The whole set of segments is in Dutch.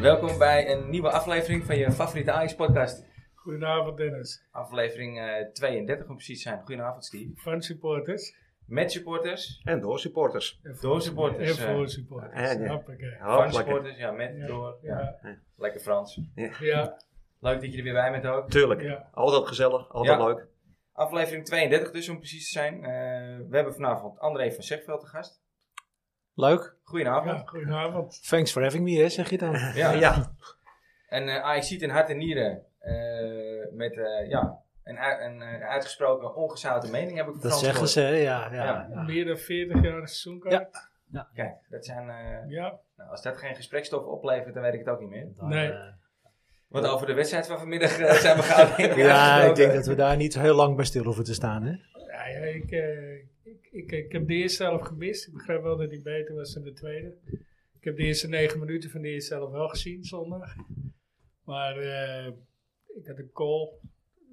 Welkom bij een nieuwe aflevering van je favoriete Ajax-podcast. Goedenavond Dennis. Aflevering eh, 32 om precies te zijn. Goedenavond Steve. Van supporters Met supporters, En door supporters. en door supporters. en eh, voor supporters. en, ja. Hoppakee. van Hoppakee. supporters, ja, met, Ja, door. Ja. Ja, Lekker Frans. ja, Leuk dat je er weer bij bent ook. Tuurlijk. ja. Altijd gezellig, altijd Ja. leuk. Aflevering 32 dus om precies te zijn. Eh, we hebben vanavond André van Zegveld te gast. Leuk. Goedenavond. Ja, goedenavond. Thanks for having me, hè, zeg je dan. Ja. Ja. En eh Ajax ziet in hart en nieren eh, met eh, ja, een, u- een, eh, uitgesproken ongezouten mening heb ik van Dat Frans zeggen ze, gehoord. hè, ja. ja, Ja. ja. Meer dan 40 jaar seizoenkaart. Kijk, dat zijn, eh, Ja. nou, als dat geen gesprekstof oplevert, dan weet ik het ook niet meer. Dan, Nee. eh, Want over de wedstrijd van vanmiddag eh, zijn we gauw in. ja, ik denk dat we daar niet heel lang bij stil hoeven te staan, hè. Ja, ja, ik, eh, ik, ik, ik heb de eerste helft gemist. Ik begrijp wel dat hij beter was dan de tweede. Ik heb de eerste negen minuten van de eerste helft wel gezien zondag. Maar eh, ik had een call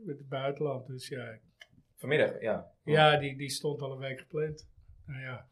met het buitenland. Dus ja, Vanmiddag, ja. Oh. ja die, die stond al een week gepland. Nou ja.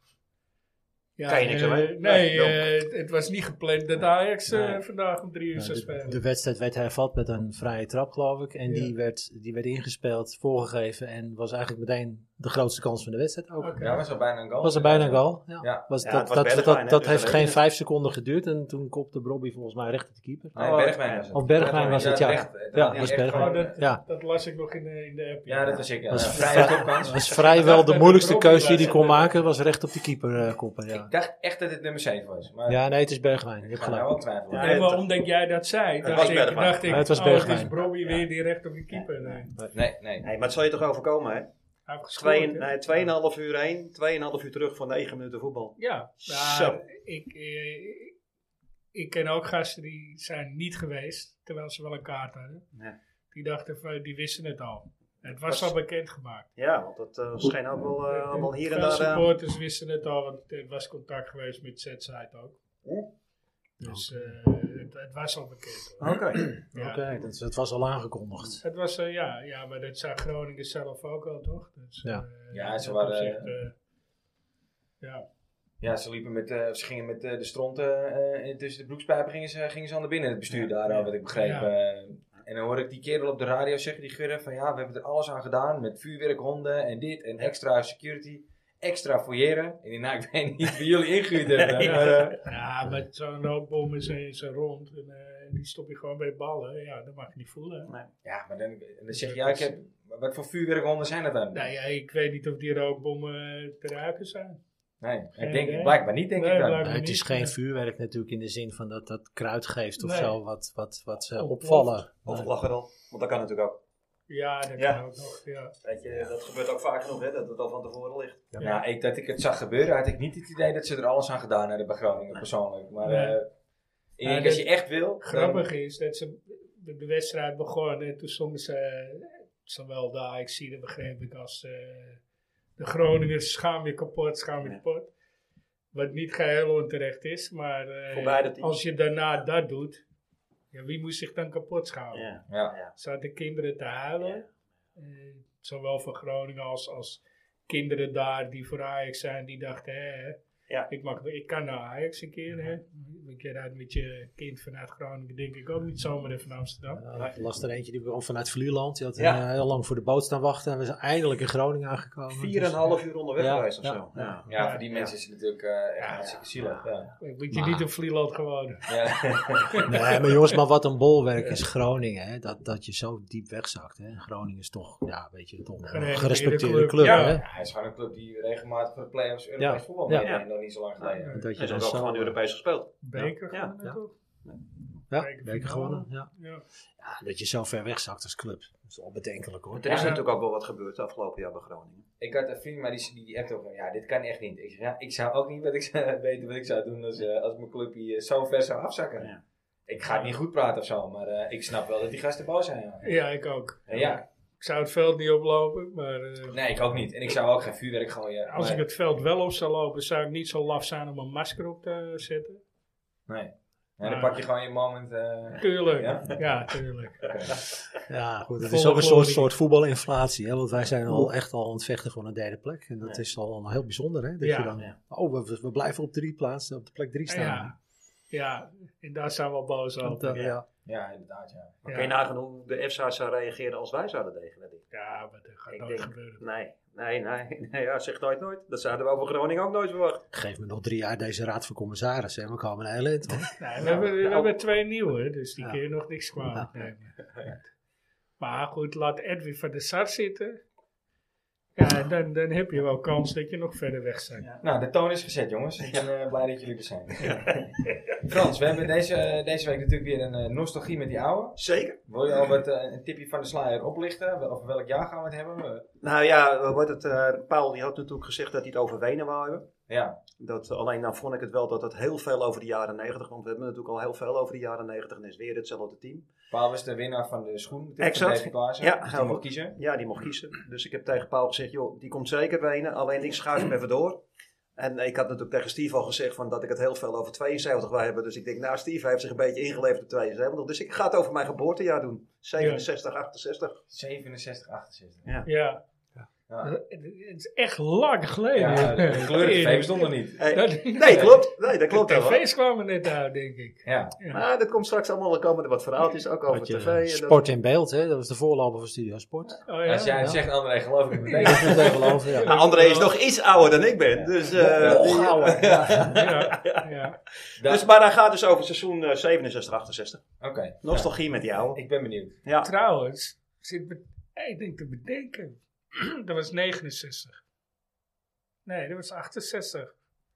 Ja, Kan je niks eh, aan doen. Nee, Ja, eh, het, het was niet gepland dat Ajax eh, Nee. vandaag om drie uur Nou, zou de, spelen. de wedstrijd werd hervat met een vrije trap, geloof ik. Ja. En die, werd, die werd ingespeeld, voorgegeven en was eigenlijk meteen de grootste kans van de wedstrijd ook. Oké. Ja, was al bijna een goal. Was er bijna een goal? Ja. Ja. Was, Ja, dat het was dat, dat, Bergwijn, hè, dat dus heeft dat weet geen je. vijf seconden geduurd en toen kopte Robbie volgens mij recht op de keeper. Nee, Oh, Bergwijn was het. Of Bergwijn was het, ja. recht, eh, dat Ja, hij was echt Bergwijn. gewoon, eh, Ja, Dat las ik nog in, de- in de app. Ja, dat was ik. Ja. was, Ja, vrij- vrije topkans. was vrijwel de Ja, moeilijkste dat klopt, keuze die hij ja. kon maken, was recht op de keeper eh, koppen. Ja. Ik dacht echt dat het nummer 7 was. Maar ja, nee, het is Bergwijn. Je ik hebt ga nou gelijk. ook twijfelen. Ja, En het- waarom denk jij dat zij? Het Dacht was ik, Bergwijn. dacht ik, Ja, het was oh, Bergwijn. is Brobby weer direct op de keeper. Nee. Nee, nee. Nee, maar het zal je toch overkomen, hè? Hij heeft gescoord, Twee, hè? nee, tweeënhalf uur heen, 2,5 uur terug voor 9 minuten voetbal. Ja, maar Zo. Ik, eh, ik- ik ken ook gasten die zijn niet geweest, terwijl ze wel een kaart hadden. Ja. Die dachten, van, die wisten het al. Het was Was- al bekendgemaakt. Ja, want dat eh, scheen ook wel, eh, wel hier en Veel daar. eh, supporters wisten het al, want er was contact geweest met Z-site ook. Oeh. Dus eh, het, het was al bekend. hoor. Oh, Oké. Ja. Oké, dat, dat was al aangekondigd. Het was, eh, ja, ja, maar dat zei Groningen zelf ook al, toch? Dus, Ja. eh, Ja, ze dat waren, opzicht, eh, ja, Ja, ze liepen met, eh, ze gingen met eh, de stront eh, eh, tussen de broekspijpen gingen ze, gingen ze aan de binnen. Het bestuur daar, eh, wat ik begreep. Ja. eh. en dan hoor ik die kerel op de radio zeggen, die gurren, van ja, we hebben er alles aan gedaan. Met vuurwerkhonden en dit en extra security. Extra fouilleren. En die nou, ik weet niet wie jullie ingehuurd hebben. Nee. maar, eh, Ja, met zo'n rookbom is zijn, zijn rond en eh, die stop je gewoon bij ballen. Ja, dat mag je niet voelen. ja, maar dan, dan zeg je, ja, ik heb, wat voor vuurwerkhonden zijn dat dan? Nou ja, ik weet niet of die rookbommen eh, te ruiken zijn. Nee, Geen ik denk, idee. blijkbaar niet, denk Nee, ik dan. blijkbaar Nee, het niet. eh, is geen vuurwerk natuurlijk in de zin van dat dat kruid geeft of Nee. zo, wat, wat, wat ze Ontploft. opvallen. Of het Nee. lag er al. Want dat kan natuurlijk ook. Ja, dat Ja. kan ook nog. Ja. Weet je, dat gebeurt ook vaak genoeg, hè? Dat het al van tevoren ligt. Ja. Nou, ik, dat ik het zag gebeuren, had ik niet het idee dat ze er alles aan gedaan hebben bij Groningen, persoonlijk. Maar Nee. eh, ik Ja, denk, dit- als je echt wil... Grappig Ehm, is dat ze de, de wedstrijd begon en toen zongen ze eh, zowel de AXC, dat begreep ik, als eh, de Groningers schaam je kapot, schaam je Ja. kapot. Wat niet geheel onterecht is, maar eh, Voor beide teams. als je daarna dat doet, ja, wie moet zich dan kapot schamen? Ja. dan- ja. zaten kinderen te huilen. Ja. Eh, zowel van Groningen als, als kinderen daar die voor Ajax zijn, die dachten: hè, Ja. ik, mag, ik kan naar Ajax een keer. Hè. Een keer uit met je kind vanuit Groningen, denk ik ook niet zomaar even naar Amsterdam. Ja, ik las er eentje die kwam vanuit Vlieland. Die had Ja. eh, heel lang voor de boot staan wachten en we zijn eindelijk in Groningen aangekomen. Vier en een Dus- half uur onderweg Ja, geweest of ja, zo. ja. Ja. Ja, Ja, voor die ja. mensen is het natuurlijk eh echt Ja, hartstikke zielig. Ja. Ik ben je Maar- niet in Vlieland geworden. Ja. Nee, maar jongens, maar wat een bolwerk is Groningen. Hè? Dat, dat je zo diep wegzakt. Hè? Groningen is toch, ja, weet je, toch een Gerenommeerde gerespecteerde club. club. Ja. hè? Ja, hij is gewoon een club die regelmatig voor de play-offs Europees Ja. voetbal Ja. meedeed, Ja. nog niet zo lang geleden. Ja. Dat Ze je hebben dan ook gewoon zo... Europees gespeeld. Beker Ja. gewonnen, Ja. toch? Ja, Beker finale. beker gewonnen. Ja. Ja. Ja, Ah, dat je zo ver wegzakt als club. Dat is wel bedenkelijk hoor. Er is Ja. natuurlijk ook wel wat gebeurd het afgelopen jaar bij Groningen. Ik had een vriend, maar die, die, die appte ook, ja, dit kan echt niet. Ik, zeg, ja, ik zou ook niet wat ik, zou- weten wat ik zou doen als, eh, als mijn club hier zo ver zou afzakken. Ja. Ik ga het niet goed praten of zo, maar eh, ik snap wel dat die gasten boos zijn. Ja. ja, ik ook. En ja, Ik zou het veld niet oplopen, maar eh, Nee, ik ook niet. En ik zou ook geen vuurwerk gooien. als Nee. ik het veld wel op zou lopen, zou ik niet zo laf zijn om een masker op te zetten. Nee. Nee, eh, dan pak je gewoon je moment. eh, Tuurlijk, Ja? ja tuurlijk. Ja, goed. Het Volle is ook een soort, glorie. soort voetbalinflatie. Hè? Want wij zijn al echt al aan het vechten voor een derde plek. En dat Ja. is al heel bijzonder. Hè? Dat Ja. je dan, Ja. oh, we, we blijven op drie plaatsen, op de plek drie staan. Ja. Ja, en daar zijn we al boos Want, over. eh, ja. Ja, inderdaad, ja. Ja. Kun je nagaan hoe de FSA zou reageren als wij zouden degraderen? Ja, maar dat gaat Ik nooit denk- gebeuren. Nee, nee, nee. nee ja, zeg nooit nooit. Dat zouden we over Groningen ook nooit verwachten. Geef me nog drie jaar deze raad van commissarissen en we komen een heel eind. hoor. Nee, we, hebben, we nou- hebben twee nieuwe, dus die Ja. kun je nog niks kwalijk nemen. Maar goed, laat Edwin van de Sar zitten. Ja, dan, dan heb je wel kans dat je nog verder weg bent. Nou, de toon is gezet, jongens. Ik ben eh, blij dat jullie er zijn. Frans, we hebben deze, eh, deze week natuurlijk weer een eh, nostalgie met die oude. Zeker. Wil je al wat, eh, een tipje van de slayer oplichten? Wel- Over welk jaar gaan we het hebben? Eh, Nou ja, wat wordt het, eh, Paul die had natuurlijk gezegd dat hij het over Wenen wou hebben. ja, Dat, eh, alleen dan vond ik het wel dat het heel veel over de jaren 90, want we hebben natuurlijk al heel veel over de jaren 90 en het is weer hetzelfde team. Paul was de winnaar van de schoen. natuurlijk, Exact. van Davy Klaassen. Ja, Dus die gaan we. mag kiezen. Ja, die mocht kiezen. Dus ik heb tegen Paul gezegd, joh, die komt zeker Wenen, alleen ik schuif hem even door. En ik had natuurlijk tegen Steve al gezegd van dat ik het heel veel over 72 wil hebben. Dus ik denk, nou Steve heeft zich een beetje ingeleverd op 72. Dus ik ga het over mijn geboortejaar doen. 67, 68. 67, 68. Ja. Ja. Eh, Het het is echt lang geleden. Ja, eh, de kleur in de tv bestond nog niet. Eh, Dat- nee, klopt. Nee, dat klopt de wel. tv's kwamen net uit, denk ik. Ja, Maar dat komt straks allemaal, er komen er wat verhaaltjes ook over Had je tv. en dat- sport in beeld, hè? dat was de voorloper van Studio Sport. Oh, als jij eh, ja. het zegt, André, geloof ik meteen. Ik moet het even geloven, ja. Maar Nou, André is nog iets ouder dan ik ben. Dus, eh, Nog ouder. ja, ja. Dat- dus, maar hij gaat dus over seizoen eh, 67, 68. Oké, Nostalgie met jou. Nou, ik ben benieuwd. Ja. Trouwens, zit me, ik denk te bedenken. dat was 69. Nee, dat was 68.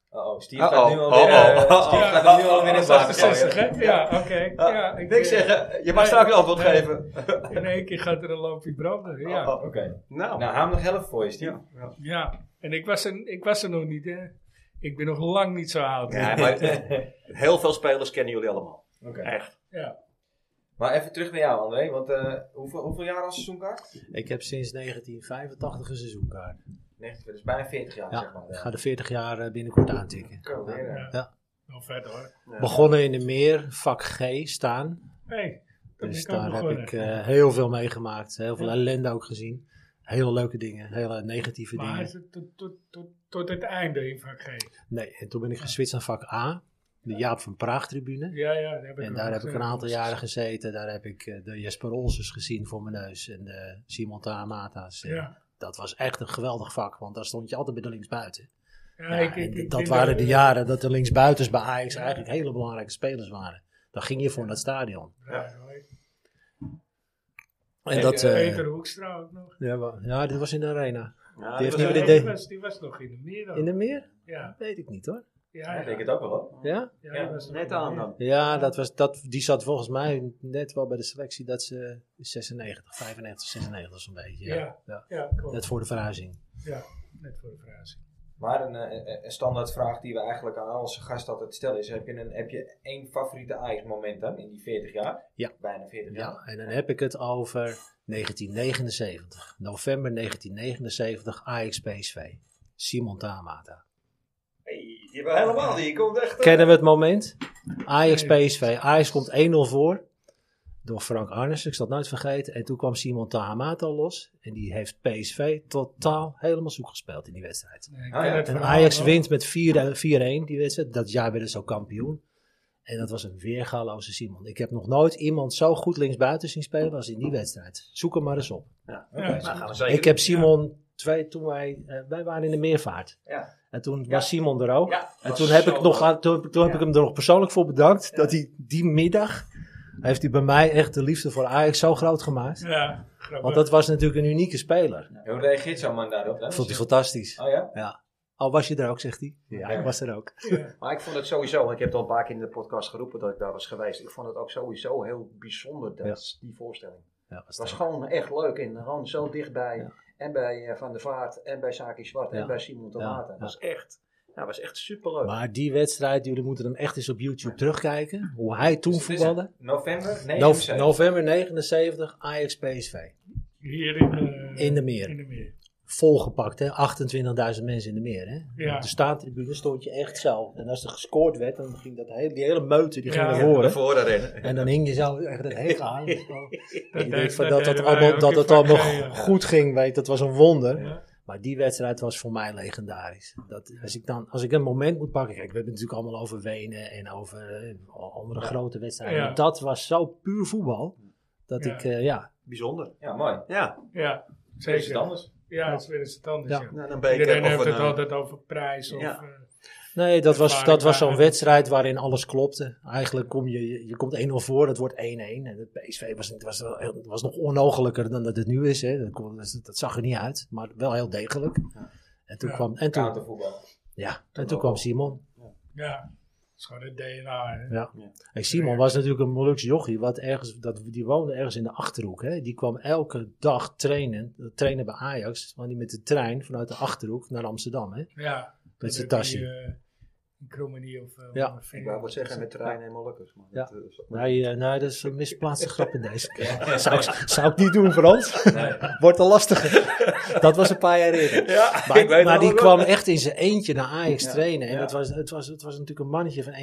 Oh, oh Steve Uh-oh. gaat nu alweer... Uh-oh. eh, Uh-oh. Steve Ja, gaat hem nu alweer in Dat het was water 68, gooien. hè? Ja, oké. Ah, Ja, ik eh, Niks denk- zeggen. Je mag straks een antwoord geven. In één keer gaat er een lampje branden. Ja. Oh, oh. Oké, Nou, nou haal hem nog helft voor je, Steve. ja. En ik was, er, ik was er nog niet, hè? Ik ben nog lang niet zo oud. Ja, maar, eh, heel veel spelers kennen jullie allemaal. Oké. Echt. Ja. Maar even terug naar jou, André. Want eh, hoeveel, hoeveel jaar als seizoenkaart? Ik heb sinds 1985 een seizoenkaart. 90, dus bijna 40 jaar, zeg Ja, maar. ik Ja. ga de 40 jaar eh, binnenkort aantikken. Zo, weer, eh, Ja. Ja. Nog verder hoor. Begonnen in de meer, vak G staan. Hey, dat Dus ben ik ook daar heb begonnen. ik eh, heel veel meegemaakt. eh, Heel veel Ja. ellende ook gezien. Hele leuke dingen, hele negatieve maar dingen. is het tot, tot, tot, tot het einde in vak G. Nee, en toen ben ik geswitcht naar vak A, de Jaap van Praag tribune. Ja, ja, daar heb ik En nog daar heb ik een gezeten. aantal jaren gezeten. Daar heb ik eh, de Jesper Olsens gezien voor mijn neus en de Simon Taamata's. En Ja. Dat was echt een geweldig vak, want daar stond je altijd bij de linksbuiten. Ja, Ja, ik- ik- en ik dat denk waren dat- de jaren dat de linksbuitens bij Ajax eigenlijk hele belangrijke spelers waren. Daar ging je voor naar het stadion. Ja, hoor. En dat, Eh, eh, Peter Hoekstra ook nog. ja, wa- ja, dit was in de arena. Ja, Die Nou, dat heeft was nu een- de- Nee, de- die, was, die was nog in de meer dan. In de meer? Ja, Weet ik niet hoor. ja, Ja, ja. ik denk het ook wel. hoor. Ja? Ja, Ja, die was nog in Net de aan meer. dan. Ja, dat was, dat, die zat volgens mij net wel bij de selectie dat ze 96, 95, 96 zo'n beetje. Ja. Ja. Ja. Ja, klopt. Net voor de verhuizing. Ja, net voor de verhuizing. Maar een, eh, een standaardvraag die we eigenlijk aan onze gast altijd stellen is... Heb je, een, heb je één favoriete Ajax-moment dan in die 40 jaar? Ja. Bijna 40 jaar. Ja, en dan heb ik het over 1979. November 1979, Ajax PSV. Simon Tamata. Hey, die hebben helemaal die. komt echt. eh, Kennen we het moment? Ajax PSV. Ajax komt 1-0 voor. Door Frank Arnes, ik zal het nooit vergeten. En toen kwam Simon Tahamata los. En die heeft PSV totaal helemaal zoek gespeeld in die wedstrijd. Nee, ik Ah, ken ja. het En verhaal Ajax wel. wint met 4-1 die wedstrijd. Dat jaar werden ze ook kampioen. En dat was een weergaloze Simon. Ik heb nog nooit iemand zo goed linksbuiten zien spelen als in die wedstrijd. Zoek hem maar eens op. Ja, nou, gaan we zeker Ik heb Simon twee, toen wij, eh, wij waren in de meervaart. Ja. En toen Ja. was Simon er ook. Ja, en was toen heb, zo ik, nog, leuk. aan- toen, toen heb ik hem er nog persoonlijk voor bedankt. Dat hij die middag, heeft hij bij mij echt de liefde voor Ajax zo groot gemaakt. Ja, grappig. Want dat was natuurlijk een unieke speler. En Hoe reageert zo'n man daarop dan? Dat vond hij fantastisch. Oh ja? Al was je er ook, zegt hij. Ja, Ja. ik was er ook. Ja. Maar ik vond het sowieso, want ik heb het al een paar keer in de podcast geroepen dat ik daar was geweest. Ik vond het ook sowieso heel bijzonder, dat, die voorstelling. Ja, was Het was dat. gewoon echt leuk en gewoon zo dichtbij. Ja. En bij eh, Van der Vaart, en bij Saki Zwart, Ja. en bij Simon Ja, Tomata. ja. Dat was echt, ja, was echt superleuk. Maar die wedstrijd, jullie moeten hem echt eens op YouTube terugkijken. Hoe hij toen Dus, eh, voetbalde. November? Nee, Nov- november 79, Ajax PSV. Hier in, eh, In de meer. In de meer. volgepakt, hè? 28.000 mensen in de meer. Hè? Ja. Op de staantribune stond je echt zo. En als er gescoord werd, dan ging dat hele, die hele meute die ging Ja. naar voren. voren rennen. En dan hing je zo echt het heen aan. Dus, oh, ik deed- denk van dat dat het deden wij allemaal, ook dat in het allemaal Frankrijk, ja. goed ging, weet, dat was een wonder. Ja. Maar die wedstrijd was voor mij legendarisch. Dat, als, ik dan, als ik een moment moet pakken, kijk, we hebben het natuurlijk allemaal over Wenen en over eh, andere grote wedstrijden. Ja. Maar Dat was zo puur voetbal. Dat Ja. ik, eh, ja, Bijzonder. Ja, mooi. Ja, Ja, Zeker. Is het zeker. anders? Ja, het is weer eens het anders. Ja. ja. nou, een Iedereen beker heeft of het een... eh, altijd over prijs. Of, Ja. eh, Nee, dat was, dat was zo'n Ervaring. wedstrijd waarin alles klopte. Eigenlijk kom je, je- je komt 1-0 voor, dat wordt 1-1. En het PSV was, het was, wel heel- het was nog onmogelijker dan dat het nu is. Hè. Dat, kon- dat- dat zag er niet uit, maar wel heel degelijk. En toen Ja. kwam, en toen, Countervoetbal. ja, en toen kwam Simon. ja, het is gewoon het DNA. Hè. Ja. Hey, Simon was natuurlijk een Molukse jochie, wat ergens, dat, die woonde ergens in de Achterhoek. Hè. Die kwam elke dag trainen, trainen bij Ajax, want die met de trein vanuit de Achterhoek naar Amsterdam. Hè, Ja, met zijn dat tasje. die, eh, Een krommenie of eh, Ja. een Ik vinger. wou wat zeggen met terrein en molukkers. Maar Ja. dat, eh, is- Nee, eh, nee, dat is een misplaatste grap in deze keer. Zou, ik- zou ik niet doen, Frans? Wordt al lastiger. Dat was een paar jaar eerder. maar ik weet maar het die ook kwam echt in zijn eentje naar Ajax Ja, trainen. En ja. het, was, het, was, het was natuurlijk een mannetje van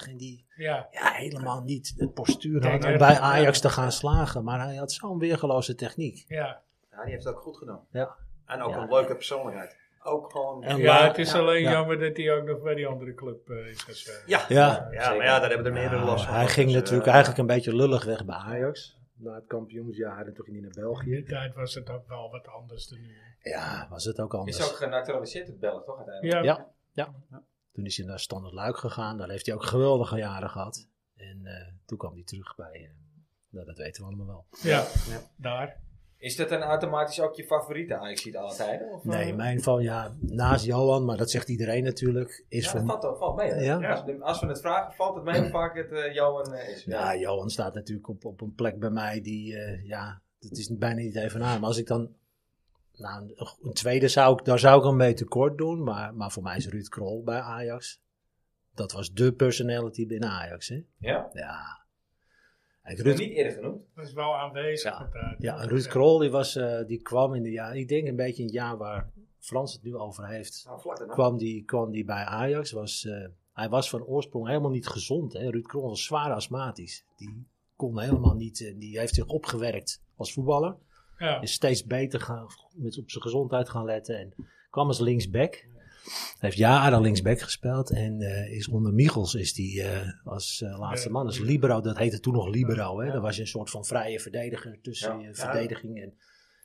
1,60. En die Ja, ja, helemaal niet het postuur Kijk, had om hè, bij ja. Ajax te gaan slagen. Maar hij had zo'n weergeloze techniek. ja. Ja, die heeft het ook goed gedaan. Ja. En ook Ja. een leuke persoonlijkheid. Ook gewoon... En ja, laat- het is alleen ja. jammer dat hij ook nog bij die andere club eh, is. gezet. Ja, Ja. ja maar ja, daar hebben er meerdere Nou, last van. hij ging Dus, eh, natuurlijk eigenlijk een beetje lullig weg bij Ajax. Na het kampioensjaar en toen ging hij naar In die België. tijd was het ook wel wat anders dan nu. Ja, was het ook anders. Is ook genaturaliseerd het bellen, toch uiteindelijk? Ja, Ja. Toen is hij naar Standard Luik gegaan. Daar heeft hij ook geweldige jaren gehad. En eh, toen kwam hij terug bij... eh, nou, dat weten we allemaal wel. ja. Ja. daar. Is dat dan automatisch ook je favoriete ajax ziet alle tijden? Of, eh? Nee, mijn van ja, naast Johan, maar dat zegt iedereen natuurlijk, is Ja, voor dat mij... valt, wel- valt mee. hè? Ja. Als, we- als we het vragen, valt het mee hoe vaak het eh Johan eh, is. Ja, Nou, Johan staat natuurlijk op, op een plek bij mij die, eh, ja, dat is bijna niet even aan. Maar als ik dan, nou, een, een tweede zou ik, daar zou ik hem mee tekort doen. Maar, maar voor mij is Ruud Krol bij Ajax, dat was de personality binnen Ajax, hè. Ja? Ja. En Nog Ruud, Niet eerder genoemd. Dat is wel aanwezig. Ja. op de- Ja, en Ruud Krol die, was, eh, die kwam in de jaar, ik denk een beetje in het jaar waar Frans het nu over heeft, Nou, vlak daarna. kwam die, kwam die bij Ajax. Was, eh, hij was van oorsprong helemaal niet gezond. Hè? Ruud Krol was zwaar astmatisch. Die kon helemaal niet, eh, die heeft zich opgewerkt als voetballer. Ja. Is steeds beter gaan, met op zijn gezondheid gaan letten en kwam als linksback. Hij heeft jaren linksback gespeeld en eh, is onder Michels is die eh, als eh, laatste man, als libero, dat heette toen nog libero. Hè? Dat was je een soort van vrije verdediger tussen Ja. je verdediging en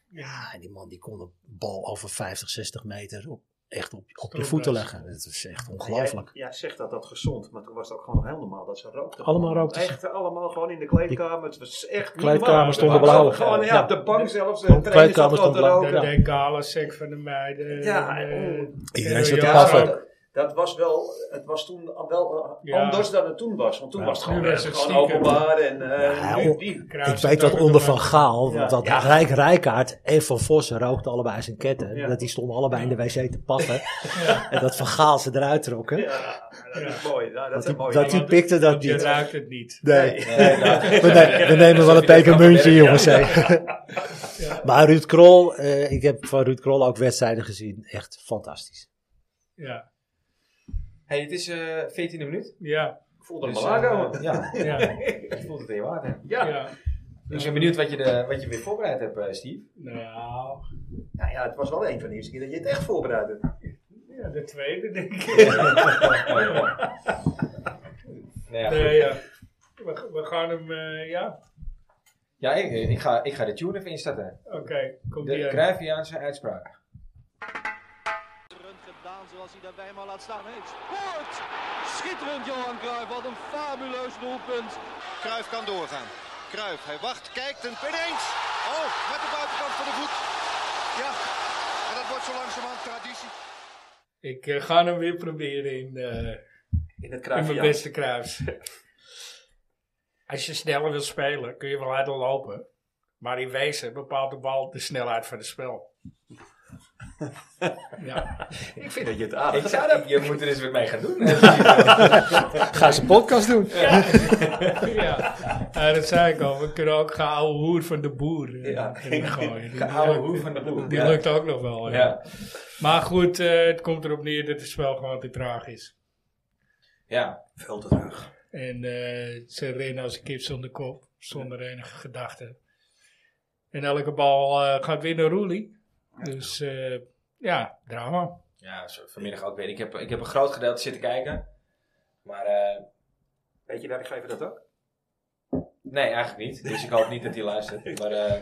ja, en die man die kon een bal over 50, 60 meter op, echt op, op je Stroomkruis. voeten leggen. Dat is echt ongelooflijk. Ja, zegt dat dat gezond, maar toen was het ook gewoon helemaal normaal dat ze rookten. Allemaal Gewoon rookten ze. Echt allemaal gewoon in de kleedkamer. Het was echt niet Kleedkamer normaal. stonden Gewoon- blauw. Gewoon ja, Ja. op de bank zelfs. eh, Gewoon De trainer zat kleedkamer gewoon te stond blauw. roken. De decale sec van de meiden. Ja, oh. en, eh, oeh. Iedereen en zat te Jan paffen. ook. dat- Dat was wel, het was toen al wel eh, Ja. anders dan het toen was. Want toen Ja. was het gewoon, Nu was het echt gewoon stiekem. openbaar en eh, Ja, nu on- die. Kruis ik zat weet dat ook onder nog Van maar- Gaal, Ja. want dat Ja. Rijk Rijkaard en Van Vossen rookten allebei zijn ketten. Ja. Dat die stonden allebei in de wc te paffen. Ja. En dat Van Gaal ze eruit trokken. Ja, dat is mooi. Ja, dat Dat zijn die- mooie dat dingen. die pikte dat Je niet. ruikt het niet. Nee. Nee, nou, We, ne- we nemen wel een pekermuntje, jongens. hè. Ja. Maar Ruud Krol, eh, ik heb van Ruud Krol ook wedstrijden gezien. Echt fantastisch. Ja. hey, het is eh 14e minuut. Ja. Ik voelde hem Dus, al aankomen. eh, ja, Ja. je voelt het in je water. Ja. ja. Dus ik ben benieuwd wat je, de, wat je weer voorbereid hebt, eh, Steve. Nou, Nou ja, het was wel een van de eerste keer dat je het echt voorbereid hebt. ja, de tweede denk ik. Oh, ja. Nee, ja, Nee, goed. ja. We, we gaan hem, eh, ja. ja ik, ik, ga, ik ga de tune even instatten. Oké, komt die De uit. Cruyffiaanse uitspraak. Schitterend gedaan zoals hij daarbij maar laat staan. Hij scoort! Schitterend Johan Cruijff, wat een fabuleus doelpunt. Kruif kan doorgaan. Kruif, hij wacht, kijkt en ineens. Oh, met de buitenkant van de voet. Ja, en dat wordt zo langzamerhand traditie. Ik eh, ga hem weer proberen in, eh, In het in mijn kruifje. beste kruis. Als je sneller wil spelen, kun je wel harder lopen. Maar in wezen bepaalt de bal de snelheid van het spel. ja. Ik vind dat je het Ik aardig gedaan zou, hebt. ik- je moet er eens wat mee gaan doen. Ga ze een podcast doen. ja. Eh, dat zei ik al. We kunnen ook gaan ouwe hoer van de boer eh, Ja. erin gooien. Die Oude lukt- hoe van de boer. Die Ja. lukt ook nog wel. ja. Ja. Maar goed, eh, het komt erop neer dat het spel gewoon te traag is. ja. Veel te traag. En eh, ze rennen als een kip zonder kop, zonder enige gedachte. En elke bal eh, gaat weer naar Roelie. Dus eh, Ja, drama. Ja, zo vanmiddag ook weer. Ik heb, ik heb een groot gedeelte zitten kijken. Maar eh, Weet je werkgever dat ook? nee, eigenlijk niet. Dus ik hoop niet dat hij luistert. Maar eh,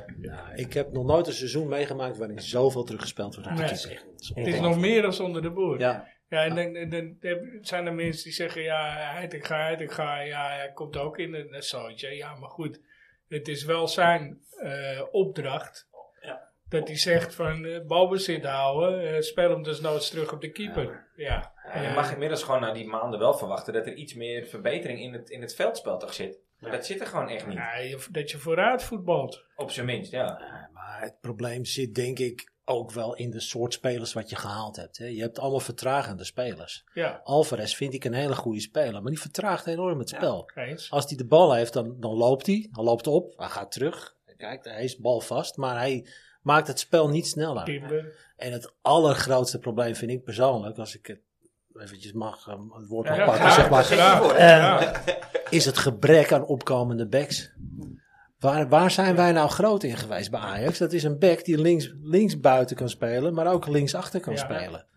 ik heb nog nooit een seizoen meegemaakt waarin zoveel teruggespeeld wordt op de Nee. keeper. Dat is Het is ongelooflijk. nog meer dan onder de boer. Ja, Ja, en dan, dan, dan heb- zijn er mensen die zeggen, ja, hij ik ga, ik ga. Ja, hij komt ook in een een zootje. Ja, maar goed. Het is wel zijn eh, opdracht. Ja. Dat hij zegt van eh, balbezit houden, eh, spel hem desnoods terug op de keeper. Ja, nou, je mag inmiddels gewoon na die maanden wel verwachten dat er iets meer verbetering in het, in het veldspel toch zit. Maar dat zit er gewoon echt niet. Ja, je- dat je vooruit voetbalt. Op zijn minst, ja. eh, maar het probleem zit denk ik ook wel in de soort spelers wat je gehaald hebt. Hè. Je hebt allemaal vertragende spelers. Ja, Alvarez vind ik een hele goede speler, maar die vertraagt enorm het spel. eens. Als hij de bal heeft, dan, dan loopt hij. Hij loopt op, hij gaat terug. Kijk, hij is balvast, maar hij maakt het spel niet sneller. Timber. En het allergrootste probleem vind ik persoonlijk, als ik het eventjes mag, ehm, het woord mag Ja, pakken, graag, zeg maar, graag, eh, graag. is het gebrek aan opkomende backs. Waar, waar zijn wij nou groot in geweest bij Ajax? Dat is een back die links, links buiten kan spelen, maar ook links achter kan Ja. spelen.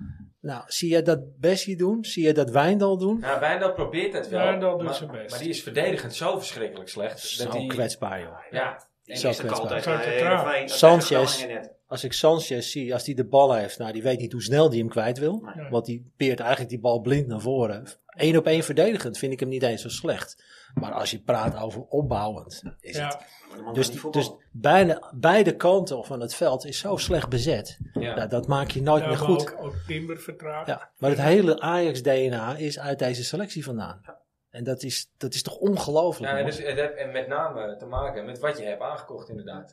Nou, zie je dat Bessie doen? Zie je dat Wijndal doen? Nou, Wijndal probeert het wel. Wijndal doet maar, zijn best. Maar die is verdedigend zo verschrikkelijk slecht. Zo die- kwetsbaar, joh. Ja. En Zo is eh, de kant kwetsbaar. Zo tegen te traag. Heerenveen. Sanchez. tegen Groningen net. Als ik Sanchez zie, als die de bal heeft, nou, die weet niet hoe snel die hem kwijt wil. Nee. Want die peert eigenlijk die bal blind naar voren. Eén op één verdedigend vind ik hem niet eens zo slecht. Maar als je praat over opbouwend, is het Ja, Maar de man Dus, kan die- niet dus voetballen. bijna, beide kanten van het veld is zo slecht bezet. Ja. Nou, dat maak je nooit ja, meer maar goed. Ook, ook Timber vertraagt. Ja. Maar het hele Ajax-DNA is uit deze selectie vandaan. En dat is, dat is toch ongelooflijk? Ja, man? dus het heeft en met name te maken met wat je hebt aangekocht, inderdaad.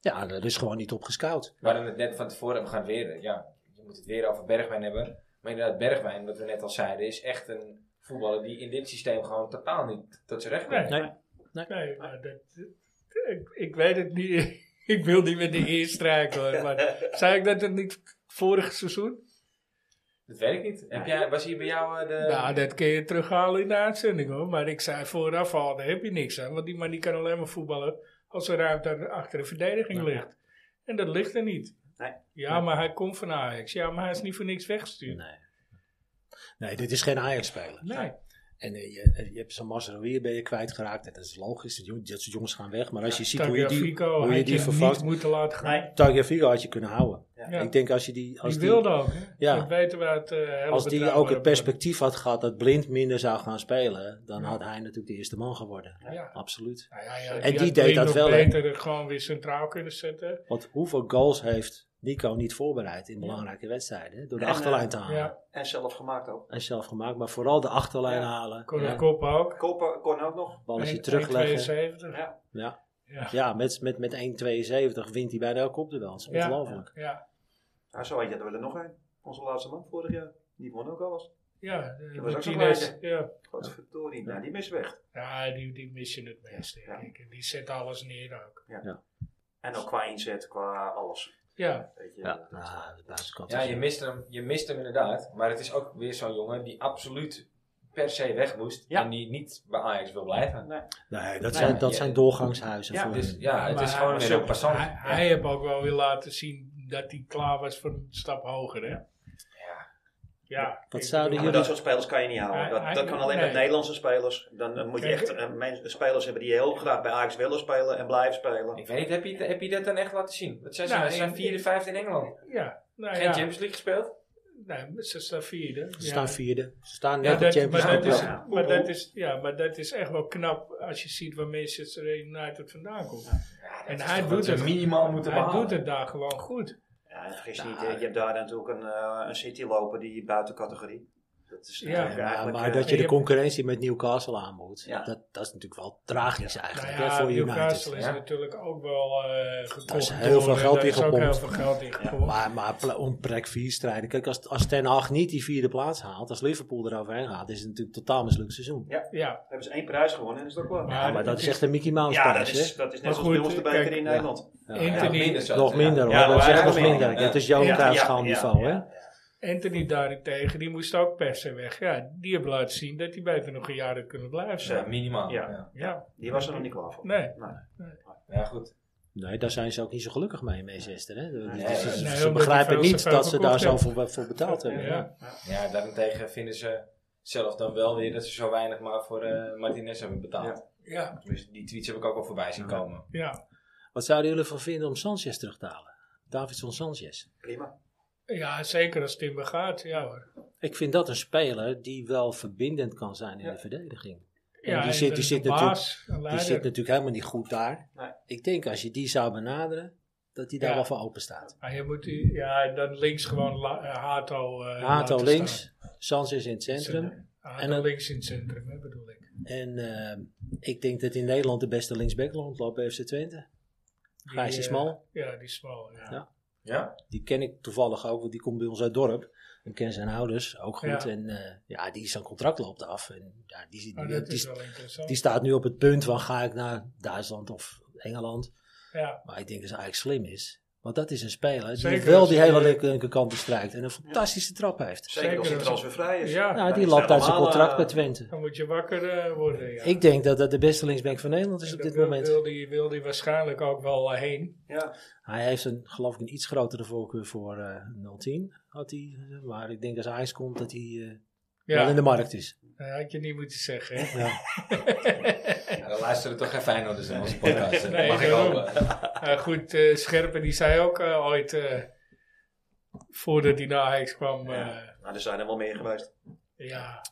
ja, er is gewoon niet op gescout. We hadden het net van tevoren, we gaan het weer, ja, je moet het weer over Bergwijn hebben. Maar inderdaad, Bergwijn, wat we net al zeiden, is echt een voetballer die in dit systeem gewoon totaal niet tot zijn recht komt. Nee. Nee. Nee, maar dat, ik, ik weet het niet. Ik wil niet met de eerste strijken hoor. Maar zei ik dat het niet vorig seizoen? Dat weet ik niet. Heb jij, was hier bij jou eh, de... nou, dat kun je terughalen in de uitzending hoor. Maar ik zei vooraf al, daar heb je niks aan. Want die man die kan alleen maar voetballen als er ruimte achter de verdediging ligt. En dat ligt er niet. Nee. Ja, maar hij komt van Ajax. Ja, maar hij is niet voor niks weggestuurd. Nee. Nee, dit is geen Ajax-speler. Nee. En eh, je, je hebt zo'n Masraoui ben je kwijtgeraakt. En dat is logisch. Dat jong- dat soort jongens gaan weg. Maar als je ziet hoe je die, Tagliafico hoe je had die je vervangt. niet moeten laten gaan. Nee. Tagliafico had je kunnen houden. Ja. Ik denk als je die... Als die wilde ook. Hè? Ja. Dat weten we uit eh, hele Als die ook betrouwbare het perspectief had gehad dat Blind minder zou gaan spelen, dan had hij natuurlijk de eerste man geworden. bronnen. Ja. Absoluut. Nou ja, ja, En had die deed Blind dat nog wel, hè? beter het gewoon weer centraal kunnen zetten. Want hoeveel goals heeft Nico niet voorbereid in belangrijke wedstrijden? hè? Door de En, achterlijn eh, te halen. Ja, En zelf gemaakt ook. Hij is zelf gemaakt, maar vooral de achterlijn Ja. halen. kon Ja. de kop ook. Koper kon ook nog. Balletje Eén- terugleggen. 1,72. Ja. Ja, Ja. ja met, met, met 1,72 wint hij bij elke op de wel. Dat is Ja. ongelooflijk. Ja, Nou, zo eentje hadden we er nog een. Onze laatste man vorig jaar. Die won ook alles. ja. eh, Dat was ook zo'n Martinez, kleintje. ja. Godverdorie. Nou, die is weg. ja, die, die mis je het meest, denk Ja. ik. En Die zet alles neer ook. En ook qua inzet, qua alles. Ja, Weet je. eh, Ja, nou, de buitenkant. Ja, is- je mist, hem, je mist hem inderdaad. Maar het is ook weer zo'n jongen die absoluut per se weg moest. Ja. En die niet bij Ajax wil blijven. Nee, dat, Nee, zijn, maar dat je- zijn doorgangshuizen Ja, voor Dus hem. ja, het Maar is hij gewoon was weer een ook- passant. hij, hij heeft ook wel weer laten zien dat hij klaar was voor een stap hoger, hè? Ja. Ja. Wat ik zouden Ja, bedoel- maar dat soort spelers kan je niet houden. Hij- hij- Dat, dat kan alleen met nee. Nederlandse spelers. Dan eh, moet je Kijk, echt eh, mensen- spelers hebben die heel graag bij Ajax willen spelen en blijven spelen. Ik weet niet, heb je, heb je dat dan echt laten zien? Wat zijn ze? Nou, ze zijn in- vierde, vijfde in Engeland. Ja. Nou, Geen ja. Champions League gespeeld? Nee, maar ze staan vierde. Ze Ja. staan vierde. Ze staan Ja, net op dat, Champions maar, dat League. is, Ja. ja. maar dat is, ja, maar dat is echt wel knap als je ziet waar Manchester United vandaan komt. Ja, En dat is hij toch wat doet we het. minimaal moeten Hij behalen. doet het daar gewoon goed. Ja, en vergis niet, eh, je hebt daar natuurlijk een, eh, een City lopen die buiten categorie. Dat is Ja, natuurlijk Ja, eigenlijk, maar eh, dat je de je- concurrentie met Newcastle aan moet, Ja. dat, dat is natuurlijk wel tragisch Nou eigenlijk hè, ja, voor Newcastle United. is Ja. natuurlijk ook wel eh gekocht. Daar is heel door- veel geld daar in is ook gepompt. heel veel geld in gepompt. Maar, maar pla- om plek 4 strijden. Kijk, als, als Ten Hag niet die vierde plaats haalt, als Liverpool eroverheen gaat, is het natuurlijk een totaal mislukt seizoen. Ja. ja, hebben ze één prijs gewonnen en is dat klaar. Maar- Ja, maar dat is echt een Mickey Mouse Ja, dat prijs, is, dat is Maar net zoals goed, bij ons de kijk, beker in ja. Nederland. hè? Ja. Ja, Anthony, minder zelfs, Nog ja. minder hoor, Ja, dat is wij echt nog hebben minder. minder, ja. Dat is Johan Ja, ja, Cruijffschaal-niveau, ja, hè? ja. Anthony daarentegen, die moest ook per se weg. Ja, die hebben laten zien dat hij beter nog een jaar had kunnen blijven. Ja, zijn. minimaal. Ja. Ja. Ja, Die was er nog niet klaar voor. nee. Ja, goed. Nee, daar zijn ze ook niet zo gelukkig mee in Manchester. Hè? Dus Nee. ze- Nee, ze, omdat er begrijpen veel niet te dat veel ze daar zo verkocht voor, voor betaald hebben. Ja. Ja. Ja, daarentegen vinden ze zelf dan wel weer dat ze zo weinig maar voor eh, Martinez hebben betaald. Ja. Dus die tweets heb ik ook al voorbij zien komen. Ja. Wat zouden jullie ervan vinden om Sanchez terug te halen? Davidson Sanchez. Prima. ja, zeker als Timber gaat. Ja hoor. Ik vind dat een speler die wel verbindend kan zijn in de verdediging. Ja, die en zit- de- die zit de baas, een Die zit leider. natuurlijk helemaal niet goed daar. Nee. Ik denk als je die zou benaderen, dat die daar Ja. wel voor open staat. Maar Ah, je moet die, ja, en dan links gewoon la, eh, Hato. eh, Hato laten links, staan. Sanchez in het centrum. Hato En dan- links in het centrum, hè, bedoel ik. En ehm, ik denk dat in Nederland de beste linksback rondloopt bij FC Twente. Die, Gijsje eh, Smal. Ja, die Smal. Ja. Ja. Ja? Die ken ik toevallig ook, want die komt bij ons uit het dorp. Ik ken zijn ouders ook goed. Ja. En eh, ja, die zijn contract loopt af. En ja, die, die, Oh, die, dat is die- wel interessant. die staat nu op het punt van ga ik naar Duitsland of Engeland. ja. Maar ik denk dat ze eigenlijk slim is. Want dat is een speler die Zeker wel als die je- hele linker- linkerkant bestrijkt. En een fantastische trap heeft. Zeker als hij Zeker als- transfervrij is. Ja. Ja, Dan Nou, die is loopt hij uit zijn helemaal, contract eh, bij Twente. Dan moet je wakker eh, worden. Ja. Ik denk dat dat de beste linksback van Nederland is En op dat dit wil- moment. Wil die, wil die waarschijnlijk ook wel eh, heen. Ja. Hij heeft een, geloof ik een iets grotere voorkeur voor eh 010. Had hij, eh, maar ik denk als Ajax komt dat hij eh, wel in Ja, de markt is. dat had je niet moeten zeggen. hè. Ja. Ja, dan luisteren toch geen Feyenoorders in onze podcast. Nee, mag ik daarom. hopen. Eh, goed, eh, Scherpen die zei ook eh, ooit, eh, voordat hij naar Ajax kwam, eh, ja. Nou, er zijn er wel meer geweest.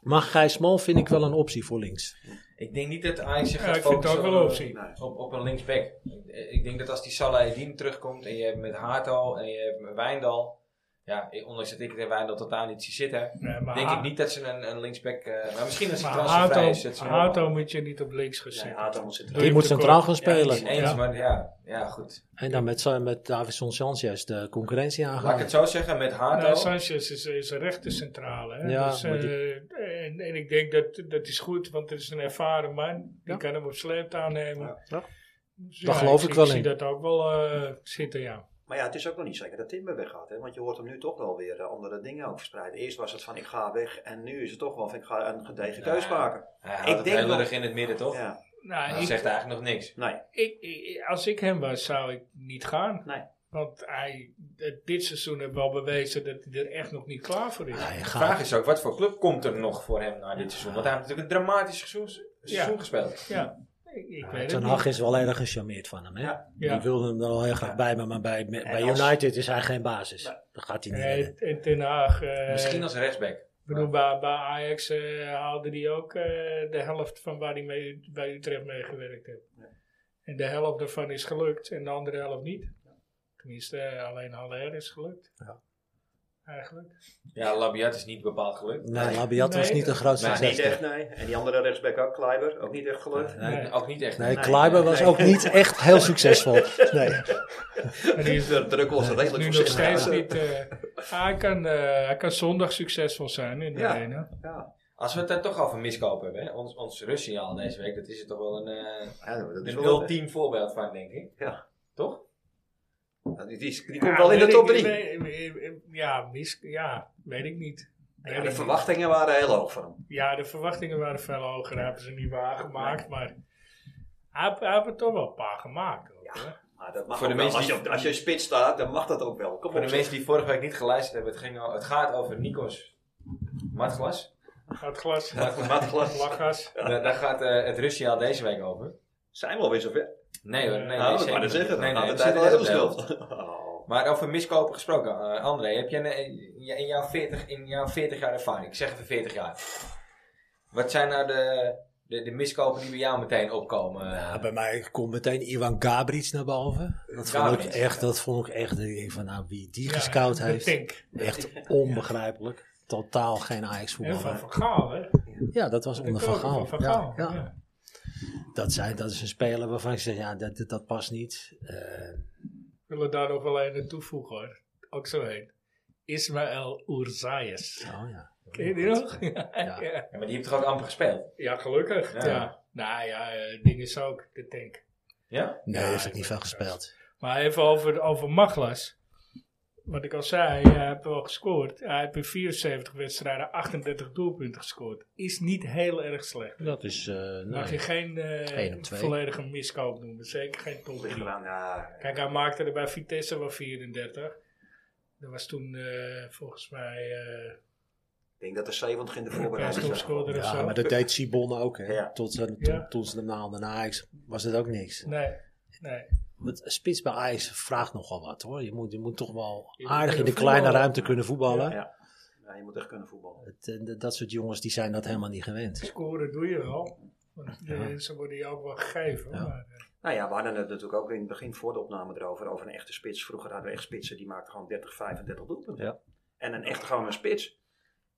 Maar Gijs Smal vind ik wel een optie voor links. Ik denk niet dat Ajax zich Ja, gaat ik vind het focussen ook wel op- een eh, optie. Nee. Op, op een linksback. Ik- Ik denk dat als die Salah Eddin terugkomt en je hebt met Haartal en je hebt met Wijndal. Ja, ik- ondanks dat ik het in Wijndal totaal niet zie zitten. Nee, maar Denk Ha- ik niet dat ze een, een linksback... eh, maar misschien als hij Maar transfervrij Hato, is. dat ze hem Hato moet je niet op links gaan zetten. Hato moet zitten. Doe Die je moet tekort. centraal gaan Ja, het is spelen. eens, Ja. maar ja, ja goed. en dan met, Sa- met Davison Sanchez de concurrentie Laat ik aangaan. het zo zeggen, met Hato... Nou, Sanchez is, is een rechtercentrale. Hè? Ja, dus, maar eh, en, en ik denk dat dat is goed, want het is een ervaren man. Die Ja. kan hem op sleep aannemen. Ja. Dus Daar geloof ik wel Ik in. zie dat ook wel eh, zitten, ja. Maar ja, het is ook nog niet zeker dat Timber weggaat. Hè? Want je hoort hem nu toch wel weer eh, andere dingen ook verspreiden. Eerst was het van ik ga weg. En nu is het toch wel van ik ga een gedegen Ja. keus maken. Hij houdt Ik het denk heel nog- erg in het midden, toch? Ja. Nou, Hij ik, zegt eigenlijk nog niks. Nee. ik, ik- als ik hem was, zou ik niet gaan. Nee. Want hij, het- dit seizoen heeft wel bewezen dat hij er echt nog niet klaar voor is. Hij De vraag gaat. is ook, wat voor club komt er nog voor hem na dit seizoen? Want hij heeft natuurlijk een dramatisch seizoen, seizoen Ja. gespeeld. Ja, ik, ik weet het Ten niet. Hag is wel erg gecharmeerd van hem. Hè? Ja. Die Ja. wilde hem er al heel graag bij, maar- maar bij, bij als- United is hij geen basis. Dat gaat hij niet redden. En, en Ten Hag, eh, Misschien als rechtsback. Ik bedoel, bij, bij Ajax eh, haalde hij ook eh, de helft van waar hij mee, bij Utrecht mee gewerkt heeft. En de helft daarvan is gelukt en de andere helft niet. Tenminste, eh, alleen Haller is gelukt. Ja. Eigenlijk. Ja, Labiat is niet bepaald gelukt. Nee, Labiat was Nee. niet een groot Nee, succes. Niet echt, nee. En die andere rechtsback ook, Kleiber. Ook niet echt gelukt. Nee. Nee. Ook niet echt. Nee, Nee, Kleiber was nee. ook niet echt heel succesvol. Nee. En die is De druk was redelijk nu nog voorzichtig. steeds Ja. niet. eh, hij, kan, eh, hij kan zondag succesvol zijn in de Ja. arena. Ja. Als we het daar toch al van miskopen hebben, hè? ons, ons Russiaal deze week, dat is toch wel een, eh Ja, dat is een wel... ultiem voorbeeld van, denk ik. Ja. Toch? Nou, Die, die, is- die Ja, komt wel in de weet top ik- 3. weet- eh, Ja, mis, ja, weet ik niet. Weet Ja, ik de niet. verwachtingen waren heel hoog van hem. Ja, de verwachtingen waren veel hoger. Daar hebben ze niet waargemaakt. Maar hij hij heeft er toch wel een paar gemaakt. Ook, hè? Maar dat mag Voor de ook wel. mensen Als, die- je, als je spits staat, dan mag dat ook wel. Kom Voor op, de zeg. mensen die vorige week niet geluisterd hebben, het, ging al, het gaat over Nikos Matglas. Het glas, Matglas. lachgas. Daar, daar gaat eh, het Russiaal deze week over. Zijn we alweer zover? Nee hoor, nee, nee, nou, dat zeker maar dat niet. zeggen. Nee, Nee, nee, de we tijd zitten wel net heel op de helft. stil. Oh. Maar over miskopen gesproken, eh, André, heb jij een- in jou- in jouw 40, in jouw 40 jaar ervaring, ik zeg even 40 jaar, wat zijn nou de, de, de miskopen die bij jou meteen opkomen? Ja, bij mij komt meteen Ivan Gabric naar boven. Dat vond ik Gabric. echt, dat vond ik echt, ik denk van nou wie die Ja, gescout de heeft, tank. echt onbegrijpelijk. Totaal geen Ajax En van voetballer. Van Gaal, hè? Ja, dat was De onder Van koper Gaal. Van Ja, Gaal. ja. ja. Dat, zijn, dat is een speler waarvan ik zeg, ja, dat, dat, dat past niet. Eh, Ik wil er daar nog wel een aan toevoegen, hoor. Ook zo heet. Ismaël Oerzaies. oh ja. Ken je die nog? Ja, Ja. ja. Ja, maar die heeft toch ook amper gespeeld? Ja, gelukkig. Ja. Ja. Nou ja, eh, ding is ook de tank. Ja? Nee, Ja, heeft ik ik niet weet veel het gespeeld. Maar even over, over Maglas. wat ik al zei, hij heeft wel gescoord. Hij heeft in 74 wedstrijden 38 doelpunten gescoord. Is niet heel erg slecht. Dat is, eh, nou, Mag je geen Eén eh op twee. volledige miskoop noemen. Zeker geen top 3. Ja, Kijk, hij maakte er bij Vitesse wel 34. Dat was toen eh, volgens mij eh ik denk dat de 70 in de best voorbereiding zat. topscorer of ja, zo. maar dat deed Sibon ook. Hè. Ja. Tot, ze- tot, Ja. toen ze hem naalden naar Ajax was het ook niks. Nee, nee. Want een spits bij Ajax vraagt nogal wat hoor. Je moet, je moet toch wel Je moet aardig in de kunnen kleine voetballen. ruimte kunnen voetballen. Ja. Ja, je moet echt kunnen voetballen. Het, eh, dat soort jongens die zijn dat helemaal niet gewend. Scoren doe je wel. Want eh, ze worden je ook wel gegeven. Ja. Maar, eh, Nou ja, we hadden het natuurlijk ook in het begin voor de opname erover, over een echte spits. Vroeger hadden we echt spitsen, die maakten gewoon 30, 35 doelpunten. Ja. En een echt gewoon een spits.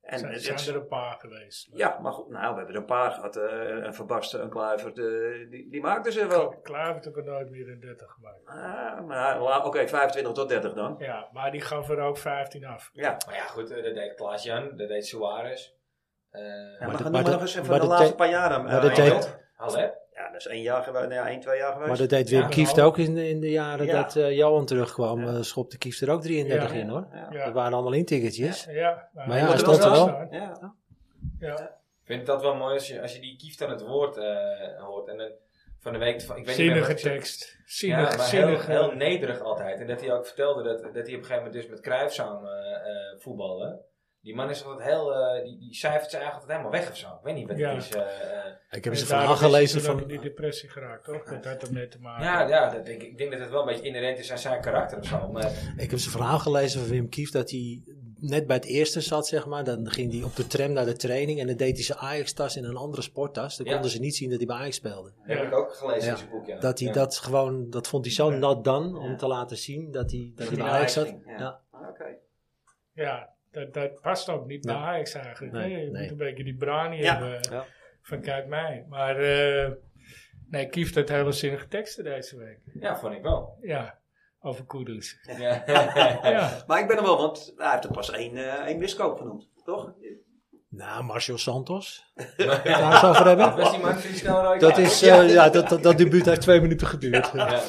En zijn, het- zijn het- er een paar geweest. ja, maar goed, nou, we hebben er een paar gehad. eh, een Verbarsten, een Kluivert, eh, die, die maakten ze wel. Klaar heeft ook er nooit meer een 30 gemaakt. Ah, maar la- oké, 25 tot 30 dan. Ja, maar die gaf er ook 15 af. Ja, Maar ja, goed, eh, dat deed Klaas-Jan, dat deed Suarez. Eh ja maar, dat- dan maar noem maar dat- nog eens even maar de dat laatste deed- paar jaren. maar eh, dat Arnold. deed- Halle. Ja, dat is één jaar geweest, nou ja, één, twee jaar geweest. Maar dat deed Wim Ja. Kieft ook in, in de jaren Ja. dat eh, Johan terugkwam. Ja. eh, schopte Kieft er ook 33 Ja. in hoor. ja. Ja. Dat waren allemaal intikkertjes. Ja, Maar ja, hij hij moet stond er wel. staan. Ja. Ja. Ik vind dat wel mooi als je, als je die kieft aan het woord eh, hoort. En dan van de week, van, ik weet niet meer Zinnige wat ik zei. tekst. Zinnig, ja, maar heel, zinnige. heel nederig altijd. En dat hij ook vertelde dat, dat hij op een gegeven moment dus met Cruijff samen eh, eh, voetbalde. Die man is altijd heel, eh, die, die cijfert zijn eigenlijk altijd helemaal weg of zo. Ik weet niet wat Ja. het is. eh, eh. Ik heb En daarom ze verhaal is hij gelezen toen ook van... in die depressie geraakt, toch? Dat had ermee te maken. ja, ja dat, ik, ik denk dat het wel een beetje inherent is aan zijn karakter of zo. Maar Ik heb zijn verhaal gelezen van Wim Kieft dat hij net bij het eerste zat, zeg maar. Dan ging hij op de tram naar de training en dan deed hij zijn Ajax-tas in een andere sporttas. Dan Ja. konden ze niet zien dat hij bij Ajax speelde. dat heb ik ook gelezen Ja. in zijn boek, ja. Dat hij Ja. dat gewoon, dat vond hij zo Ja. nat dan om Ja. te laten zien dat hij, dat Dat hij bij hij Ajax naar zat. Ajax ging, Ja. ja. Ah, Oké. Ja, dat, dat past ook niet bij Nee. Ajax eigenlijk. Nee, hè? je nee. moet een beetje die brani Ja. hebben eh, Ja. van kijk mij. Maar eh nee, Kieft had hele zinnige teksten deze week. Ja, vond ik wel. Ja, over Kudus. Ja. Ja, Maar ik ben er wel, want hij heeft er pas één, eh, één miskoop genoemd, toch? Nou, Marcel Santos. Daar gaan we het over Wat was hebben. die man die snel rood Dat kaart? is, eh, ja, dat, dat, dat debuut heeft twee minuten geduurd. Ja.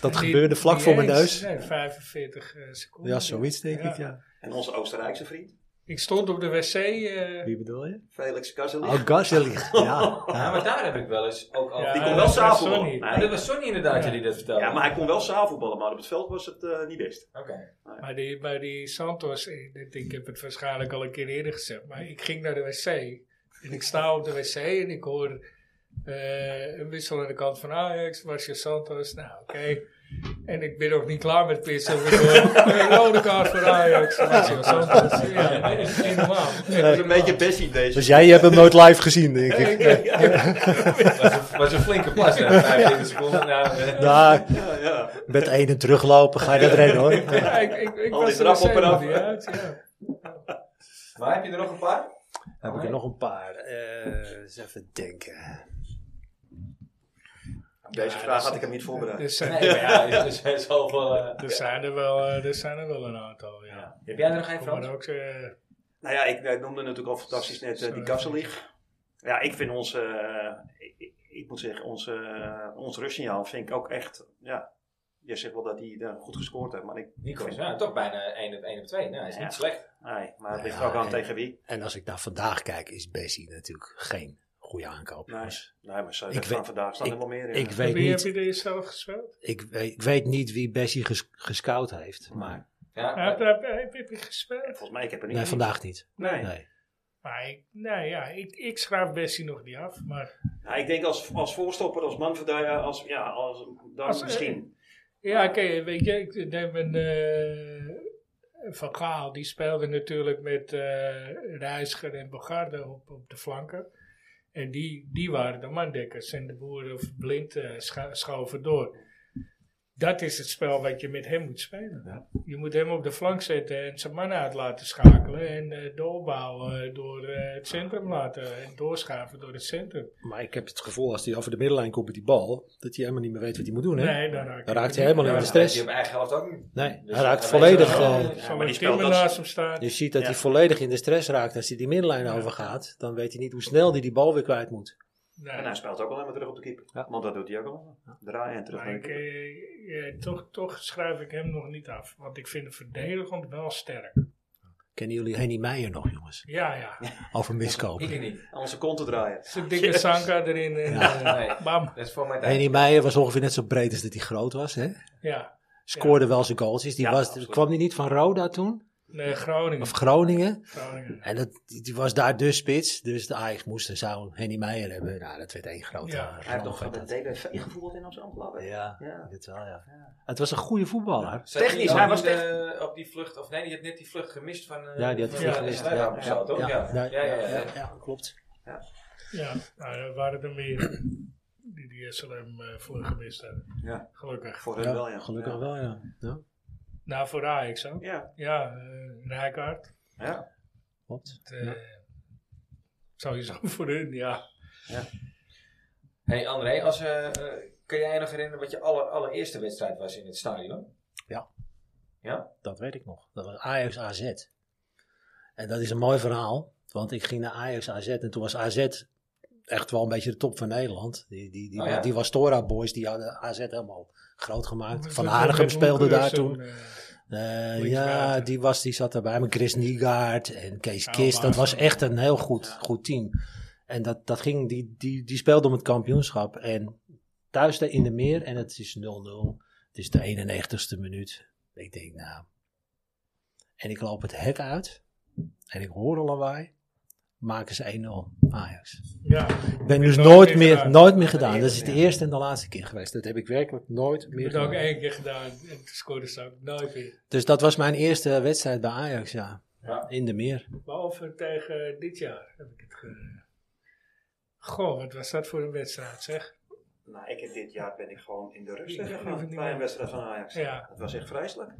Dat Die- gebeurde vlak die voor mijn eens, neus. Nee, 45 eh, seconden. Ja, zoiets denk Ja. ik, ja. En onze Oostenrijkse vriend, Ik stond op de wc. eh, Wie bedoel je? Felix Kazelich. Oh, Gazelig. Ja. Ja, maar daar heb ik wel eens ook al... ja, die kon wel dat was s'avonds Sonny. op. Ah, dat was Sonny inderdaad Ja. die dat vertelde. Ja, maar hij kon wel zaalvoetballen, maar op het veld was het eh, niet best. Oké. Maar die, maar die Santos, eh, dit- ik heb het waarschijnlijk al een keer eerder gezegd, maar ik ging naar de wc. En ik sta op de wc en ik hoor eh, een wissel aan de kant van Ajax, Marcia Santos. Nou, oké. En ik ben nog niet klaar met pissen. Ik hoor een rode kaart voor Ajax, Marcia Santos. Ja, dat is niet normaal. Dat is een beetje bestie deze. Dus jij hebt hem nooit live gezien, denk ik. Ik ben- Was een, was een flinke plas, hè? 25 seconden. Nou, eh. Nou, Ja, ja. met één en teruglopen ga je dat redden hoor. Ja, ik, ik, ik Al die was er drap op en af. niet uit. Ja. Maar heb je er nog een paar? Heb ik er nog een paar. Eh, eens even denken. Deze vraag had ik hem niet eh, voorbereid. Er zijn, Nee, maar ja, er is- er is al wel, eh, Dus, eh, er, zijn er wel, eh, er zijn er wel een aantal, ja. Heb jij er nog één, Ik kom Frans? er ook... eh, Nou ja, ik, ik noemde natuurlijk al fantastisch net eh, die Kazelich. Ja, ik vind onze, eh, ik- ik, ik moet zeggen, onze, eh, ons rustsignaal vind ik ook echt, ja. Jij zegt wel dat hij daar goed gescoord heeft, maar ik, Nico, vind- ja, toch bijna 1 op 1 op 2. Nou, is Ja. niet slecht. nee, maar het ligt Ja, ook aan en- tegen wie. En als ik naar vandaag kijk, is Bessie natuurlijk geen goede aankoop. Nee, jongens. nee maar zo, Ik dat weet- van vandaag staan ik- er wel meer in. Ik weet, wie heb niet, je er jezelf gespeeld? ik, weet, ik weet niet wie Bessie ges, gescout heeft, maar Ja, Ja, heb, maar- heb, heb, heb je gespeeld? Volgens mij, ik heb er niet nee, vandaag niet. Nee. Nee. Maar ik, nee, ja, ik, ik schrijf Bessie nog niet af. Maar Ja, ik denk als, als voorstopper, als man als, ja, als, dan Als- eh, misschien. ja, oké, weet je, ik neem een eh, Van Gaal, die speelde natuurlijk met eh, Reiziger en Bogarde op, op de flanken. En die, die waren de mandekkers en de boeren of blind eh, scha- schoven door. Dat is het spel wat je met hem moet spelen. Je moet hem op de flank zetten en zijn man uit laten schakelen. En eh doorbouwen door eh, het centrum laten. En doorschaven door het centrum. Maar ik heb het gevoel als hij over de middenlijn komt met die bal, dat hij helemaal niet meer weet wat hij moet doen. Hè? Nee, dan raakt Dan raakt hij helemaal in de ja, stress. Die op eigen helft ook niet. Nee, Dus hij raakt dan volledig. weet je wel, eh, eh, Zal maar er die speelt Timmer dat- naast hem staan. je ziet dat Ja. hij volledig in de stress raakt als hij die middenlijn overgaat. Dan weet hij niet hoe snel hij die bal weer kwijt moet. Nee. En hij speelt ook alleen maar terug op de keeper. Ja. Want dat doet hij ook al. Draaien en terug Maar naar de ik, keeper. eh, eh, toch, toch schrijf ik hem nog niet af. Want ik vind hem verdedigend wel sterk. Kennen jullie Henny Meijer nog, jongens? Ja, ja. Over miskopen. Ik niet. Aan onze konten draaien. Zijn dikke Sanka erin. En, eh, Nee, bam. dat is voor mijn tijd. Henny Meijer was ongeveer net zo breed als dat hij groot was. Hè? Ja. Scoorde wel zijn goaltjes. Die Ja, was, absoluut. kwam die niet van Roda toen? Nee, Groningen. Of Groningen? Groningen. En dat, die, die was daar de spits. Dus de Ajax moest en zou Henny Meijer hebben. Nou, dat werd één grote Ja, ramp, Hij heeft nog van de dat. DWV gevoeld in Amsterdam, geloof ik. Ja, Ja. dit wel, ja. Het was een goede voetballer. Zat die Technisch, ook hij was niet, eh, op die vlucht, of nee, die had net die vlucht gemist van... eh, Ja, die had van, het ja, Ja, eh, gemist. Ja, Slijndam of zo, toch? Ja, ja, ja. ja. ja, klopt. Ja, nou, er waren er meer die die SLM eh voor gemist hebben. Ja. Gelukkig. Voor hun Ja, wel, ja. Gelukkig ja. wel, ja. ja. Nou, voor Ajax ook. Ja. Ja, eh Rijkaard. ja. Klopt. eh, Sowieso voor hun, ja. Hey André, als, eh, eh, kan jij je nog herinneren wat je aller, allereerste wedstrijd was in het stadion? Dat weet ik nog. Dat was Ajax AZ. En dat is een mooi verhaal. Want ik ging naar Ajax AZ en toen was AZ echt wel een beetje de top van Nederland. Die, die, die, Oh ja. die Wastora Boys, die hadden AZ helemaal groot gemaakt. Van Met- Hanegem met speelde daar Moekeris toen. en, eh, Eh, ja, linksbuiten. die, was, die zat erbij. Maar Chris Niegaard en Kees Ja, Kist. Dat maar- was echt een heel goed, goed team. En dat, dat ging, die, die, die speelde om het kampioenschap. En thuis in de meer en het is 0-0. Het is de 91ste minuut. Ik denk, nou. En ik loop het hek uit. En ik hoor een lawaai. Maken ze 1-0 Ajax. ja. Ik ben dus nooit nooit meer meer, gedaan. nooit meer gedaan. Nee, Dat is de ja. eerste en de laatste keer geweest. Dat heb ik werkelijk nooit Ik meer heb het ook gedaan. één keer gedaan en toen scoorde ze ook nooit meer. Dus dat was mijn eerste wedstrijd bij Ajax, ja. Ja. In de meer. Behalve tegen dit jaar heb ik het ge... Goh, wat was dat voor een wedstrijd zeg. Nou, ik heb dit jaar ben ik gewoon in de rust Ik heb gegaan het niet bij een meer. wedstrijd van Ajax. Ja. Dat was echt vreselijk.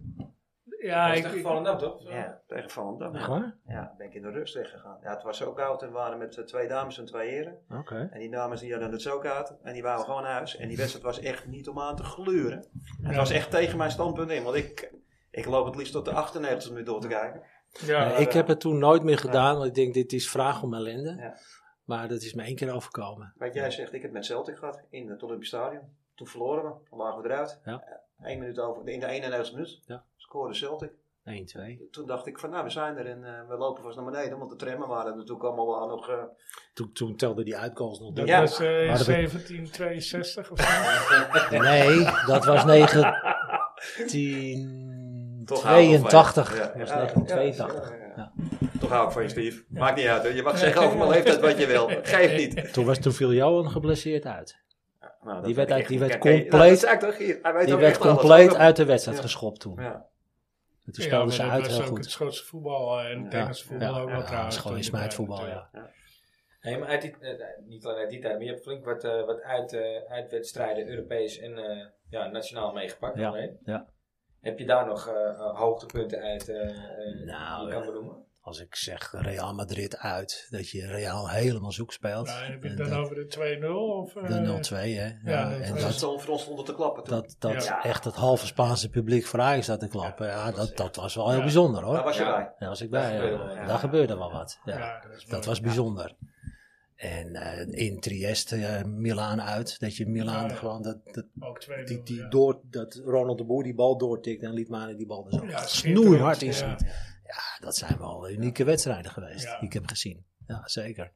Ja, Ah, Dat is ik, toch ik- gevallen dan, toch? Ja, tegen Volendam. Echt Ja. waar? Ja, ben ik in de rust weggegaan. Ja, het was zo koud en we waren met eh, twee dames en twee heren. Oké. En die dames die hadden het zo koud en die waren gewoon naar huis. En die wedstrijd was echt niet om aan te gluren. Het was echt tegen mijn standpunt in, want ik, ik loop het liefst tot de 98 minuut door te kijken. ja, eh, Nee, Eh, ik heb het toen nooit meer gedaan, want ik denk, dit is vraag om ellende. Ja. Maar dat is me één keer overkomen. Wat jij zegt, ik heb het met Celtic gehad in het Olympisch Stadion. Toen verloren we, toen lagen we eruit. Ja. Eh, Eén minuut over, in de 91 minuut Ja. scoorde Celtic. 1, 2. Toen dacht ik van nou, we zijn er en eh, we lopen vast naar beneden, want de trammen waren natuurlijk allemaal wel nog... eh, Toen, toen telde die uitkomst nog dat door. Ja. was eh, dat ik- 1762 of zo. Nee, dat was 1982. Ja, Dat was ja, 1982. ja, ja, ja. Ja. Toch hou ik van je, Steve. Maakt niet uit. hoor. Je mag zeggen over mijn leeftijd wat je wil. Geef niet. Toen, was, toen viel Johan geblesseerd uit. Nou, dat Die werd vind ik uit- echt die een werd kijk, kijk, compleet- dat is eigenlijk toch hier. Hij weet Die ook werd echt alles. compleet uit de wedstrijd Ja. geschopt toen. Ja. En toen Ja, speelden maar ze dat uit was heel ook het goed. Schotse voetbal eh, en het Engelse voetbal ook wel Dus Ja, het trouwens. is gewoon toen in smijtvoetbal, de tijd ja. Nee, maar uit die, eh, niet alleen uit die tijd, maar je hebt flink wat, eh, wat uit, eh, uitwedstrijden, Europees en eh, ja, nationaal meegepakt. Ja, André. ja. Heb je daar nog eh, eh, hoogtepunten uit eh, eh, Nou, die je ja. kan benoemen? Als ik zeg Real Madrid uit, dat je Real helemaal zoek speelt. natuurlijk. Nou, heb je En het dan dat- over de 2-0? Of, eh, de 0-2, hè. Ja, ja, en 0-2. Dat dat, stond voor ons onder te klappen toen. dat, dat Ja. echt het halve Spaanse publiek voor Ajax zat te klappen. Ja, dat, dat was wel heel Ja. bijzonder hoor. Daar was je Ja. bij. Daar was ik bij. Daar ja. gebeurde wel, ja. Daar gebeurde wel wat. Ja. Ja, dat is Dat mooi. was bijzonder. En eh, in Trieste, eh, Milaan uit. Dat je Milaan Ja, ja. gewoon, dat, dat, Ook 2-0. die, die ja. door, dat Ronald de Boer die bal doortikt en liet Mane die bal er zo Ja, snoeihard in schitterend, ja. schieten. Ja, dat zijn wel unieke wedstrijden geweest Ja. die ik heb gezien. Ja, zeker.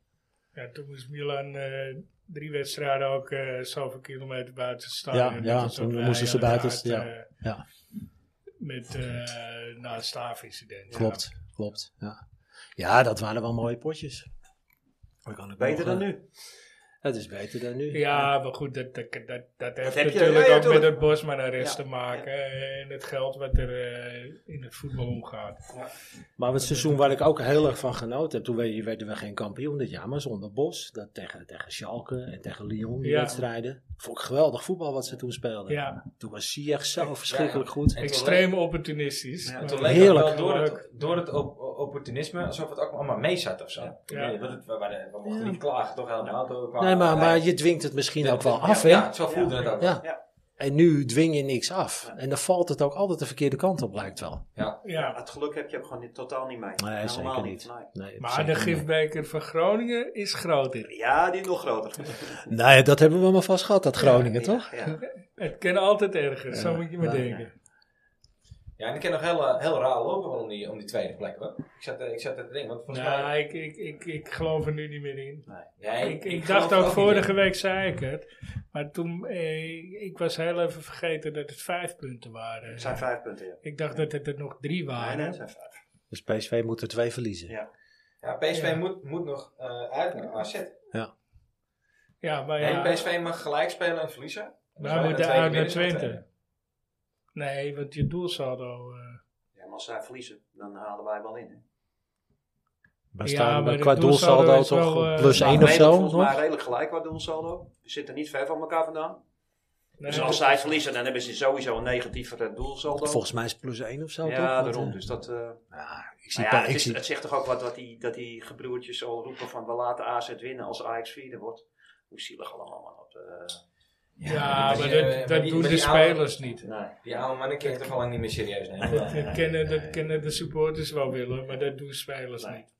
Ja, toen moest Milan eh, drie wedstrijden ook eh zoveel kilometer buiten het Ja, stadion. ja, Dat is ook toen bij moesten ze Ajax, buiten, ja, eh, ja. Met, eh nou, het staafincident. ja. Klopt, klopt. Ja. ja, dat waren wel mooie potjes. Dat kan ik Beter nog, dan eh, nu. Het is beter dan nu. Ja, maar goed, dat, dat, dat, dat heeft heb je- natuurlijk ja, ja, ook met tuurlijk. het Bosman-arrest Ja, te maken. eh, En het geld wat er eh, in het voetbal omgaat. Maar het seizoen waar ik ook heel erg van genoten heb, toen we- werden we geen kampioen dit jaar, maar zonder Bos. Dat tegen, tegen Schalke en tegen Lyon, die Ja. wedstrijden. Vond ik geweldig voetbal wat ze toen speelden. Ja, Toen was Ziyech zo verschrikkelijk goed. En toen extreem opportunistisch. Ja, maar- Toen leek Heerlijk. het wel door het, door het op- opportunisme alsof het ook allemaal mee zat of zo. Ik weet niet, want het- we, waren- we mochten Ja. niet klagen, toch helemaal. Nee, maar, maar je dwingt het misschien ook wel af, hè? Ja, zo voelde het ook. Ja. Ja. En nu dwing je niks af. En dan valt het ook altijd de verkeerde kant op, lijkt wel. Ja. Het geluk heb je gewoon niet, totaal niet mee. Nee, Helemaal zeker niet. Nee. Nee, Maar zeker de niet. gifbeker van Groningen is groter. Ja, die is nog groter. Nee, dat hebben we maar vast gehad, dat Groningen, toch? Ja, ja. Het kan altijd erger, zo moet je maar ja. denken. Ja, en ik ken nog heel, eh, heel raar lopen om die, om die tweede plek hoor. Ik zat, eh, ik zat te denken, want volgens mij... Nou, ik, ik, ik, ik geloof er nu niet meer in. Nee, Ik, ik geloof dacht het ook niet vorige week zei ik het. Maar toen, eh, ik was heel even vergeten dat het vijf punten waren. Het zijn vijf punten, ja. Ik dacht dat het er nog drie Nee, nee, Ah, waren. het zijn vijf. Dus PSV moet er twee verliezen. Ja. Ja, PSV Ja. Moet, moet nog eh, uit naar AZ. Ja, Nou, maar Nee, ja, PSV mag gelijk spelen en verliezen. Dus wij moeten twee keer uit naar winnen. Twente. Nee, want je doelsaldo... eh, Ja, maar als zij verliezen, dan halen wij wel in. hè. Maar Ja, staan we maar de qua doelsaldo doelsaldo is toch wel, eh, plus Nou, 1 of Nederland zo? Volgens nog? mij redelijk gelijk qua doelsaldo. We zitten niet ver van elkaar vandaan. nee, dus als dat- zij verliezen, dan hebben ze sowieso een negatiever doelsaldo. Volgens mij is het plus 1 of zo, toch? ja, Want, daarom. eh, Dus dat, eh, ja, ik zie, maar ja, pa- het, ik is- zie- het zegt toch ook wat dat die, dat die gebroertjes al roepen van we laten AZ winnen als Ajax vierde wordt. Hoe zielig allemaal man. op eh, de- Ja, maar maar die, dat, eh, maar dat die- doen maar de die oude- spelers niet. nee. Die oude mannen kan je toch al lang niet meer serieus nemen. Dat kennen, dat kennen de supporters wel willen, maar dat doen spelers Nee. niet.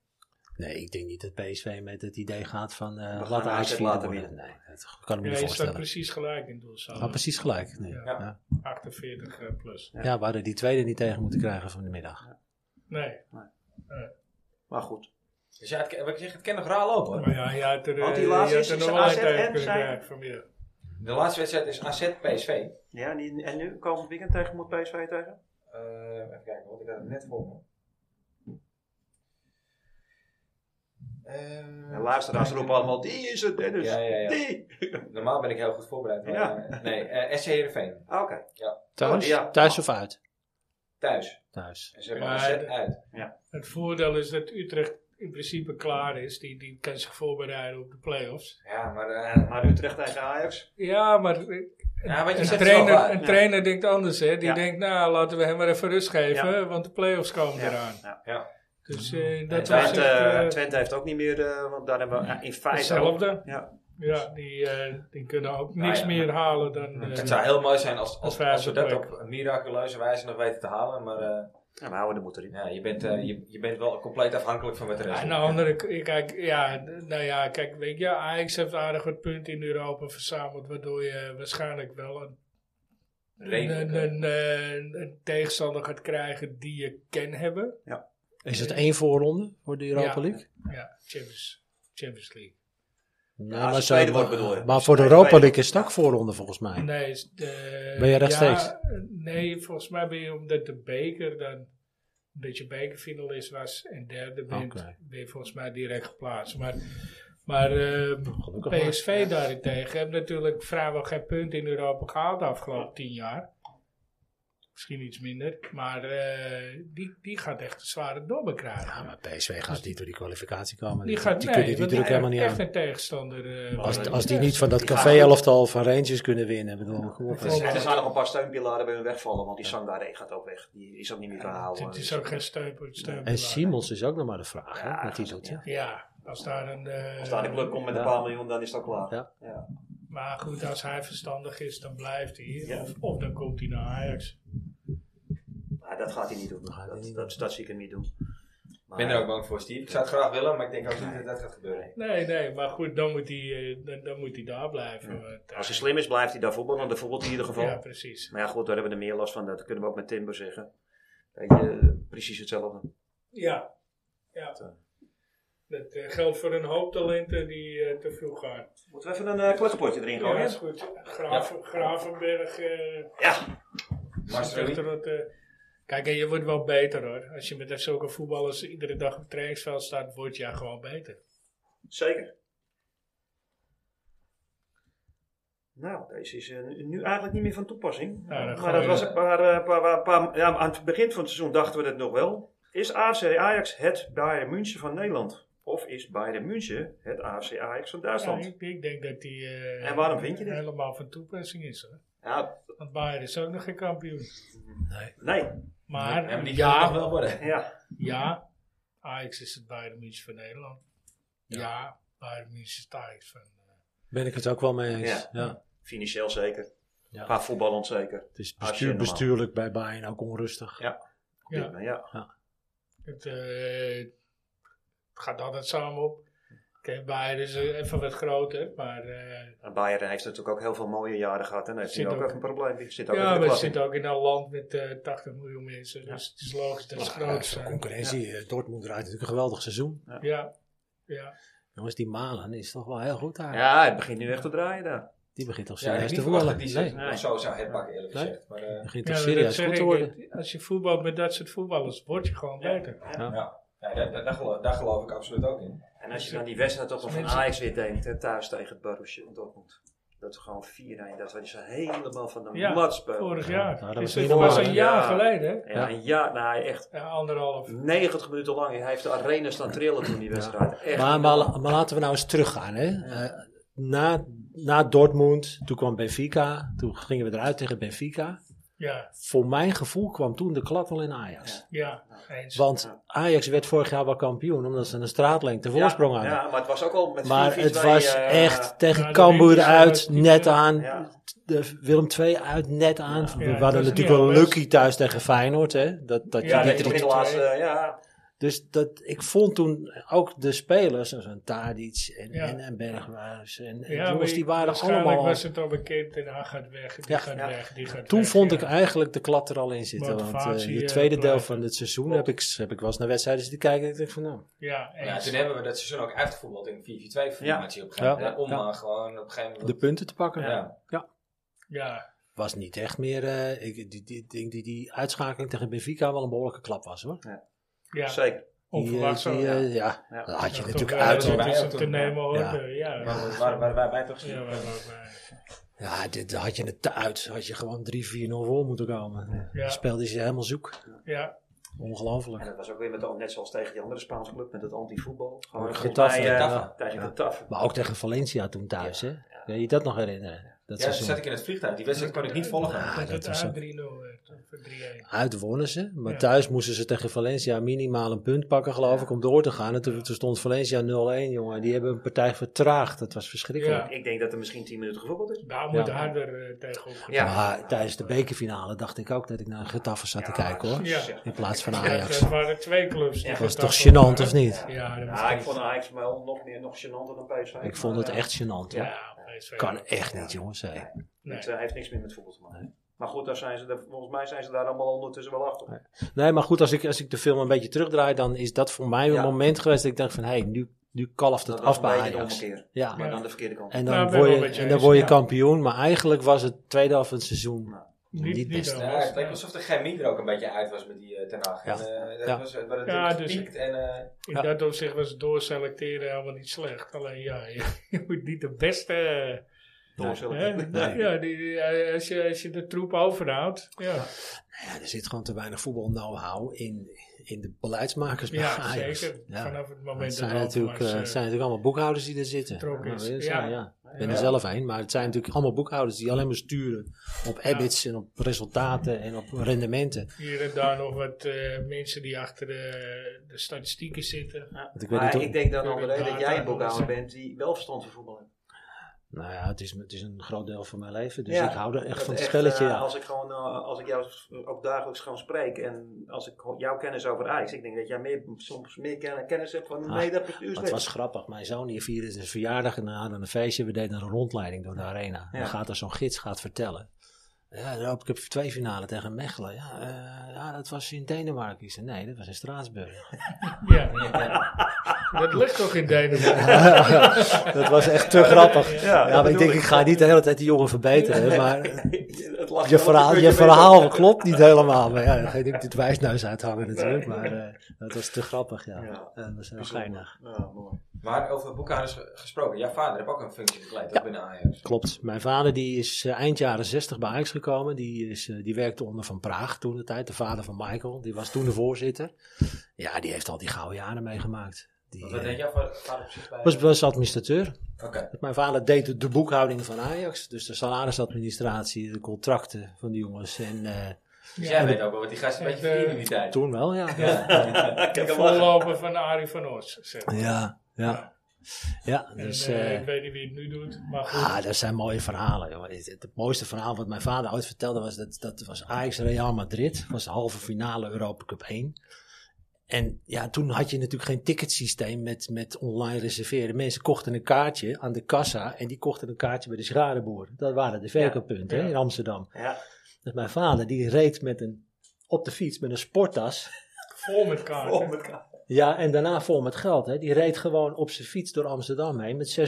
nee, ik denk niet dat PSV met het idee gaat van eh, gaan laat AZ Ajax vierde laten worden. winnen. Nee, dat kan ik me Ja, niet je staat voorstellen. precies gelijk in Ah, doelsaldo. precies gelijk. Nee. Ja. Ja. Ja. 48 eh, plus. Ja, we hadden die tweede niet tegen moeten krijgen van de middag. Nee. Maar goed. Dus ja, het, ken- wat ik zeg, het kan nog raar lopen hoor. Maar ja, je had er, Want die eh, laatste je had is- er is nog wel AZ een tijd en kunnen zijn- krijgen vanmiddag. De laatste wedstrijd is AZ PSV. Ja, en, die- en nu komend weekend tegen moet PSV tegen? Eh, even kijken, want ik had het net voor me. Eh, En luisteraars roepen allemaal, die is het Dennis. Ja, ja, ja. Die. normaal ben ik heel goed voorbereid. maar, Ja. eh, nee, eh SC Heerenveen. Ah, Oké. Thuis? Oh, ja. Thuis of uit? Thuis. Thuis. En ze hebben Ja, AZ de- uit. Het voordeel is dat Utrecht in principe klaar is. Die, die kan zich voorbereiden op de play-offs. Ja, maar... eh, Maar Utrecht tegen Ajax. Ja, maar eh, ja, wat je een zegt is wel trainer, waar. een Ja. trainer denkt anders. Hè? Die Ja. denkt, nou laten we hem maar even rust geven, want de play-offs komen Ja. eraan. Ja. Ja. Dus eh En dat was Twente, echt, eh, Twente heeft ook niet meer, eh, want daar hebben we eh, in feite ook- hetzelfde. Ja. Ja, die, eh, die kunnen ook Nou niks Ah, ja. meer halen dan... eh, Het zou heel mooi zijn als, als, Een als we dat vijfde op een miraculeuze wijze nog weten te halen. Maar eh, ja, we houden de moed erin. ja, je, bent, eh, je, je bent wel compleet afhankelijk van wat de rest. Aan de andere k- kijk, ja, d- nou ja, kijk, weet je, Ajax heeft aardig wat punten in Europa verzameld, waardoor je waarschijnlijk wel een, een, Redelijk, een, een- een tegenstander gaat krijgen die je kan hebben. Is het één voorronde voor de Europa Ja. League? Ja, Champions, Champions League. Nee, als maar, het zo- tweede wordt, bedoel je. maar voor de Als het Europa tweede League is het ook voorronde volgens mij. Nee, is de, Ben jij ja, rechtstreeks? eh, Nee, volgens mij ben je omdat de beker dan dat je bekerfinalist was en derde bent, Oké. ben je volgens mij direct geplaatst. Maar, maar eh, PSV daarentegen hebben natuurlijk vrijwel geen punt in Europa gehaald de afgelopen tien jaar. Misschien iets minder, maar eh, die, die gaat echt een zware dobber krijgen. Ja, maar PSV gaat niet door die kwalificatie komen. die gaat, die nee, kunnen die want druk helemaal niet echt aan. een tegenstander. eh, Als, worden. als die niet van dat Die gaan café-elftal van Rangers kunnen winnen. Bedoel, kom op. Het is- hè. En er zijn nog een paar steunpilaren bij hun wegvallen, want die Sangare gaat ook weg. Die is ook niet meer te Dus Ja, halen. Het is ook geen steun. steun- En Simons is ook nog maar de vraag, hè, Ja, wat hij doet. Ja. Ja, als daar een. eh, Als daar de club komt met een Ja. paar miljoen, dan is dat klaar. Ja. Maar goed, als hij verstandig is, dan blijft hij hier. Ja. Of, of dan komt hij naar Ajax. Maar dat gaat hij niet doen. hij Dat, niet dat, dat zie ik hem niet doen. Ik Maar- ben er ook bang voor, Steve. Ik zou het graag willen, maar ik denk ook niet dat dat gaat gebeuren. Nee, nee, maar goed, dan moet hij, eh, dan, dan moet hij daar blijven. want, eh, Als hij slim is, blijft hij daar voetballen, want dat voetbalt hij in ieder geval. Ja, precies. Maar ja, goed, daar hebben we er meer last van. Dat kunnen we ook met Timber zeggen. Weet je, precies hetzelfde. Ja, ja. Dat eh, geldt voor een hoop talenten die eh, te vroeg gaan. Moeten we even een uh, klutspotje erin Ja, gooien? is goed. Graven, Gravenberg. eh, Ja. zit Marcelo, achter dat, eh, kijk, en je wordt wel beter hoor. Als je met zulke voetballers iedere dag op het trainingsveld staat, word je gewoon beter. Zeker. Nou, deze is eh, nu eigenlijk niet meer van Nou, toepassing. dan maar gooien dat we- was een paar, eh, paar, paar, paar- ja, aan het begin van het seizoen dachten we dat nog wel. Is AFC Ajax het Bayern München van Nederland? Of is Bayern München het AFC Ajax van Duitsland? Ja, ik, ik denk dat die eh, En waarom vind je dit? helemaal van toepassing is. Hoor. Ja, Want Bayern is ook nog geen kampioen. nee. Maar Ja, maar die kan het nog ja, wel worden. Ja. ja, Ajax is het Bayern München van Nederland. Ja, Bayern München is het Ajax van... eh, Ben ik het ook wel mee eens. Ja. Ja. Financieel zeker. Ja. Qua voetbal onzeker. Het is Als je bestuur, normaal- bestuurlijk bij Bayern ook onrustig. Ja. Ja. Ja. Het, eh, het gaat altijd samen op. Kijk, Bayern is eh, even wat groter, maar eh, En Bayern heeft natuurlijk ook heel veel mooie jaren gehad. En heeft nu Zit ook ook- even een probleem. Die Zit ook ja, even maar het de klas zit in. ook in een land met eh, 80 miljoen mensen. Dus het is logisch dat ze Maar, eh, groot voor zijn. concurrentie. eh, Dortmund draait natuurlijk een geweldig seizoen. Ja, ja. Jongens, die Malen is toch wel heel goed daar. Ja, het begint nu echt te draaien daar. Die begint toch Ja, ik heb serieus niet te verwacht dat voetballen. die Nee, zes die of zo zou het pakken eerlijk Nee. gezegd. Maar, eh, begint ja toch dat serieus zeg goed te ik. worden. Als je voetbalt met dat soort voetballers, word je gewoon beter. ja, ja daar, daar, daar geloof, daar geloof ik absoluut ook in. En als je dan die wedstrijd toch nog van Ajax weer denkt, hè, thuis tegen het Borussia Dortmund. Dat we gewoon 4-1, dat we ze helemaal van de Ja, mat spelen. Vorig Ja, jaar. nou, Dus dat was het niet was normaal, een hè? jaar Ja. geleden, hè? Ja, een jaar, nou echt Ja, anderhalf. 90 minuten lang. Hij heeft de arena staan trillen toen die wedstrijd. Echt. Maar, maar, maar laten we nou eens teruggaan. Hè? Eh, na, na Dortmund, toen kwam Benfica. Toen gingen we eruit tegen Benfica. Ja, Voor mijn gevoel kwam toen de klap wel in Ajax. ja. Eens. Want Ja. Ajax werd vorig jaar wel kampioen, omdat ze een straatlengte voorsprong ja, hadden. ja, maar het was ook al met Maar 4-4-2, het was eh, echt tegen Ja, de Cambuur Rangers uit, hebben het net niet, eh, aan. ja. De Willem II uit, net aan. Ja, We het was waren natuurlijk niet wel heel best. lucky thuis tegen Feyenoord. Hè? Dat, dat Ja, je dat die je die tot de tot- laatste, eh, ja. Dus dat, ik vond toen ook de spelers, zoals een Tadic en, Ja, en, en Berghuis en, en Ja, jongens, maar die waren waarschijnlijk allemaal... was het al bekend en hij gaat weg, die Ja. gaat Ja. weg, die gaat Toen weg, vond ja. ik eigenlijk de klap er al in zitten. Want eh, Motivatie, het eh, tweede deel blijven. van het seizoen heb ik, heb ik wel eens naar wedstrijden zitten kijken. En ik denk van nou, Ja, Ja, eens. toen hebben we dat seizoen ook uitgevoerd in 4-4-2-formatie op een gegeven Ja. moment. hè, Om Ja. maar gewoon op een gegeven moment... de punten te pakken. Ja. ja. Was niet echt meer. eh, ik die, die, denk die, die uitschakeling tegen Benfica wel een behoorlijke klap was hoor. ja. Zeker. Die, eh, onverwacht zo. die, ja. eh, ja. Ja. dat had je Ja, natuurlijk toch, eh, uit. dat hoor. is hem Ja, te toch, nemen hoor. ja. eh, Ja, ja. Waar waren, waren wij toch gezien? ja, wij ook, eh, Ja, dit dat had je het uit. Had je gewoon 3-4-0 voor moeten komen. Ja. Speelde ze helemaal zoek. ja. En Ongelooflijk. dat was ook weer met, de- net zoals tegen die andere Spaanse club, met het anti-voetbal. Gewoon Ook volgens Getafe. mij, eh, Getafe. Tegen de taf. Maar ook tegen Valencia toen thuis. Hè? Kun je je dat nog herinneren? Dat Ja, toen seizoen. zat ik in het vliegtuig. Die wedstrijd kon ik niet volgen. Ja, dat dat het was aan ook- 3-0 werd, of 3-1. Uit wonnen ze, maar Ja. thuis moesten ze tegen Valencia minimaal een punt pakken, geloof ik, om door te gaan. En toen, toen stond Valencia 0-1, jongen. Die hebben een partij vertraagd. Dat was verschrikkelijk. Ja. Ik denk dat er misschien 10 minuten gevoetbald is. Daar moet Ja. harder eh, tegenop gaan. Ja. Maar tijdens de bekerfinale dacht ik ook dat ik naar Getafe zat te kijken, hoor. Ja. In plaats van Ja, Ajax. Dat waren twee clubs. die Ja, Dat is dat toch ook gênant, waren. of niet? Ja, dat was Ja, ik echt- vond Ajax wel nog, meer, nog gênanter dan PSV. Ik vond Eh, het echt gênant, hoor. Ja, PSV. Kan echt niet, jongens. hé. Nee. Het eh, heeft niks meer met voetbal te maken. Maar goed, daar zijn ze, daar- volgens mij zijn ze daar allemaal ondertussen wel achter. Nee, maar goed, als ik, als ik de film een beetje terugdraai, dan is dat voor mij een Ja. moment geweest dat ik dacht van, hé, nu, nu kalft het Dat was af een bij beetje de Ajax. ommekeer. Ja. Maar Ja. dan de verkeerde kant. En Nou, dan, ik ben wel word met je, je en dan eens, word je ja. kampioen. Maar eigenlijk was het tweede helft van het seizoen Nou, niet, Niet- eh, best. niet Ja, het leek alsof de chemie er ook een beetje uit was met die eh, Ten Hag. Ja. En, eh, dat Ja. was, het werd Ja, natuurlijk dus- gepiekt en... eh, In Ja. dat opzicht was het doorselecteren helemaal niet slecht. Alleen ja, je, je moet niet de beste. eh, Hè? doorselecteren. Nee. Ja, die, die- als, je, als je de troep overhoudt. Ja, Ja, er zit gewoon te weinig voetbal know-how in, in de beleidsmakers bij ja Ajax. zeker. Ja. Vanaf het moment Het zijn, dat natuurlijk, eh, het zijn natuurlijk allemaal boekhouders die er zitten. betrokken Ja, is. weet je, Ja. ja. Ik ben er zelf een, maar het zijn natuurlijk allemaal boekhouders die alleen maar sturen op EBITS en op resultaten en op rendementen. hier en daar nog wat eh, mensen die achter de, de statistieken zitten. Want ik weet niet Maar hoe- ik denk dan André dat Data jij en boekhouder alles. bent die wel verstand van voetbal heeft. Nou ja, het is, het is een groot deel van mijn leven, dus Ja, ik hou er echt Dat van het echt, spelletje. eh, ja. Als ik gewoon, eh, als ik jou ook dagelijks gewoon spreek en als ik gewoon jouw kennis over ijs, ik denk dat jij meer, soms meer ken- kennis hebt van Ah, nee, dat bestuur Maar het was grappig. Mijn zoon hier vierde zijn verjaardag en we hadden een feestje. We deden een rondleiding door de arena. Ja. Dan gaat er zo'n gids gaat vertellen. Ja, Rob, ik heb twee finale tegen Mechelen. Ja, eh, ja, dat was in Denemarken. Ik zei, nee, dat was in Straatsburg. Ja. eh, dat ligt toch in Denemarken. dat was echt te grappig. Ja, Ja, dat maar ik bedoel denk, ik ga niet de hele tijd die jongen verbeteren. hè, Maar Het lag je wel een verhaal, beetje je mee. verhaal klopt niet helemaal. Maar ja, dan ga je natuurlijk dit wijsneus uithangen natuurlijk. Maar eh, dat was te grappig, ja. Ja. Eh, dat was heel geinig. Ja, mooi. Maar over boekhouders ge- gesproken, jouw vader heeft ook een functie bekleed, ook binnen Ajax. Klopt. Mijn vader die is eh, eind jaren 60 bij Ajax gekomen. Die, is, eh, die werkte onder Van Praag toen de tijd. De vader van Michael. Die was toen de voorzitter. Ja, die heeft al die gouden jaren meegemaakt. Die, Want wat eh, deed jouw va- vader precies bij? was, was administrateur. Oké. Mijn vader deed de, de boekhouding van Ajax. Dus de salarisadministratie, de contracten van de jongens. En eh, Dus Ja. jij weet ook wel wat die gasten een beetje Eh, verdienen in die tijd. toen wel, ja. Ja. De voorloper van Arie van Oost. zeg maar. Ja, ja. Ja, En, dus... eh, eh, ik weet niet wie het nu doet, maar goed. Ah, dat zijn mooie verhalen. joh. Het, het mooiste verhaal wat mijn vader ooit vertelde was dat, dat was Ajax Real Madrid. Dat was de halve finale Europa Cup 1. En ja, toen had je natuurlijk geen ticketsysteem met, met online reserveren. Mensen kochten een kaartje aan de kassa en die kochten een kaartje bij de schradenboer. Dat waren de verkooppunten hè, in Amsterdam. Ja. Dus mijn vader die reed met een, op de fiets met een sporttas Vol met kaarten. Op elkaar. ja, en daarna vol met geld. Hè. Die reed gewoon op zijn fiets door Amsterdam heen met 600.000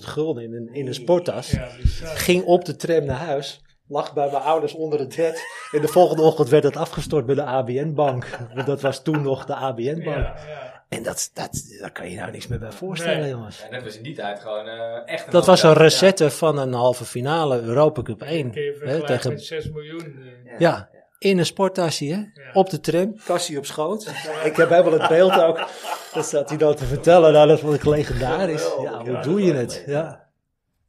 gulden in een, in een sporttas. Ja, bizar. Ging op de tram naar huis. Lag bij mijn ouders onder het bed. En de volgende ochtend werd dat afgestort bij de ABN-bank. Want dat was toen nog de ABN-bank. Ja, ja. En dat, dat, daar kan je nou niks meer bij voorstellen, Nee. jongens. En dat was in die tijd gewoon eh, echt een Dat was een hotel. recette van een halve finale Europa Cup 1. Kun je hè, vergelijken tegen, met 6 miljoen. eh. ja, in een sporttasje, hè? Ja. Op de tram, kassie op schoot. Ik heb wel het beeld ook. Dat staat hij dan te vertellen. Nou, dat vond ik legendarisch. Ja, hoe doe je het? Ja.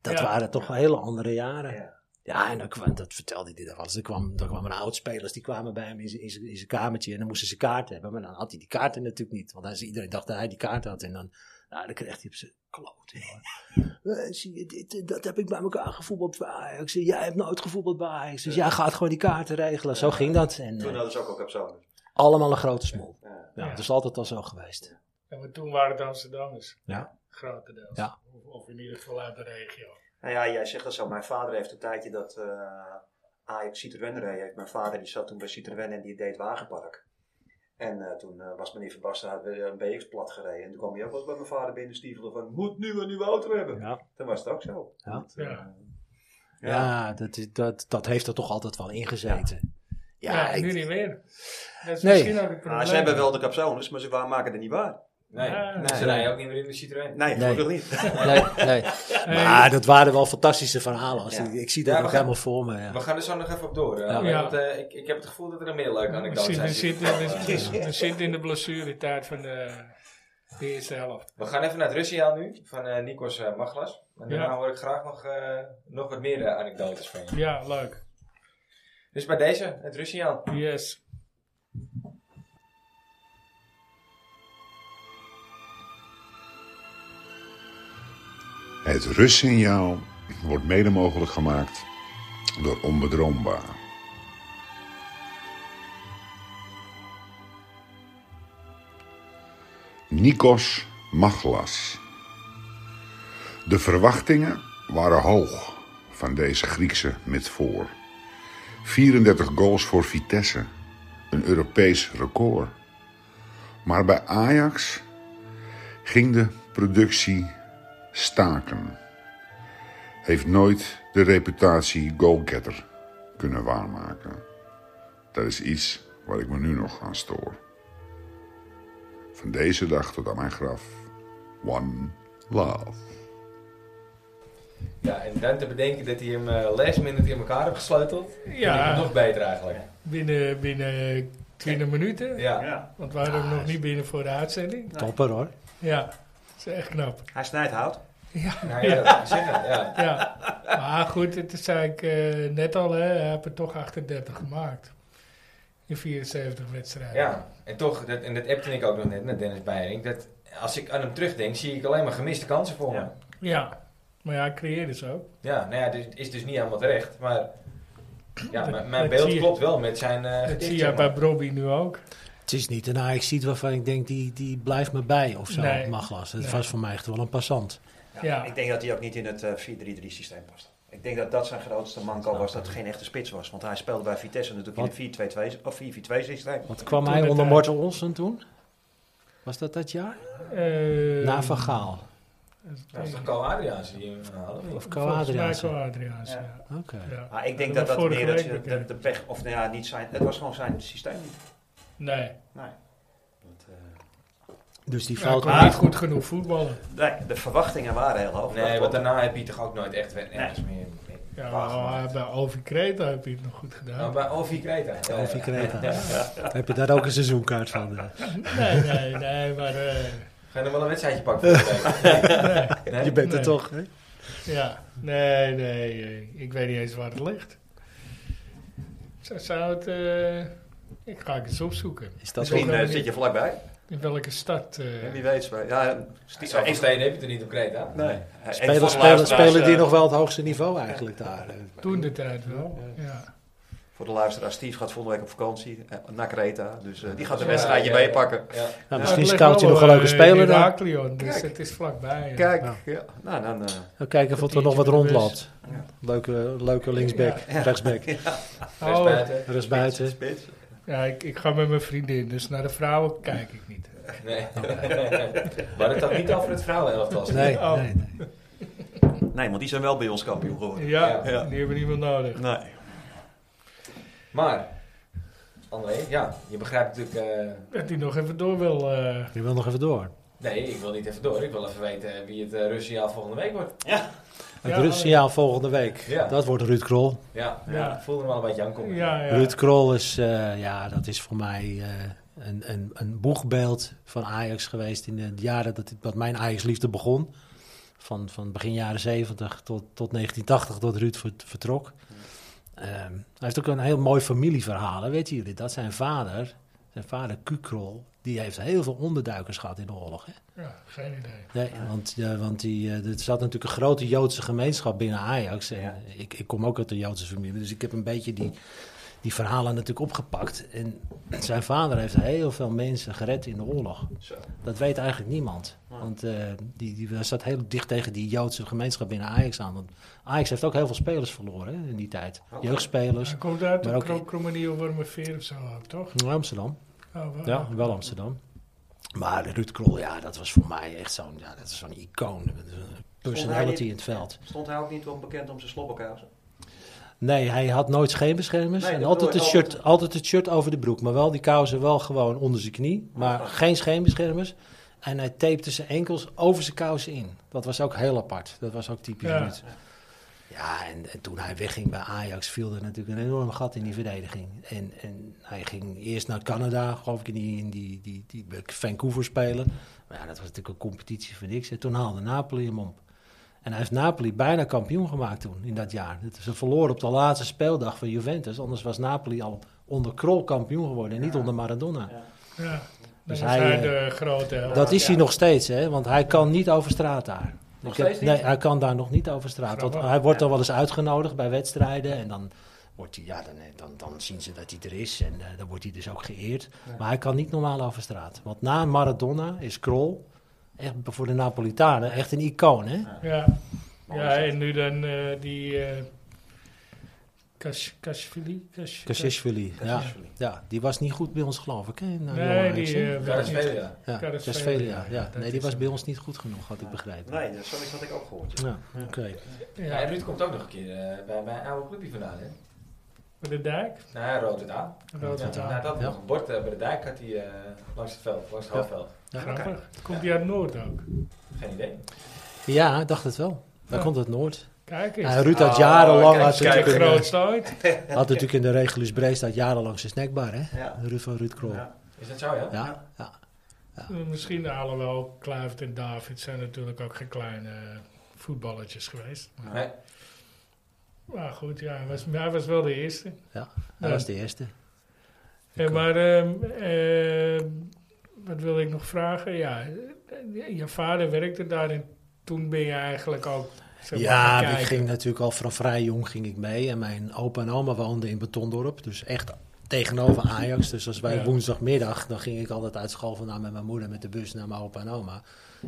Dat Ja. waren toch hele andere jaren. Ja. Ja, en dan kwam, dat vertelde hij dan wel eens. Er kwam, dan kwamen oud-spelers, die kwamen bij hem in zijn- in zijn in zijn kamertje. En dan moesten ze kaarten hebben. Maar dan had hij die kaarten natuurlijk niet. Want hij, iedereen dacht dat hij die kaart had. En dan, nou, dan kreeg hij op zijn kloot. jongen. Eh, zie je, dit, en dat heb ik bij elkaar gevoetbald bij Ajax. En jij hebt nooit gevoetbald bij Ajax. Dus jij gaat gewoon die kaarten regelen. Zo ging dat. En, eh, Toen hadden ze ook al capsules. allemaal een grote smol. Ja. Ja, Dat is altijd al zo geweest. Ja, maar toen waren het Amsterdammers. Ja. Grotendeels. Ja. Of, of in ieder geval uit de regio. Nou ja, jij zegt dat zo. Mijn vader heeft een tijdje dat eh Ajax Citroën reed. Mijn vader die zat toen bij Citroën en die deed Wagenpark. En eh, toen eh, was meneer Van Basten had weer een BX plat gereden. En toen kwam hij ook wel eens bij mijn vader binnen stiefelen van, moet nu een nieuwe auto hebben. Ja. Toen was het ook zo. Ja. Dat, eh, Ja. Ja, dat, is- dat, dat heeft er toch altijd wel ingezeten. Ja, Ja, ik- nu niet meer. Dat is Nee. misschien ook een probleem. Maar Ah, ze hebben wel de capsules, maar ze wa- maken het niet waar. Nee, Ja. nee, ze Nee. rijden ook niet meer in de Citroën. Nee, Nee. gelukkig niet. nee, nee. Hey, Maar dat waren wel fantastische verhalen. Als Ja. ik, ik zie dat Ja, we nog gaan- helemaal voor me. Ja. We gaan er zo nog even op door. eh, Ja. alleen, Ja. Want, eh, ik, ik heb het gevoel dat er een meer leuke we anekdote zitten- zijn. we zitten- die we verteld, eh. zitten- we zitten in de blessuretijd van de, de eerste helft. We gaan even naar het Russia nu, van eh, Nikos eh, Maglas. En daarna Ja. hoor ik graag nog, eh, nog wat meer eh, anekdotes van je. Ja, leuk. Dus bij deze, het Russia. Yes. Het rustsignaal wordt mede mogelijk gemaakt door onbedroombaar. Nikos Machlas. De verwachtingen waren hoog van deze Griekse midvoor. 34 goals voor Vitesse, een Europees record. Maar bij Ajax ging de productie staken. Heeft nooit de reputatie goalgetter kunnen waarmaken. Dat is iets waar ik me nu nog aan stoor. Van deze dag tot aan mijn graf. One love. Ja, en dan te bedenken dat hij hem eh last minute in elkaar heeft gesleuteld. Ja. Vind ik Ja. het nog beter eigenlijk. Binnen, binnen 20 minuten. Ja. Ah, Ja. Want we hadden hem nog niet binnen voor de uitzending. Topper hoor. Ja, dat is echt knap. Hij snijdt hout. Nou ja, dat kan ik zeggen. Ja. Ja. Maar goed, het is eigenlijk eh, net al, hè, hij heeft er toch 38 gemaakt. In 74 wedstrijden. ja, en toch, dat, en dat appte ik ook nog net met Dennis Beiring. Dat als ik aan hem terugdenk, zie ik alleen maar gemiste kansen voor Ja. me. Ja, maar ja, creëerde ze ook. Ja, nou ja, dus, het is dus niet helemaal terecht. Maar ja, Dat- m- mijn dat beeld zie je. klopt wel met zijn eh Dat gedicht, zie zeg je maar. bij Bobby nu ook. Het is niet een Ajax ziet waarvan ik denk die, die blijft me bij of zo. Nee. Maglas. Het Nee. was voor mij echt wel een passant. Ja. Ik denk dat hij ook niet in het eh, 4-3-3 systeem past. Ik denk dat dat zijn grootste manco was, dat het geen echte spits was. Want hij speelde bij Vitesse natuurlijk in een 4-2-2 of 4-4-2 systeem. Want kwam Toen hij met, onder eh, Morten Olsen toen? Was dat dat jaar? Eh, Na Van Gaal. Dat is toch Carl Adriaans die hem haalde? of niet? Of Ko volgens mij Adriaansen. Ko Adriaans, Ja. ja. Oké. Ja. Maar Ah, ik denk Dat dat was dat vorige meer dat, week je- bekend. dat de pech, of nou ja, niet zijn, het was gewoon zijn systeem niet. Nee, Nee. Dat, eh, Dus die hij fout kon niet goed genoeg voetballen. nee, eh, de verwachtingen waren heel hoog. Nee, Dat want klopt. daarna heb je toch ook nooit echt weer- nergens meer. Ja, oh, waar maar gemaakt. bij Ovi Kreta heb je het nog goed Nou, Oh. gedaan. bij Ovi Kreta. Ja, ja. Alfie Kreta. Heb je daar ook een seizoenkaart van? eh? Nee, nee, nee, maar eh, Ga je nog wel een wedstrijdje pakken? voor de week? Nee? Je bent er Nee. toch? Hè? ja, nee, nee, eh, ik weet niet eens waar het ligt. Zo zou het, eh, ik ga het eens opzoeken. Is dat Misschien Toch eh, wel zit je vlakbij. In welke stad? eh, En wie weet, maar ja, Stie- Zoveel ik- steden heb je er niet op Kreta. nee. Ik- eh, Spelen, volgens spelen, luisteraars, spelen die eh, nog wel het hoogste niveau eigenlijk daar. eh. toen de tijd wel. Ja. Nou, Voor de luisteraar, Steve gaat volgende week op vakantie eh, naar Creta. Dus eh, die gaat een Ja, wedstrijdje ja, ja. meepakken. Ja. Nou, misschien scout je nog een leuke eh, speler daar. Heraklion, dus Kijk. het is vlakbij. ja. Kijk, Ja. ja. nou dan... eh, Dan kijken of er nog wat rondloopt. Leuke, leuke linksback, rechtsback. Oh, Rechtsbuiten. Er is buiten. spits. ja, ik, ik ga met mijn vriendin, dus naar de vrouwen kijk ik niet. Nee. maar het had niet over het vrouwenelftal. Nee, Oh. nee, nee. Nee, want die zijn wel bij ons kampioen geworden. Ja, Oh, Ja. die hebben niemand nodig. Nee. Maar, André, ja, je begrijpt natuurlijk... eh, Dat die nog even door wil. eh, Je wil nog even door. nee, ik wil niet even door. Ik wil even weten wie het eh Russiaal volgende week wordt. Het Ja, rustsignaal volgende week. Ja. Dat wordt Ruud Krol. Ja, Ja. ik voelde hem al een beetje aankomen. ja, ja. Ruud Krol is, eh, ja, dat is voor mij eh, een, een, een boegbeeld van Ajax geweest in de jaren dat, dat mijn Ajax-liefde begon. Van, van begin jaren 70 tot, tot 1980, tot Ruud ver- vertrok. Ehm, hij heeft ook een heel mooi familieverhaal, hè, weten jullie dat? Zijn vader, zijn vader Q. Krol, die heeft heel veel onderduikers gehad in de oorlog. Hè? Ja, geen idee. Nee, want, eh, want die, eh, er zat natuurlijk een grote Joodse gemeenschap binnen Ajax. En, eh, ik, ik kom ook uit de Joodse familie, dus ik heb een beetje die, die verhalen natuurlijk opgepakt. En zijn vader heeft heel veel mensen gered in de oorlog. Zo. Dat weet eigenlijk niemand. Want eh, die, die zat heel dicht tegen die Joodse gemeenschap binnen Ajax aan. Want Ajax heeft ook heel veel spelers verloren hè, in die tijd. Jeugdspelers. Hij komt uit Dus- Maar de ook- Kro- Krommenie of Wormerveer of zo, ook, toch? Amsterdam. Oh, wel. Ja, wel Amsterdam. Maar Ruud Krol, ja, dat was voor mij echt zo'n ja, dat is zo'n icoon. Personality in het veld. Stond hij ook niet onbekend om zijn slobberkazen? Nee, hij had nooit scheenbeschermers. Nee, en dat altijd het, bedoel ik, shirt, altijd. altijd het shirt over de broek. Maar wel die kousen wel gewoon onder zijn knie. Maar geen scheenbeschermers. En hij tapte zijn enkels over zijn kousen in. Dat was ook heel apart. Dat was ook typisch Ja. Ruud. Ja, en, en toen hij wegging bij Ajax viel er natuurlijk een enorm gat in die verdediging. En, en hij ging eerst naar Canada, geloof ik, in die, in die, die, die, bij Vancouver spelen. Maar ja, dat was natuurlijk een competitie voor niks. En toen haalde Napoli hem op. En hij heeft Napoli bijna kampioen gemaakt toen, in dat jaar. Dat Ze verloren op de laatste speeldag van Juventus. Anders was Napoli al onder Krol kampioen geworden en niet onder Maradona. Ja. Dan Dus is hij, hij, eh, de grote held. Dat is hij nog steeds, hè? want hij kan niet over straat daar. Ik heb- steeds niet? nee, hij kan daar nog niet over straat. Want Grappig. hij wordt dan wel eens uitgenodigd bij wedstrijden. En dan, wordt hij, ja, dan, dan, dan zien ze dat hij er is. En eh, dan wordt hij dus ook geëerd. Maar hij kan niet normaal over straat. Want na Maradona is Krol, echt voor de Napolitanen, echt een icoon. Hè? Ja, Oh, ja en nu dan eh, die... eh Kash, Kashvili? Kash- Kassishvili, ja. ja. Die was niet goed bij ons, geloof ik. Hè? Nou, Nee, Johan die Eriksson. eh, Daar werd is niet. veel, ja. ja, Kvaratskhelia, Kvaratskhelia, ja, ja. dat Nee, die is was hem. bij ons niet goed genoeg, had ik begrepen. Nee, dat- zoiets had ik ook gehoord. ja. Ja, oké. Ja, en Ja, Ruud komt ook nog een keer eh, bij mijn oude clubje vandaan, hè? met de dijk. Nou, hij rood het aan. Rood Ja, het hij aan. had Ja. nog een bord eh, bij de dijk had hij eh, langs het veld, langs het Ja. hoofdveld. Grappig. Komt die uit Noord ook? Geen idee. Ja, dacht het wel. Daar Ja. komt het Noord. Kijk eens. Ja, Oh, Ruud had jarenlang... kijk, had, kijk, de natuurlijk in, grootste ooit. eh, had natuurlijk in de Regulus Brees dat jarenlang zijn snackbar, hè? Ja. Ruud van Ruud Krol. Ja, Ja. Is dat zo, ja? ja. ja. Eh, Misschien alhoewel Kluivert en David zijn natuurlijk ook geen kleine voetballetjes geweest. Maar, Nee. maar goed, ja, hij was, hij was wel de eerste. Hij Ja. was de eerste. Hé, maar ehm, ehm, wat wil ik nog vragen? Ja, eh, je vader werkte daar en toen ben je eigenlijk ook... zeg maar, gaan Ja, ik kijken. ging natuurlijk al van vrij jong ging ik mee. En mijn opa en oma woonden in Betondorp. Dus echt tegenover Ajax. Dus als wij Ja. woensdagmiddag, dan ging ik altijd uit school vandaan met mijn moeder met de bus naar mijn opa en oma.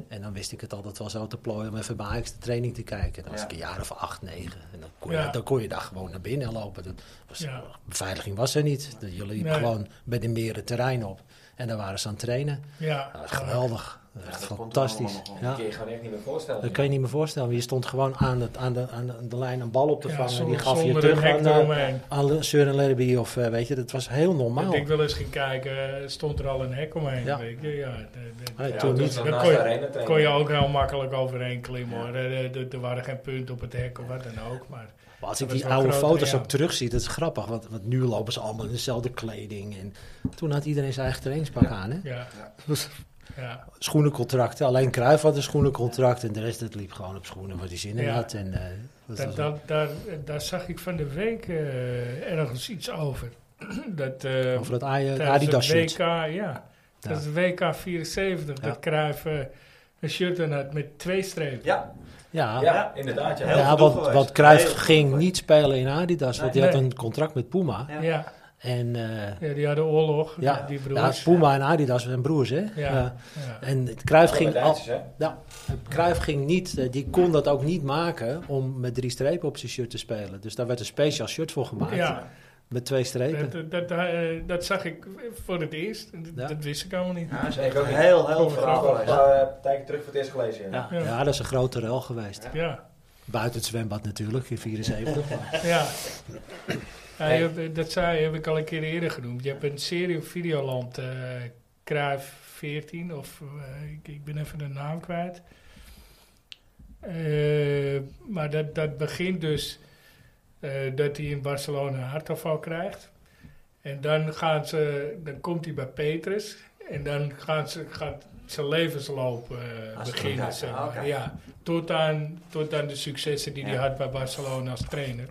En dan wist ik het altijd wel zo te plooien om even bij Ajax de training te kijken. Dan was Ja. ik een jaar of acht, negen. En dan kon, Ja. je, dan kon je daar gewoon naar binnen lopen. Dat was, Ja. Beveiliging was er niet. Je liep Nee. gewoon bij de meren het terrein op. En daar waren ze aan het trainen. Ja, Dat was geweldig. dat Echt komt er fantastisch. allemaal nog wel. Dat kun je gewoon echt niet meer voorstellen. Dat Eh, kan je niet meer voorstellen. want Je stond gewoon aan, het, aan, de, aan de, aan de lijn een bal op te Ja, vangen. en zonder- die gaf je zonder terug een hek aan, eh, eromheen. aan Le- Søren Lerby of eh, weet je. Dat was heel normaal. Dat ik wel eens ging kijken, eh, stond er al een hek omheen. Ja. Weet je? Ja, de- de- Nee, Ja, toen toen niet. was- Dan Naast kon de arena je, trainen. kon je ook heel makkelijk overheen klimmen hoor. Eh, Er, er- er waren geen punten op het hek of wat dan ook. Maar Maar als dat ik die was wel oude groter, foto's ja. ook terugzie, dat is grappig. Want, want nu lopen ze allemaal in dezelfde kleding. En toen had iedereen zijn eigen trainingspak aan. Hè? ja, ja. Schoenencontracten. Alleen Cruijff had een schoenencontract. En de rest dat liep gewoon op schoenen wat hij zin in Ja. had. En, eh, dat Dat, was- dat, daar, daar zag ik van de week eh, ergens iets over. dat, eh, over dat Aja- tijdens Adidas het shirt. WK, ja. Dat is WK 74, dat Cruijff eh, een shirt aan had met twee strepen. Ja, Ja, ja, Ja, inderdaad. Ja. Heel goed want, geweest. want Cruijff Heel goed ging geweest. niet spelen in Adidas, want die Nee. had een contract met Puma. Ja. Ja. En eh, ja, die hadden oorlog, ja, die ja, broers. Puma en Adidas zijn broers, hè? Ja. Eh, Ja. en Cruijff ging, al, Duitsers, hè? ja, Cruijff ging niet, eh, die kon dat ook niet maken om met drie strepen op zijn shirt te spelen. Dus daar werd een speciaal shirt voor gemaakt, Ja, met twee strepen. dat, dat, dat, eh, dat zag ik voor het eerst. Dat, Ja. dat wist ik allemaal niet. dat is Ik echt ook een niet. heel, heel Ik heb verhaal ook wel een geweest. paar eh, tijdje terug voor het eerst gelezen. Ja. Ja, Ja. ja. dat is een grote rel geweest. Ja, Buiten het zwembad natuurlijk, in 74. maar- ja. Ja, je hebt- eh, dat zei, heb ik al een keer eerder genoemd. Je hebt een serie op Videoland, eh Cruijff 14, of eh, ik, ik ben even de naam kwijt. Eh, maar dat, dat begint dus eh, dat hij in Barcelona een hartafval krijgt. En dan, gaan ze, dan komt hij bij Petrus. En dan gaan ze, gaat zijn levensloop eh, Als beginnen. trainer, Zeg maar. Ah, oké. ja, tot, aan, tot aan de successen die hij had bij Barcelona als trainer.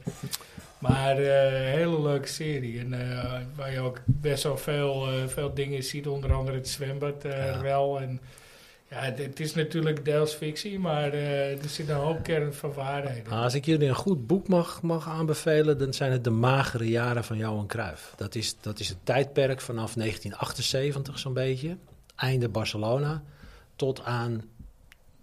Maar eh, een hele leuke serie. En eh, waar je ook best wel veel, eh, veel dingen ziet. Onder andere het zwembad eh, Ja. wel. En ja, het, het is natuurlijk deels fictie, maar eh, er zit een hoop kern van waarheid in. Nou, als ik jullie een goed boek mag, mag aanbevelen, dan zijn het De Magere Jaren van Johan Cruijff. Dat is, dat is het tijdperk vanaf 1978 zo'n beetje, einde Barcelona, tot aan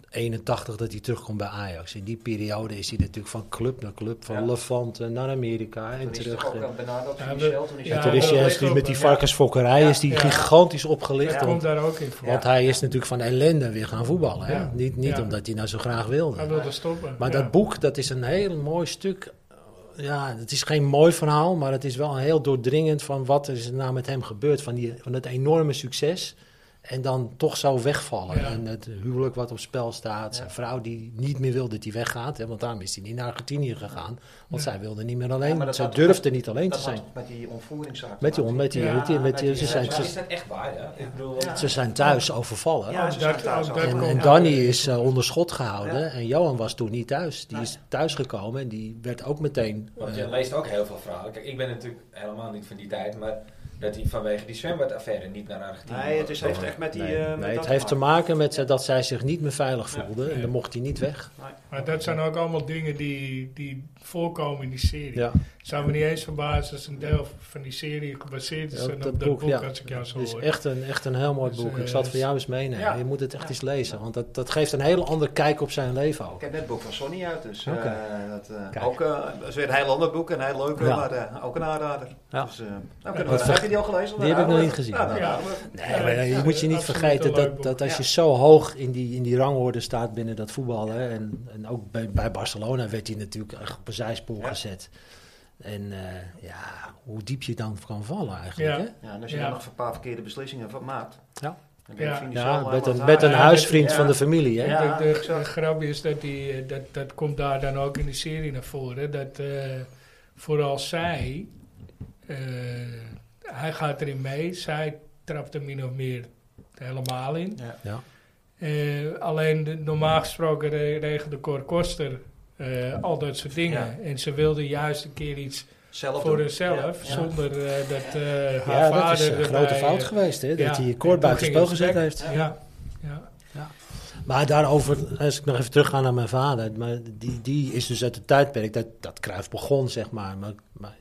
81 dat hij terugkomt bij Ajax. In die periode is hij natuurlijk van club naar club, van Levante naar Amerika en Toen is het terug. eh, ook aan Bernardo, toen Ja, Michel, toen is ja, En het toen is dat hij ligt is hij ook met wel, die ja. varkensfokkerij is die Ja. gigantisch opgelicht. Dat want- komt daar ook in voor. Want hij is natuurlijk van ellende weer gaan voetballen. Hè? Ja. Niet, niet Ja. omdat hij nou zo graag wilde. Hij wilde stoppen. Maar ja. dat boek, dat is een heel mooi stuk. Ja, het is geen mooi verhaal, maar het is wel een heel doordringend van wat er is nou met hem gebeurd. Van, die, van het enorme succes en dan toch zo wegvallen. Ja. En het huwelijk wat op spel staat. Zijn vrouw die niet meer wil dat hij weggaat, hè, want daarom is hij niet naar Argentinië gegaan. Want zij wilde niet meer alleen, maar dat ze had- durfde niet alleen te dat zijn. had met die ontvoeringszaak. Met die, te on- maken. met die, Ja, met die, met die- met ze, die- zijn, Maar is ze, dat echt waar? Ja? Ik bedoel, Ja. ze zijn thuis overvallen. Ja, ze Ook dat- zijn thuis ook al. dat En, komt en ook Danny in. is eh, onder schot gehouden Ja. en Johan was toen niet thuis. Die Nee. is thuisgekomen en die werd ook meteen... Want eh, je leest ook heel veel verhalen. Kijk, ik ben natuurlijk helemaal niet van die tijd, maar dat hij vanwege die zwembadaffaire niet naar Argentinië Nee, het is, was heeft gekomen. echt met die... nee, eh, met nee, dat het heeft te maken met eh, dat zij zich niet meer veilig Ja. voelde en dan mocht hij niet weg. Maar dat zijn ook allemaal dingen die, die voorkomen in die serie. Het zou me niet eens verbazen als een deel van die serie gebaseerd is Ja, op dat boek, ja. als ik jou zo Het is hoor. echt een, echt een heel mooi Dus, boek. eh, Ik zal het voor jou eens meenemen. ja. Je moet het echt eens lezen, want dat, dat geeft een hele andere kijk op zijn leven ook. Ik heb net het boek van Sonny uit, dus eh, Oké. dat, eh, Kijk. ook, eh, dat is weer een heel ander boek, een heel leuk, Ja. maar eh, ook een aanrader. Ja. Dus, eh, nou kunnen Wat we, ver- heb je die al gelezen? Die heb ik nog niet gezien. Ja, nou, Ja. nou, Nee, maar je Ja, moet je niet absoluut vergeten een leuk dat, boek. dat als je Ja. zo hoog in die, in die rangorde staat binnen dat voetbal. Hè, en, en ook bij, bij Barcelona werd hij natuurlijk echt op een zijspoor Ja. gezet. En eh, ja, hoe diep je dan kan vallen eigenlijk. Ja. Hè? ja, en als je Ja. dan nog een paar verkeerde beslissingen van maakt, Ja. dan ben je Ja. financieel Ja, helemaal met een, aan met een ja, huisvriend ja. van de familie. Hè? Ja. de, de- exact. de grap eh, is dat, die, eh, dat dat komt daar dan ook in de serie naar voren. Dat eh, vooral zij, eh, hij gaat erin mee, zij trapt er min of meer helemaal in. Ja. Ja. Eh, alleen de- normaal gesproken re- regelde Cor Koster eh, al dat soort dingen. Ja. En ze wilde juist een keer iets zelf voor doen. zichzelf, Ja. zonder eh, dat eh, haar Ja, vader. dat is een erbij, grote fout eh, geweest, hè? ja. Dat hij je En toen koord buiten ging spel het gezet spek. heeft. Ja. Ja. Maar daarover, als ik nog even terugga naar mijn vader. Maar die, die is dus uit het tijdperk dat, dat Cruijff begon, zeg maar. Maar, maar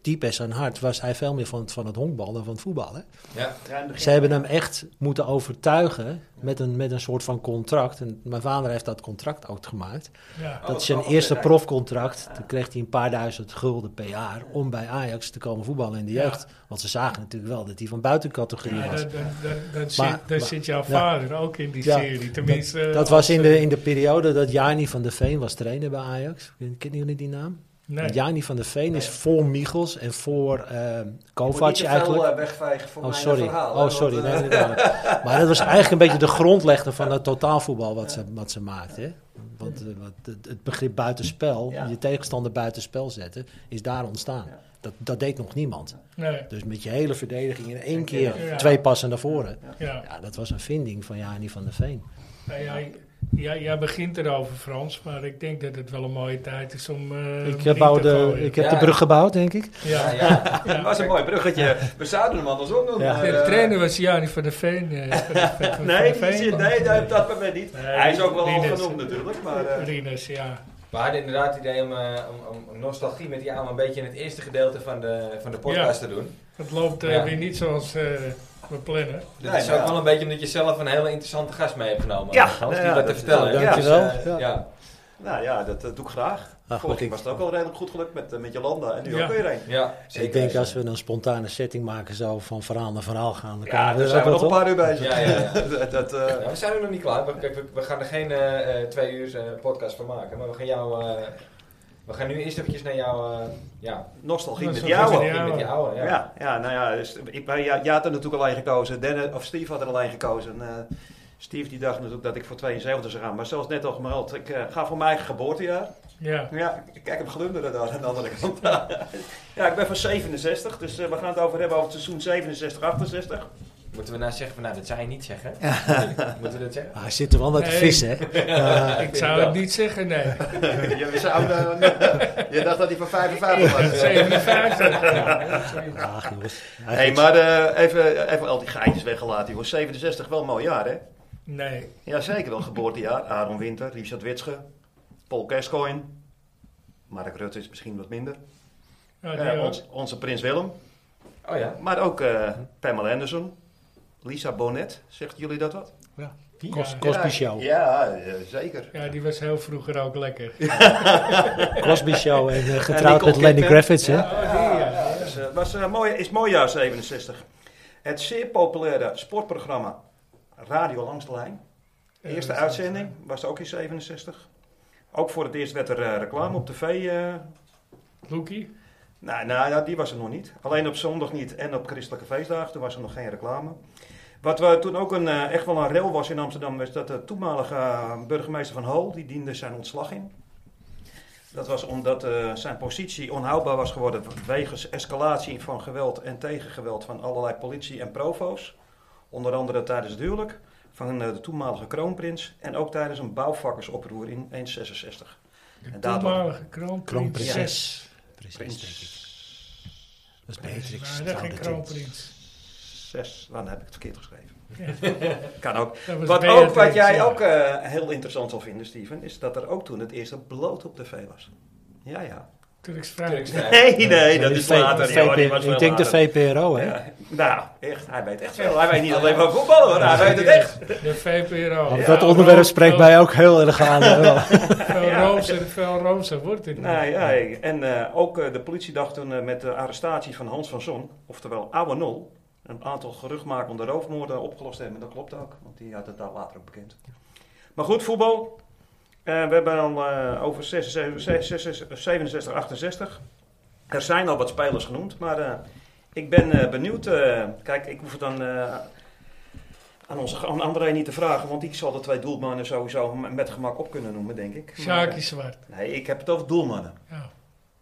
diep in zijn hart was hij veel meer van, het- van het honkbal dan van het voetbal, hè? Ja. Ja, in het begin- Ze hebben hem echt moeten overtuigen met een, met een soort van contract. En mijn vader heeft dat contract ook gemaakt. Ja. Dat is dat zijn kan eerste wel. profcontract. Toen kreeg hij een paar duizend gulden per jaar om bij Ajax te komen voetballen in de Ja. jeugd. Want ze zagen natuurlijk wel dat hij van buitencategorie Ja, was. dan, dan, dan, dan zit, Maar- dan maar- zit jouw ja. vader ook in die Ja, serie. Tenminste, dat, eh, dat was in als, eh, de, in de periode dat Jani van der Veen was trainer bij Ajax. Kennen jullie die naam? nee. Jani van der Veen is voor Michels en voor ehm Moet niet Kovac te veel, eigenlijk. eh, wegvegen voor Oh, mijn sorry. verhaal. eh, oh, sorry. Nee, niet kwalijk. maar dat was eigenlijk een beetje de grondlegger van het totaalvoetbal wat ze, wat ze maakt. Hè? Want eh, wat, het, het begrip buitenspel, Ja. je tegenstander buitenspel zetten, is daar ontstaan. Ja. Dat, dat deed nog niemand. Nee. Dus met je hele verdediging in één keer. keer Ja. twee passen naar voren. Ja. Ja, dat was een vinding van Jani van der Veen. Nou ja, ik- Ja, jij begint erover, Frans, maar ik denk dat het wel een mooie tijd is om. eh, Ik, niet eh, bouw te de, gooien. ik heb Ja. de brug gebouwd, denk ik. Ja, Ja. ja. Ja. Dat was een mooi bruggetje. We zouden hem andersom doen. Ja. maar, De eh, trainer was Jani van der Veen. eh, van de- van- van Nee, de Veen. nee, nee, dat- dat bij mij niet. Nee, Hij is ook wel die al net. genoemd natuurlijk, maar... eh, Rinus, ja. We hadden inderdaad het idee om, eh, om, om- om nostalgie met die aan een beetje in het eerste gedeelte van de, van de podcast te doen. Het loopt eh, Ja. weer niet zoals eh, we plannen. Dit Nee, is maar ook ja. wel een beetje omdat je zelf een hele interessante gast mee hebt genomen. Ja, Hans, nou die wat ja, dat te is- vertellen. ja, dankjewel. Dus, eh, Ja. ja. Nou ja, dat eh, doe ik graag. goed, Vorige keer ik- was het ook wel redelijk goed gelukt met, eh, met Jolanda en nu Ja. ook weer een. ja, zeker. Ik denk als we een spontane setting maken, zo van verhaal naar verhaal gaan. Dan Ja, komen we daar er zijn ook we nog wel een op. paar uur bezig. Ja, ja, ja. dat, dat, eh, Ja, we zijn er nog niet klaar. We, kijk, we, we gaan er geen eh, eh, twee uur eh, podcast van maken. Maar we gaan jou... eh, we gaan nu eerst eventjes naar jou... eh, ja, Nostalgie Dat is met wel jou goed, ook. ja. in met die oude. Ja. Ja, ja, nou ja, dus, ik, wij- ja, jij had er natuurlijk alleen gekozen. Dan, of Steve had er alleen gekozen. Eh, Steve die dacht natuurlijk dat ik voor 72 zou gaan. Maar zelfs net al gemeld, ik eh, ga voor mijn eigen geboortejaar. Ja. Ja, ik- kijk hem glunderen daar aan de andere kant. ja, ik ben van 67, dus eh, we gaan het over hebben over het seizoen 67-68. Moeten we nou zeggen van... Nou, dat zou je niet zeggen. Moeten we dat zeggen? Ah, Hij zit er wel naar te Nee. vissen, hè? Eh, Ik zou het niet zeggen, nee. je, zou, eh, je dacht dat hij van 55 was. 57. Ach, jongens. Hij Hey, gaat- maar eh, even, even al die geintjes weggelaten. Joh. 67, wel een mooi jaar, hè? Nee. Ja, zeker wel een geboortejaar. Aaron Winter, Richard Witsche, Paul Gascoigne. Mark Rutte is misschien wat minder. Ja, die Eh, ook. ons- onze prins Willem. Oh ja. Maar ook eh, Pamela Anderson. Lisa Bonet, zegt jullie dat wat? Cos- Ja. Cosby Ja, Show. Ja, eh, zeker. Ja, die was heel vroeger ook lekker. Cosby Show en eh, getrouwd Nicole met Lenny Kidman. Kravitz, hè? Ja. Oh, die, ja. Dus, eh, was, eh, mooi, is mooi jaar 67. Het zeer populaire sportprogramma Radio Langs de Lijn. De Ja, eerste dat is uitzending was ook in 67. Ook voor het eerst werd er eh, reclame op tv. eh. Loekie? nou, nou ja, die was er nog niet. Alleen op zondag niet en op christelijke feestdagen. Toen was er nog geen reclame. Wat we toen ook een, eh, echt wel een rel was in Amsterdam, was dat de toenmalige eh, burgemeester van Hol, die diende zijn ontslag in. Dat was omdat eh, zijn positie onhoudbaar was geworden wegens escalatie van geweld en tegengeweld van allerlei politie en provo's. Onder andere tijdens het huwelijk van eh, de toenmalige kroonprins en ook tijdens een bouwvakkersoproer in 166. En daardoor- Toenmalige kroonprins. Kroonprinses. Prinses, denk ik. Prins. Dat is Nee, Beatrix. maar dat geen Trouwde Tint. kroonprins. Zes, dan heb ik het verkeerd geschreven. Ja. Kan ook. Dat was Wat, ook, Beatrix, wat jij ja. ook eh, heel interessant zal vinden, Steven, is dat er ook toen het eerste bloot op tv was. Ja, ja. Turks Turks fruit. fruit. Nee, nee, Ja, dat die is V- later. VPRO, Ja, hoor, die was wel ik denk de later. VPRO, hè? Ja, nou, echt, hij weet echt veel. Hij weet niet alleen maar voetballen, hoor. hij weet Oh, nou, het echt. De VPRO. Want dat onderwerp spreekt mij ook heel erg aan. hè. Veel roomser, veel roomser wordt het. niet. Nou, ja, en eh, ook eh, de politie dacht toen eh, met de arrestatie van Hans van Zon, oftewel Oude Nol, een aantal geruchtmakende roofmoorden opgelost hebben. Dat klopt ook, want die had het daar later ook bekend. Maar goed, voetbal. Eh, we hebben al eh, over 66, 66, 67, 68. Er zijn al wat spelers genoemd, maar eh, ik ben eh, benieuwd. eh, kijk, ik hoef het dan eh, aan, onze, aan André niet te vragen, want ik zal de twee doelmannen sowieso met gemak op kunnen noemen, denk ik. Maar, eh, Sjaakje Zwart. Nee, ik heb het over doelmannen. Ja.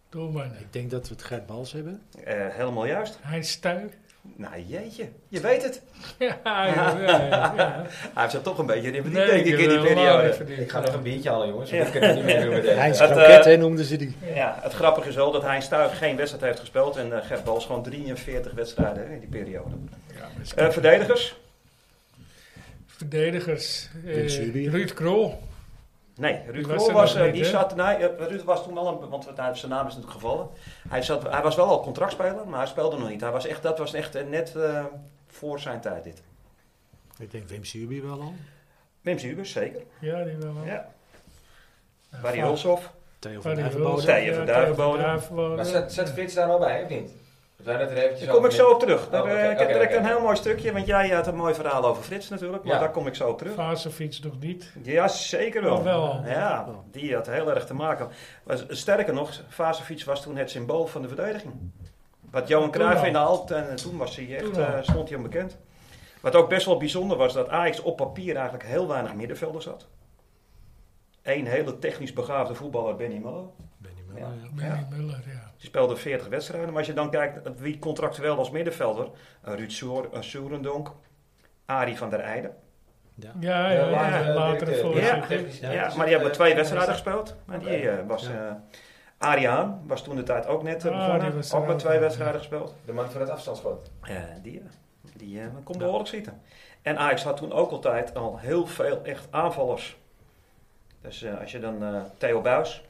Doelman. Ik denk dat we het Gert Bals hebben. Eh, helemaal juist. Heinz Stuy. Nou, jeetje. Je weet het. Ja, ja, ja, ja. Hij heeft zich toch een beetje in Nee, denk ik, in heb die er wel periode. even Ik niet. ga nog een biertje halen, jongens. want Ik kan het niet meer doen met deze. Heinz Dat, Kroket, eh, hè, noemden ze die. Ja, het grappige is wel dat Heinz Stuig geen wedstrijd heeft gespeeld. En eh, Gert Bals gewoon 43 wedstrijden hè, in die periode. Ja, maar is- Eh, verdedigers? Verdedigers. Wim eh, Zuurbier. Ruud Krol. Nee, Ruud Die Krol was was, er nog eh, niet, die hè? zat, nee, eh, Ruud was toen al, een, want nou, zijn naam is natuurlijk gevallen. Hij, zat, hij was wel al contractspeler, maar hij speelde nog niet. Hij was echt, dat was echt eh, net eh, voor zijn tijd dit. Ik denk Wim Suurby wel al. Wim Zubers, zeker. Ja, die wel. Ja. Ja, Barry Van- Hulshoff. Theo van Barry Duivenbode. Hulshoff, Theo van ja, Duivenbode. Duivenbode. Maar zet, zet Frits daar al bij, of niet? We zijn net er eventjes Daar kom ik over zo op terug. Daar, Oh, eh, oké, ik heb oké, direct oké. een heel mooi stukje, want jij eh, had een mooi verhaal over Frits natuurlijk, maar Ja. daar kom ik zo op terug. Vazovic nog niet. Ja, zeker wel. Maar wel. Ja, die had heel erg te maken. Maar sterker nog, Vazovic was toen het symbool van de verdediging. Wat Johan Toen Cruijff al. in de halt, en toen was hij echt, Toen al. eh, stond hij onbekend. Wat ook best wel bijzonder was, dat Ajax op papier eigenlijk heel weinig middenvelders had. Eén hele technisch begaafde voetballer, Benny Mullo. Benny Muller, ja. Benny Muller, ja. Die speelde 40 wedstrijden. Maar als je dan kijkt wie contractueel als middenvelder. eh, Ruud Soer- eh, Soerendonk, Arie van der Eijden. Ja, ja, ja, later, eh, later directeur. voor Ja. het succes. Ja, dus maar dat, die hebben eh, twee wedstrijden gespeeld. Maar die Oké. eh, was... eh Ariaan was toen de tijd ook net eh, Ah, die was begonnen. er Ook met ook, twee ja. wedstrijden gespeeld. De man van het afstandsschot. Eh, die eh, die eh, komt behoorlijk zitten. En Ajax had toen ook altijd al heel veel echt aanvallers. Dus eh, als je dan eh, Theo Buis.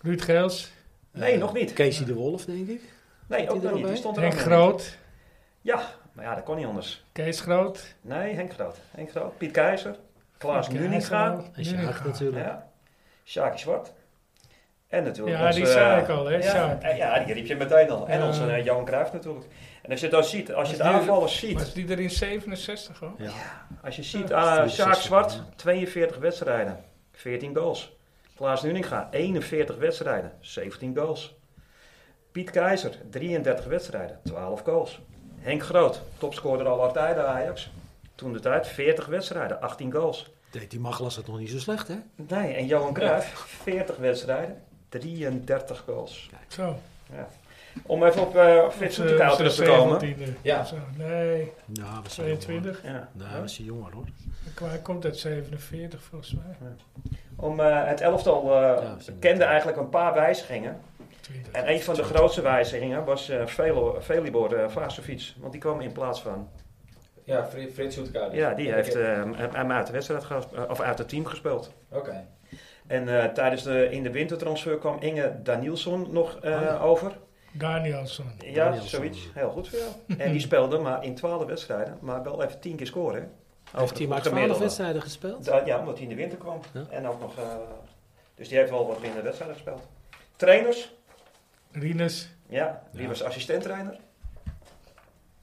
Ruud Geels, Nee, Eh, nog niet. Casey de Wolf, denk ik. Nee, ook die nog niet. er nog Die bij? stond er Henk ook nog Groot, niet. Ja, maar ja, dat kon niet anders. Kees Groot. Nee, Henk Groot. Henk Groot. Piet Keizer. Klaas Kees Nuninga. Groot, En Sjaak Nuninga. natuurlijk. Ja. Sjaakje Zwart. En natuurlijk Ja, onze, die zei eh, ik al, hè, Ja, Sjaak. eh, ja, die riep je meteen al. En Ja. onze eh, Johan Cruijff natuurlijk. En als je dat ziet, als je de Was die- aanvallers ziet, Was die er in 67 hoor? Als je ziet, eh Sjaak Zwart, 42 wedstrijden, 14 goals. Klaas Nuninga, 41 wedstrijden, 17 goals. Piet Keizer, 33 wedstrijden, 12 goals. Henk Groot, topscorer aller tijden Ajax. Toen de tijd 40 wedstrijden, 18 goals. Deed die Maglas het nog niet zo slecht, hè? Nee, en Johan Cruijff, 40 wedstrijden, 33 goals. Zo. Om even op eh Fitsen Op, te eh, koud terug te komen. 17e. Ja. Zo, Nee, Nou, was hij jonger. 22. Ja. Nou, was hij jonger, hoor. Hij komt uit 47 volgens mij. Om, eh, het elftal eh, Ja, we zien het. kende eigenlijk een paar wijzigingen. 20. En een van de grootste wijzigingen was eh Velo- Velibor eh Vasovic. Want die kwam in plaats van. Ja, Fri- Frits Hoetka. Ja, die heeft eh, hem hem uit, de wedstrijd ges- eh, of uit het team gespeeld. Oké. En eh, tijdens de, in de wintertransfer kwam Inge Danielsson nog eh, Oh, ja. over. Danielson. Ja, Danielsson. zoiets. Heel goed voor jou. en die speelde maar in 12 wedstrijden, maar wel even 10 keer scoren. hè. Over Heeft de hij maar 12 gemiddelde. wedstrijden gespeeld? Da- Ja, omdat hij in de winter kwam. Ja. En ook nog. eh, dus die heeft wel wat minder wedstrijden gespeeld. Trainers. Rinus. Ja, die Ja. was assistenttrainer.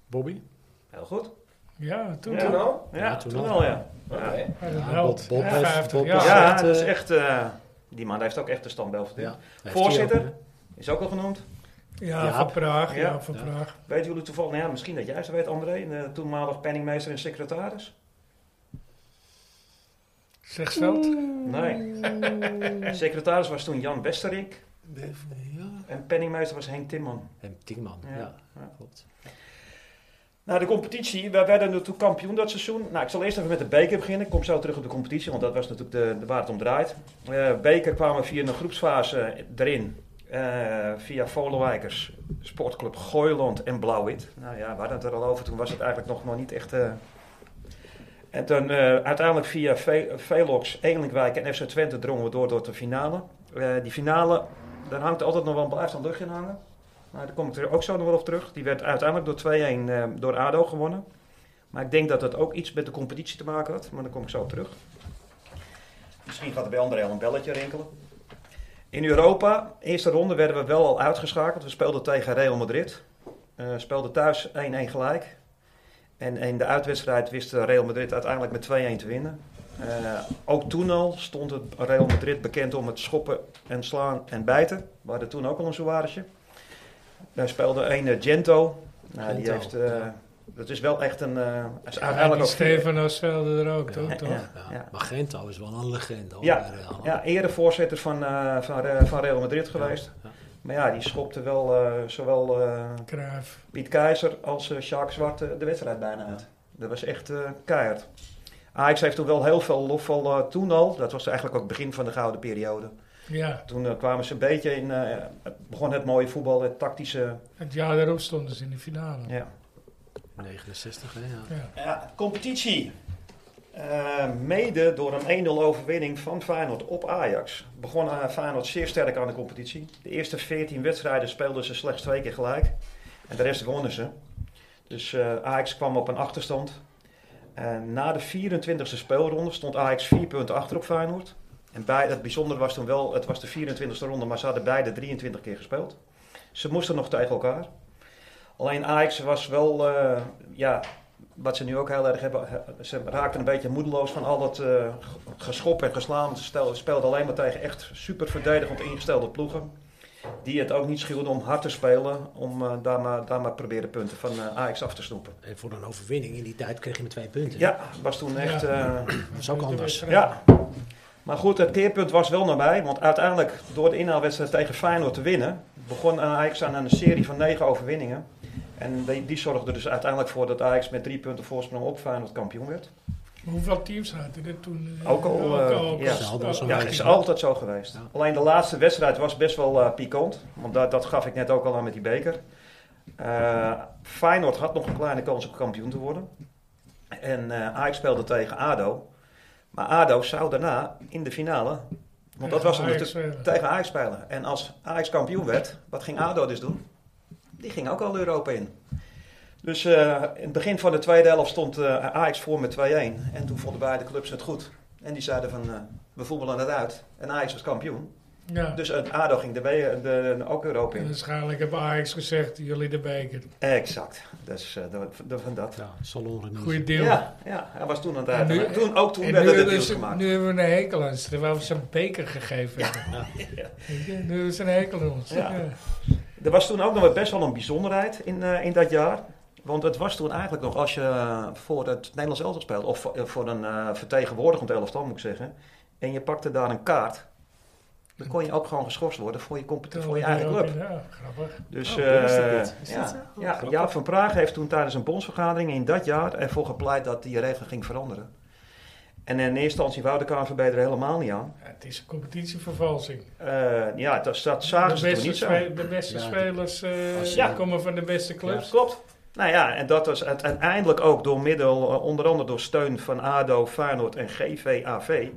Bobby? Heel goed. Ja, toen. Ja. toen. Toen al? Ja, Ja, toen toen, al. al, ja. Dus, Oké. Hij was Ja, een held. Bob- Bob Ja, heeft- 50 Bob jaar. heeft- Ja, echt, dat is eh, echt. eh, die man heeft ook echt de standbel verdiend. Ja. Heeft hij Voorzitter? ook, hè? Is ook al genoemd. Ja, Ja. van Praag. Ja, Ja. van Ja. Praag. Weet jullie toevallig, nou ja, misschien dat jij ze weet, André, een eh, toenmalig penningmeester en secretaris? Zeg Veld. Nee. secretaris was toen Jan Westerink Ja. en penningmeester was Henk Timman. En Tienman, Ja. ja. Ja. Klopt. Nou, de competitie, wij werden natuurlijk kampioen dat seizoen. Nou, ik zal eerst even met de beker beginnen. Ik kom zo terug op de competitie, want dat was natuurlijk de, de waar het om draait. Eh, beker kwamen via een groepsfase erin. Eh, via Volenwijkers, Sportclub Gooiland en Blauw-Wit. Nou ja, we hadden het er al over. Toen was het eigenlijk nog maar niet echt... eh. En toen eh, uiteindelijk via Ve- Velox, Elinkwijk en FC Twente drongen we door tot de finale. Eh, die finale, daar hangt altijd nog wel een blijft een lucht in hangen. Nou, daar kom ik er ook zo nog wel op terug. Die werd uiteindelijk door 2-1 eh, door ADO gewonnen. Maar ik denk dat dat ook iets met de competitie te maken had. Maar daar kom ik zo op terug. Misschien gaat er bij André al een belletje rinkelen. In Europa, eerste ronde, werden we wel al uitgeschakeld. We speelden tegen Real Madrid. Eh speelden thuis 1-1 gelijk. En in de uitwedstrijd wist eh, Real Madrid uiteindelijk met 2-1 te winnen. Eh, ook toen al stond het Real Madrid bekend om het schoppen en slaan en bijten. We hadden toen ook al een zwaardje. Daar speelde een eh, Gento. Nou, die Gento, heeft, eh, ja. Dat is wel echt een... eh is Ja, uiteindelijk die ook vier- Stefano speelde er ook, toch? Ja. toch? Ja. Ja. Ja. Magento is wel een legende, hoor. Ja. bij Real. Ja, eerder voorzitter van, eh, van, eh, van Real Madrid geweest. Ja. Maar ja, die schopte wel eh, zowel eh, Cruijff. Piet Keizer als eh Sjaak Zwart eh, de wedstrijd bijna uit. Dat was echt eh keihard. Ajax heeft toen wel heel veel lof al eh, toen al. Dat was eigenlijk ook het begin van de gouden periode. Ja, Toen eh, kwamen ze een beetje in... eh, het begon het mooie voetbal, het tactische... het jaar daarop stonden ze in de finale. Ja. 69, hè? Ja. Ja. Ja, competitie. Eh, mede door een 1-0 overwinning van Feyenoord op Ajax begon eh, Feyenoord zeer sterk aan de competitie. De eerste 14 wedstrijden speelden ze slechts twee keer gelijk en de rest wonnen ze. Dus eh, Ajax kwam op een achterstand. Eh, na de 24e speelronde stond Ajax 4 punten achter op Feyenoord. En bij, het bijzondere was toen wel, het was de 24e ronde, maar ze hadden beide 23 keer gespeeld. Ze moesten nog tegen elkaar. Alleen Ajax was wel, eh, ja, wat ze nu ook heel erg hebben, he- ze raakten een beetje moedeloos van al dat eh, g- geschop en geslaan. Ze stel- speelden alleen maar tegen echt super verdedigend ingestelde ploegen. Die het ook niet schuwden om hard te spelen, om eh, daar, maar, daar maar proberen punten van eh, Ajax af te snoepen. En voor een overwinning in die tijd kreeg je maar twee punten. Ja, was toen echt... eh, Dat is ook De anders. wedstrijd. ja. Maar goed, het keerpunt was wel nabij. Want uiteindelijk, door de inhaalwedstrijd tegen Feyenoord te winnen, begon eh, Ajax aan een serie van negen overwinningen. En die, die zorgde dus uiteindelijk voor dat Ajax met drie punten voorsprong op Feyenoord kampioen werd. Hoeveel teams hadden er toen? eh, Ook al, eh, ja. Ze hadden al zo'n Ja, Ja, dat is ja. altijd zo geweest. Ja. Alleen de laatste wedstrijd was best wel eh, pikant. Want dat, dat gaf ik net ook al aan met die beker. Eh Feyenoord had nog een kleine kans om kampioen te worden. En eh Ajax speelde tegen ADO. Maar ADO zou daarna in de finale... Want dat Tegen was Ajax ondertussen spelen. tegen Ajax spelen. En als Ajax kampioen werd, wat ging ADO dus doen? Die ging ook al Europa in. Dus eh, in het begin van de tweede helft stond eh, Ajax voor met 2-1. En toen vonden beide clubs het goed. En die zeiden van, eh, we voetballen het uit. En Ajax was kampioen. Ja. Dus een ADO ging de, be- de, de- ook Europa En in. waarschijnlijk hebben Ajax gezegd, jullie de beker. Exact. Dus eh dat- dat- van dat. Ja, salon Goeie Ja. deal. ja, hij was toen aan het En nu- uit. Toen, ook toen En werden nu, de hebben deals ze, gemaakt. nu hebben we een hekel aan ze, terwijl we ze een beker gegeven hebben. Weet je, Nu hebben ze een hekel aan ons. Ja. Ja. Er was toen ook nog wel best wel een bijzonderheid in, eh, in dat jaar. Want het was toen eigenlijk nog, als je eh, voor het Nederlands elftal speelde, of voor, eh, voor een eh, vertegenwoordigend elftal moet ik zeggen, en je pakte daar een kaart, dan kon je ook gewoon geschorst worden voor je, compet- voor je eigen club. Ja, grappig. Dus Oh, dat wist ik eh, niet. Is dat zo? ja, Oh, ja, grappig. Jaap van Praag heeft toen tijdens een bondsvergadering in dat jaar ervoor gepleit dat die regel ging veranderen. En in eerste instantie wou de KNVB er helemaal niet aan. Ja, het is een competitievervalsing. Eh, ja, dat, dat De zagen ze toen beste, niet zo. spe- de beste Ja, die- spelers eh, Als- Ja. komen van de beste clubs. Klopt. Nou ja, en dat was het- uiteindelijk ook door middel, eh, onder andere door steun van ADO, Feyenoord en GVAV,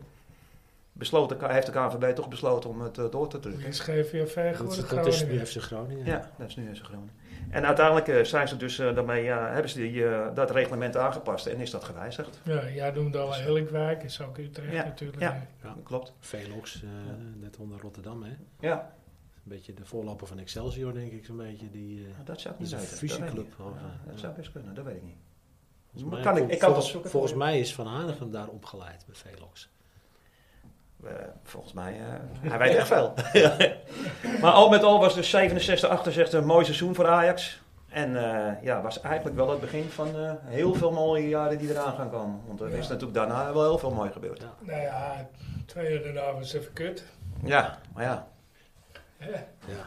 besloot de, K- heeft de KNVB toch besloten om het eh, door te drukken. Die is GVV Dat, geworden, is- dat is nu Groningen. FC Groningen. Ja, dat is nu eens Groningen. En uiteindelijk eh, zijn ze dus eh, daarmee, ja, hebben ze die, eh, dat reglement aangepast en is dat gewijzigd. Ja, jij noemde al Helikwaak, is ook Utrecht Dus- Ja, natuurlijk. ja. Klopt. Velox, eh, net onder Rotterdam. Hè? Een Ja, beetje de voorloper van Excelsior, denk ik, zo'n beetje. Die, eh, dat zou ik Dat niet is een weten. Dat weet ik fusieclub, niet. of, Ja, eh, Dat zou best kunnen, dat weet ik niet. volgens mij- Kan ik- vol- ik kan volgens, dat zoeken volgens voor mij is Van Hanegem daar opgeleid bij Velox. Eh, volgens mij, eh, hij weet echt veel. maar al met al was dus 67, 68 een mooi seizoen voor Ajax. En eh, ja, was eigenlijk wel het begin van eh, heel veel mooie jaren die eraan gaan komen. Want er is Ja. natuurlijk daarna wel heel veel mooi gebeurd. Ja. Nou ja, twee jaar daarna was het even kut. Ja, maar ja. Hè? Ja.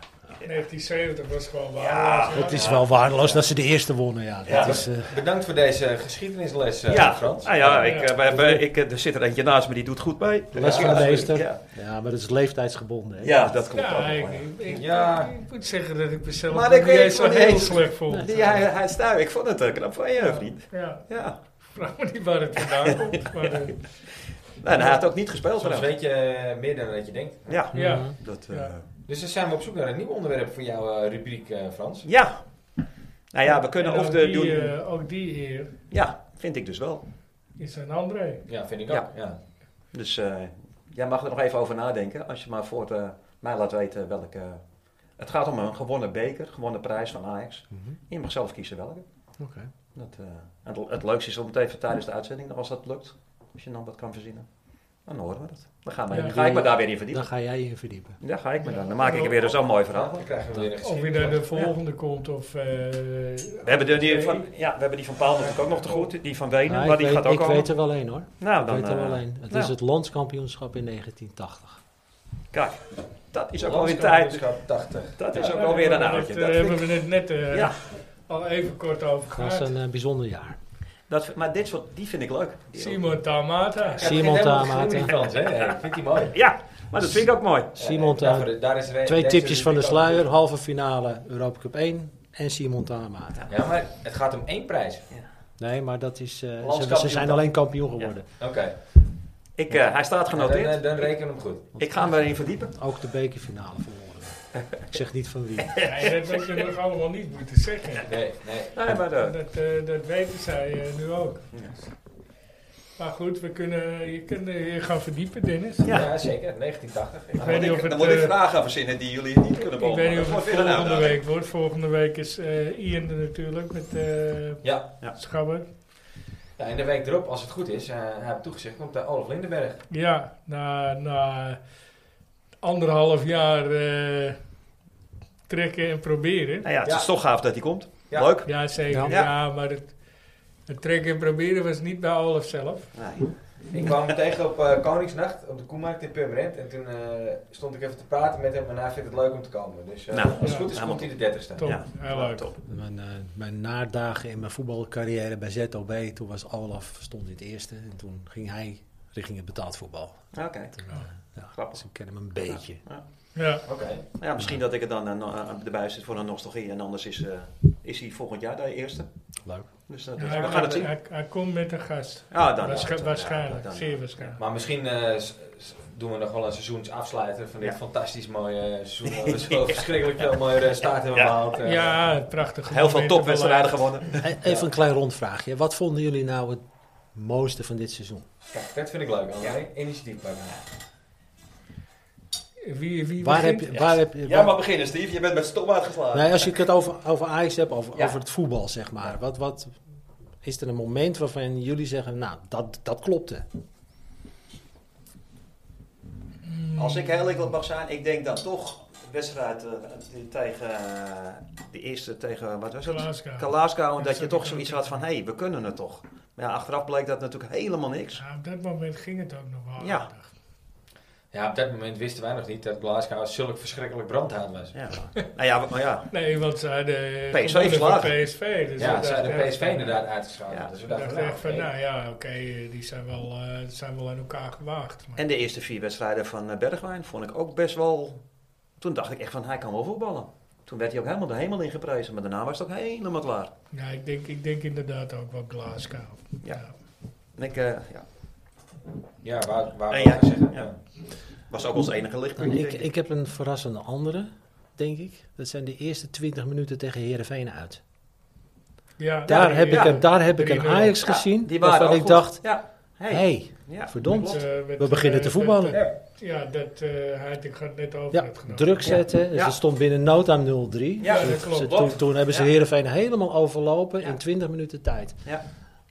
1970 was gewoon waar. Het is wel waardeloos dat ze de eerste wonnen. Ja, dat Ja. is, eh, Bedankt voor deze geschiedenisles, eh, ja, Frans. Ah, ja, ik, Ja. eh, we hebben- ik, eh, er zit er eentje naast me, die doet goed mee. Les ja, van de meester. Ja, ja, maar dat is leeftijdsgebonden. Hè? ja, dat klopt. ook Ja, nog, ik, ja. ik, ik- Ja. ik moet zeggen dat ik mezelf Maar maar dat niet kun je eens zo gewoon heel heel slecht vond. Die, hij, hij stuit. Ik vond het eh, knap van je, vriend. Ja, Ja. vraag me niet waar het vandaan komt. Maar, eh, Nou, en hij had ook niet gespeeld Soms trouwens. weet je eh, meer dan dat je denkt. Ja, Mhm. ja. dat... Ja. eh, Dus dan zijn we op zoek naar een nieuw onderwerp voor jouw eh, rubriek, eh, Frans. Ja. Nou ja, we kunnen En of ook de... die, doen- eh, ook die heer Ja, vind ik dus wel. is een André. Ja, vind ik ook. Ja. Ja. Dus eh, jij mag er nog even over nadenken. Als je maar voor eh, mij laat weten welke... Het gaat om een gewonnen beker, gewonnen prijs van Ajax. Mhm. Je mag zelf kiezen welke. Oké. Dat, eh, het, het leukste is om het even tijdens de uitzending, nog als dat lukt. Als je dan wat kan verzinnen. Dan horen we dat. Dan gaan we, Ja. ga ik me daar weer in verdiepen. Dan ga jij je in verdiepen. Ja, ga ik me dan. Dan maak ik er weer zo'n mooi verhaal. Dan krijgen we weer een Of wie geschiedenis. naar de volgende komt. Of, eh, We hebben, de, die van, ja, we hebben die van Paal natuurlijk ook nog te goed. Die van Wenen, Nou, maar ik die weet, gaat ook ik al. weet er wel één hoor. Nou, Ik dan, weet er wel eh, één. Het nou. is het landskampioenschap in 1980. Kijk, dat is ook alweer tijd. Landskampioenschap 80. Dat is ja, ook daar alweer een hebben we oudje. het, Dat eh, vind hebben we het net ik- eh, ja, al even kort over Dat was gehad. een eh, bijzonder jaar. dat, vind- maar dit soort, die vind ik leuk. Die- Simon Tamata. Ja, Simon begint helemaal Tamata. te groeien, Frans, hè? Ja, Ik vind die mooi. Ja, maar dat vind ik ook mooi. Simon Ja, Taan- daarvoor- daar is re- Twee deze tipjes van de rubriek ook sluier. Halve finale Europa Cup 1. En Simon Taamata. natuurlijk. Ja, maar het gaat om één prijs. Nee, maar dat is, eh, ze, Landskampioen ze zijn dan. alleen kampioen geworden. Oké, Nou, Ik, eh, hij staat dan, genoteerd. eh, dan rekenen we hem goed. ik ga hem erin verdiepen. Ook de bekerfinale verloren. ik zeg niet van wie. Ja, dat had je nog allemaal niet moeten zeggen. Nee, nee. Nee, maar eh, Dat, eh, dat weten zij eh, nu ook. Maar goed, we kunnen, je kunt eh, je gaan verdiepen, Dennis. Ja, Ja. zeker. 1980. dan weet moet niet ik- of het, dan moet ik eh, vragen gaan verzinnen die jullie niet kunnen Ik beantwoorden. weet niet of het Dat wordt weer een volgende uitdaging. week wordt. Volgende week is eh, Ian er natuurlijk met eh Ja. Schabber. ja, en de week erop, als het goed is, eh hij heeft toegezegd, komt daar Olaf Lindenberg. Ja, na, na anderhalf jaar eh, trekken en proberen. Nou ja, het is Ja. toch gaaf dat hij komt. Ja. Leuk. Ja, zeker. Ja. Ja, maar het, het trekken en proberen was niet bij Olaf zelf. Nee. Ik kwam hem tegen op eh, Koningsnacht op de Koemarkt in Purmerend. En toen eh, stond ik even te praten met hem. En hij vindt het leuk om te komen. Dus eh, Nou, als het ja, goed is, helemaal komt hij de 30 staan. Top. Ja, Heel leuk. top. Mijn, eh, mijn naardagen in mijn voetbalcarrière bij ZOB, toen was Olaf stond in het eerste. En toen ging hij richting het betaald voetbal. Oké. Toen, eh, ja, Grappig. dus ik ken hem een beetje. Ja, Oké. Ja, misschien dat ik het dan eh, no- eh, erbij zit voor een nostalgie. En anders is, eh, is hij volgend jaar de eerste. Leuk. Dus dat, Ja, we hij, gaan het zien. hij- hij komt met een gast. Ah, dan- Waarsch- ja, dan- waarschijnlijk, ja, dan- zeer waarschijnlijk. Maar misschien eh, s- s- doen we nog wel een seizoensafsluiter van dit Ja. fantastisch mooie seizoen. Waar we zo verschrikkelijk veel mooie resultaten hebben Ja. behaald. eh. Ja, prachtig. Heel veel topwedstrijden gewonnen. E- Even een klein rondvraagje. Wat vonden jullie nou het mooiste van dit seizoen? Kijk, dat vind ik leuk. André. Initiatief pakken. Wie, wie Waar heb begint? je... Waar heb je Ja, waar- maar beginnen Steve. Je bent met stom uitgeslagen. Nee, als ik het over, over Ajax heb, over, Ja. over het voetbal, zeg maar. Wat, wat is er een moment waarvan jullie zeggen, nou, dat, dat klopte? Als ik heel eerlijk mag zijn, ik denk dat toch de wedstrijd eh, die tegen eh, de eerste tegen wat was het? Kalaska. Kalaskou, Ja, dat je sorry, toch ik- zoiets had van hé, hey, we kunnen het toch. Maar ja, achteraf bleek dat natuurlijk helemaal niks. Ja, op dat moment ging het ook nog wel. Ja. aardig. Ja, op dat moment wisten wij nog niet dat Glasgow zulk verschrikkelijk brandhaat was. Ja. nou ja, maar ja, Nee, want ze hadden PSV gewonnen van verslagen. PSV. Dus Ja, we ze dachten hadden echt PSV van, inderdaad uitgeschakeld. Ja. Dus we We dachten dachten, nou, echt van, oké. nou ja, oké, eh, die zijn wel, eh, zijn wel aan elkaar gewaagd. Maar en de eerste vier wedstrijden van eh, Bergwijn vond ik ook best wel... Toen dacht ik echt van hij kan wel voetballen. Toen werd hij ook helemaal de hemel ingeprezen, maar daarna was het ook helemaal klaar. ja, ik, denk, ik denk inderdaad ook wel Glasgow. Ja. En ik, eh, ja, Ja, waar, waar wou En ja, ik zeggen. ja. was ook ons enige lichtpunt. Ik, denk ik. ik heb een verrassende andere, denk ik. Dat zijn de eerste 20 minuten tegen Herenveen uit. Ja, Daar, ja, heb, ik ja. een, daar heb ik een 3-0. Ajax Ja, gezien die waren waarvan ook ik goed. dacht, Ja, hey, hé, ja, verdomd. klopt. Met, eh, met, we beginnen eh, te dat, voetballen. eh, ja, dat eh Heiting gaat net over Ja, heeft genomen. druk zetten. Dus Ja. het stond binnen nood aan 0-3. Ja, Ze- dat klopt. ze- toen, toen hebben ze Ja. Herenveen helemaal overlopen Ja. in 20 minuten tijd. Ja.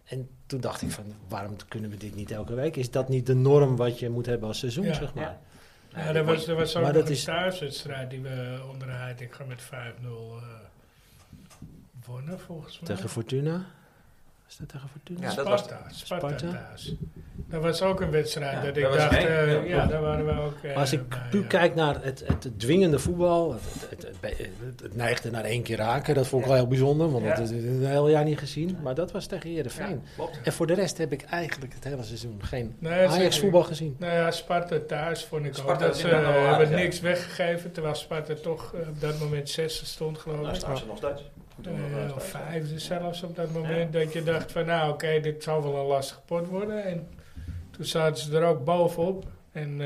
En toen dacht ik van, waarom kunnen we dit niet elke week? Is dat niet de norm wat je moet hebben als seizoen, Ja. zeg maar? Ja. Ja, dat was, dat was ook Maar nog dat een is- thuiswedstrijd die we onder Heiting gaan met 5-0 eh wonnen, volgens mij. Tegen Fortuna? Is dat tegen Fortuna? Ja, dat was- Sparta, Sparta, Sparta? thuis. Dat was ook een wedstrijd Ja, dat dat ik was dacht, één, eh, ja, ja, klopt. daar waren we ook eh, Maar als ik bij, puur ja. kijk naar het, het dwingende voetbal, het, het, het, het- het neigde naar één keer raken, dat vond ik wel heel bijzonder, want Ja. dat is een heel jaar niet gezien. Maar dat was tegen Herenveen. klopt. En voor de rest heb ik eigenlijk het hele seizoen geen Nee, dat is Ajax zeker. voetbal gezien. Nou ja, Sparta thuis vond ik Sparta ook. Dat is ze inderdaad wel eh, hebben aardig, ja. niks weggegeven, terwijl Sparta toch eh, op dat moment zesde stond, geloof Nou, ik. staan ze nog steeds. Eh, of vijfde zelfs op dat moment. Dat je dacht van nou oké, dit zal wel een lastig pot worden. En toen zaten ze er ook bovenop. En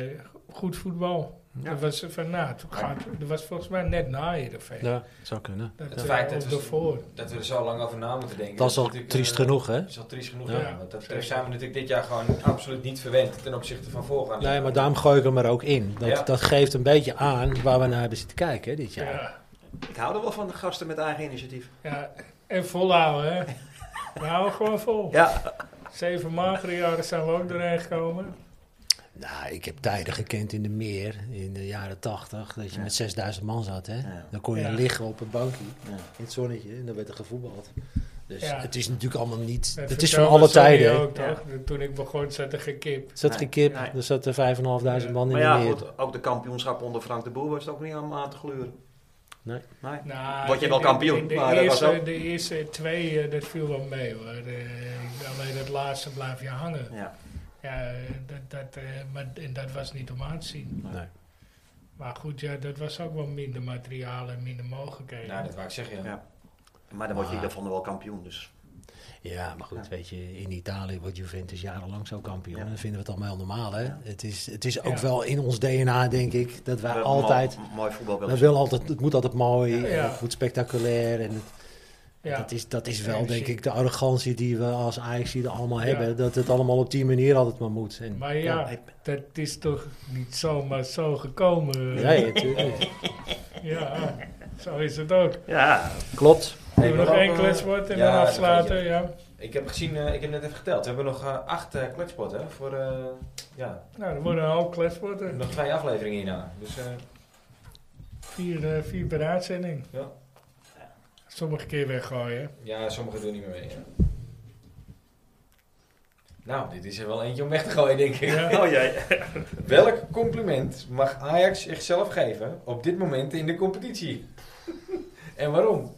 eh, goed voetbal. Ja. Dat was van nou, toen gaat, dat was volgens mij net na Heerenveen. Ja, zou kunnen. Dat, Het eh, feit dat of we- ervoor. Dat we er zo lang over na moeten denken. Dat is al natuurlijk, triest eh, genoeg, hè? Dat is al triest genoeg. Ja. Ja. Want dat eh, zijn we natuurlijk dit jaar gewoon absoluut niet verwend ten opzichte van voorgaande. Nee, maar daarom gooi ik hem er ook in. Dat, Ja. dat geeft een beetje aan waar we naar hebben zitten kijken hè, dit Ja. jaar. Ja. Ik hou er wel van de gasten met eigen initiatief. Oh, En volhouden hè. We houden gewoon vol. Ja, Zeven magere jaren zijn we ook doorheen gekomen. Nou, ik heb tijden gekend in de meer, in de jaren tachtig, dat je met 6000 man zat. Hè? Ja. Dan kon je Ja. liggen op een bankje Ja. in het zonnetje en dan werd er gevoetbald. Dus Ja. het is natuurlijk allemaal niet. Dat het is vertelde van alle Sonny tijden. hè. ook, toch? Toen ik begon zat er geen kip. Er zat Nee. geen kip, Nee. er zaten 5.500 man in maar ja, de meer. goed, ook de kampioenschap onder Frank de Boer was ook niet aan, aan te gluren. Nee. nee. Nou, Word je ik wel denk- kampioen, ik denk maar de, dat was eerste, ook- de eerste twee, eh, dat viel wel mee hoor. De- alleen dat laatste blijf je hangen. Ja. Ja, eh, dat, dat, eh, maar, en dat was niet om aan te zien. Nee. Maar goed, ja, dat was ook wel minder materiaal en minder mogelijkheden. Nou, dat wou ik zeggen. Ja. Ja. Maar dan word je Ah. in ieder geval wel kampioen. Dus. Ja, maar goed, Ja. weet je, in Italië wordt Juventus jarenlang zo kampioen. Ja. En dan vinden we het allemaal heel normaal. Hè? Ja. Het, is, het is ook Ja. wel in ons DNA, denk ik, dat wij We hebben altijd. mo- mooi voetbal We willen zien. willen altijd, het moet altijd mooi, Ja. en het moet spectaculair en het, ja. Dat, is, dat is wel, Ja, denk precies. ik, de arrogantie die we als ajax er allemaal Ja. hebben. Dat het allemaal op die manier altijd maar moet. En, maar ja, Ja. dat is toch niet zomaar zo gekomen. eh. Nee, natuurlijk. niet. Ja, zo is het ook. Ja, Klopt. Doen we we nog lopen- één kletswoord en Ja, dan dat afsluiten. weet Ja. Ik heb gezien, eh, ik heb net even geteld. We hebben nog eh, acht eh, kletspotten hè, voor eh, ja, Nou, er worden een hoop kletswoorden. nog twee afleveringen hierna. Dus eh, Vier, eh, vier per uitzending. Ja. Sommige keer weggooien. ja, sommigen doen niet meer mee. ja. Nou, dit is er wel eentje om weg te gooien, denk ik. Oh jee. Welk compliment mag Ajax zichzelf geven op dit moment in de competitie? en waarom?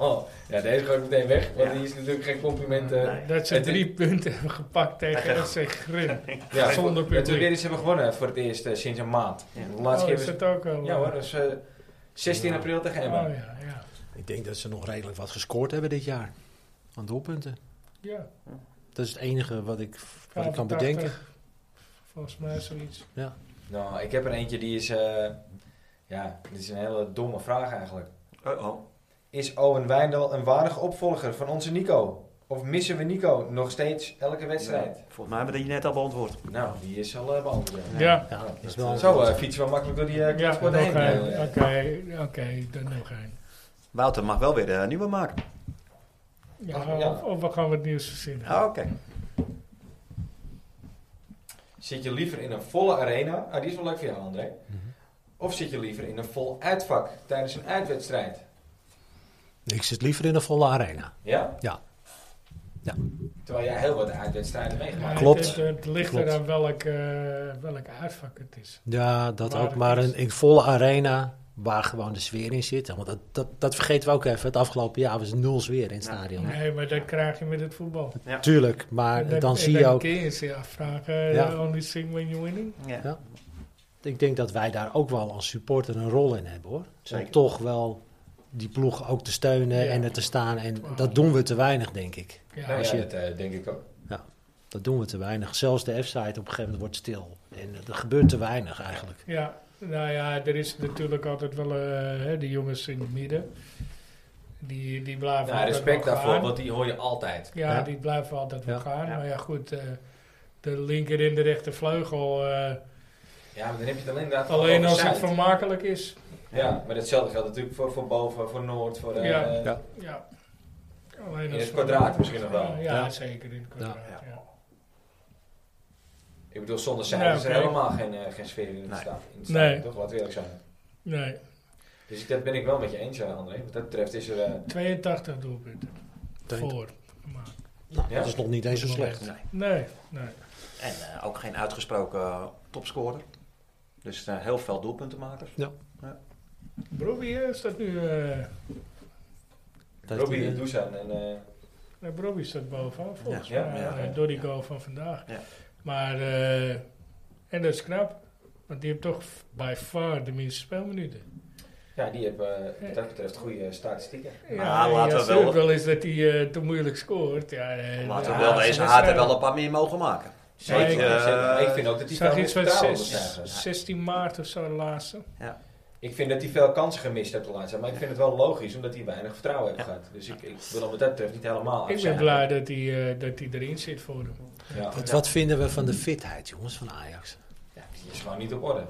Oh, ja, deze ga ik meteen weg, want die is natuurlijk geen compliment. eh, Dat ze Het- drie punten hebben gepakt tegen FC Grim. ja, Zonder Dat we weer publiek. eens hebben gewonnen voor het eerst eh, sinds een maand. De laatste Oh, keer is was dat ook al? Ja hoor, dat is eh, 16 april tegen Oh Emmen. ja, ja. Ik denk dat ze nog redelijk wat gescoord hebben dit jaar. Aan doelpunten. ja. Dat is het enige wat ik, wat ik kan 85, bedenken. Volgens mij zoiets. Nou, ik heb er eentje die is... eh, ja, dit is een hele domme vraag eigenlijk. Oh, oh. Is Owen Wijndal een waardige opvolger van onze Nico? Of missen we Nico nog steeds elke wedstrijd? Volgens mij hebben we die net al beantwoord. Nou, die is al eh, beantwoord. Ja. Ja, Nou, is dat, wel eh, Zo eh, fietsen we makkelijk door die eh Ja, Klaagsport nog heen. een. eh. Oké, oké, dan nog een. Wouter mag wel weer een nieuwe maken. Ja, Ja. Of, of we gaan wat nieuws verzinnen. Oh, Ah, Oké. Zit je liever in een volle arena? Ah, die is wel leuk voor jou, André. Mhm. Of zit je liever in een vol uitvak tijdens een uitwedstrijd? Ik zit liever in een volle arena. Ja? Ja. Ja. Terwijl jij heel wat uitwedstrijden Ja, meegemaakt Klopt. Het, het, het ligt Klopt. eraan welk, eh, welk uitvak het is. Ja, dat Waar ook. het Maar is. een, een volle arena waar gewoon de sfeer in zit. Want dat, dat, dat vergeten we ook even. Het afgelopen jaar was nul sfeer in het stadion. Nee, maar dat krijg je met het voetbal. Tuurlijk, maar dan zie je ook... kun je ze afvragen, Ja. eh, only thing when you're winning. Ja. Ja. Ik denk dat wij daar ook wel als supporter een rol in hebben hoor. Zeker. Om toch wel die ploeg ook te steunen Ja. en er te staan. En Wauw. dat doen we te weinig, denk ik. Ja, Nou ja, je- dat eh, denk ik ook. Dat doen we te weinig. Zelfs de F-site op een gegeven moment wordt stil. En eh, er gebeurt te weinig eigenlijk. Ja, nou ja, er is natuurlijk altijd wel eh, hè, die jongens in het midden. Die, die blijven Nou, altijd respect wel daarvoor, gaan. want die hoor je altijd. Ja, Ja. die blijven altijd wel Ja. gaan. Ja. Maar ja, goed, eh, de linker en de rechtervleugel. eh Ja, maar dan heb je het alleen daar alleen als het vermakelijk is. Ja, maar hetzelfde geldt natuurlijk voor, voor boven, voor noord, voor... eh, Ja. eh, Ja. Ja. Alleen In als het kwadraat misschien nog wel. Ja, Ja. zeker in het kwadraat. Ja. Ik bedoel, zonder cijfers is er Ja, oké. helemaal geen, eh, geen sfeer in het Nee. stadion. In het Nee. stadion, Toch? Laten we eerlijk zijn. Nee, Dus ik- dat ben ik wel met je eens, eh, André. Wat dat betreft is er... eh, 82 doelpunten. Voor. gemaakt. Nou, Ja. Dat is nog niet eens zo slecht. Nee. Nee, nee. En eh, ook geen uitgesproken eh, topscorer. Dus eh, heel veel doelpuntenmakers. Brobbie eh, staat nu... eh Dat Robbie die, en eh, Dusan en... eh, nee, Brobbie staat bovenaan volgens Ja, mij. ja, eh, ja. door die goal van vandaag. Ja. Maar... eh, en dat is knap. Want die heeft toch by far de minste speelminuten. ja, die hebben eh, wat dat betreft goede statistieken. Maar laten we als het wel- wel eens dat hij eh, te moeilijk scoort. Ja, eh, Laten we ja, wel als wezen, een hij had er wedstrijd- wel een paar meer mogen maken. Zeker. Zeker. zeker. Ik vind ook dat Ik die zag veel iets van betalen zes- zijn. 16 maart of zo de laatste. Oh, Ik vind dat hij veel kansen gemist heeft de laatste tijd. Maar ik vind het wel logisch, omdat hij weinig vertrouwen heeft gehad. Dus ik, ik wil hem wat dat betreft niet helemaal Ik ben afzeggen. blij dat hij, eh, dat hij erin zit voor hem. Ja, wat, wat vinden we van de fitheid, jongens, van Ajax? ja, die is gewoon niet op orde.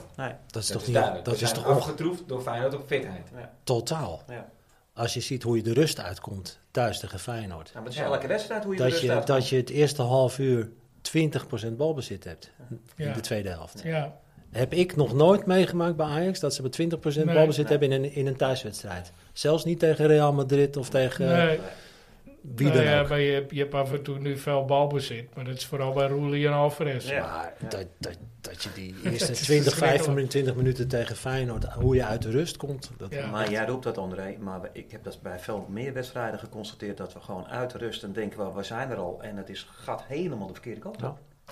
Dat dat is toch is niet... duidelijk. Dat We is zijn toch onge- afgetroefd door Feyenoord op fitheid. totaal. Ja. Nou, Als je ziet hoe je de rust uitkomt thuis tegen Feyenoord. Ja, maar het is Ja. elke wedstrijd hoe je Dat er je, staat. dat je het eerste half uur 20% balbezit hebt in Ja. de tweede helft. Ja, Heb ik nog nooit meegemaakt bij Ajax dat ze met 20% Nee. balbezit hebben in een, in een thuiswedstrijd. Zelfs niet tegen Real Madrid of tegen eh, nee, wie nou dan ja, ook. maar je, hebt- je hebt af en toe nu veel balbezit. Maar dat is vooral bij Roelie en Alvarez. Ja. Maar dat, dat, dat je die is eerste 20, 25 verschrikkelijk. minuten, 20 minuten tegen Feyenoord, hoe je uit de rust komt. Dat, Ja. eh, Maar jij roept dat, André. Maar we- ik heb dat bij veel meer wedstrijden geconstateerd. Dat we gewoon uitrusten denken, we, we zijn er al. En het is, gaat helemaal de verkeerde kant op.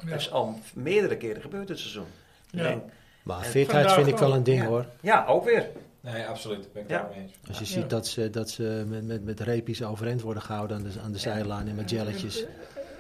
Ja. Dat is al meerdere keren gebeurd dit seizoen. Ik Ja. denk, Maar En fitheid vandaag vind ik wel ook. een ding Ja. hoor. ja, ook weer. Nee, absoluut. Ben ik Ja. daar mee eens. Als je Ja. ziet dat ze, dat ze met, met, met reepjes overeind worden gehouden aan de, aan de zijlijn en met jelletjes.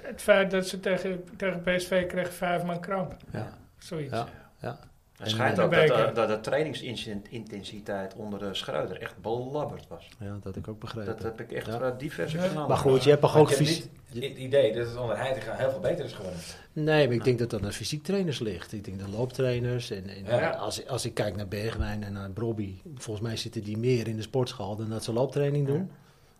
Het feit dat ze tegen, tegen PSV kregen vijf man kramp. Ja. Zoiets. Ja. Het schijnt En, ook eh, dat, Beker. eh, dat de trainingsintensiteit onder de Schruider echt belabberd was. Ja, dat had ik ook begrepen. Dat heb ik echt Ja. eh, diverse Ja. kanalen. maar goed, je hebt toch Maar ook ik heb fysiek... niet het idee dat het onder Heitinga heel veel beter is geworden. Nee, maar ik denk dat dat aan fysiek trainers ligt. Ik denk de looptrainers. En, en Ja. als, als ik kijk naar Bergwijn en naar Brobby, volgens mij zitten die meer in de sportschool dan dat ze looptraining doen.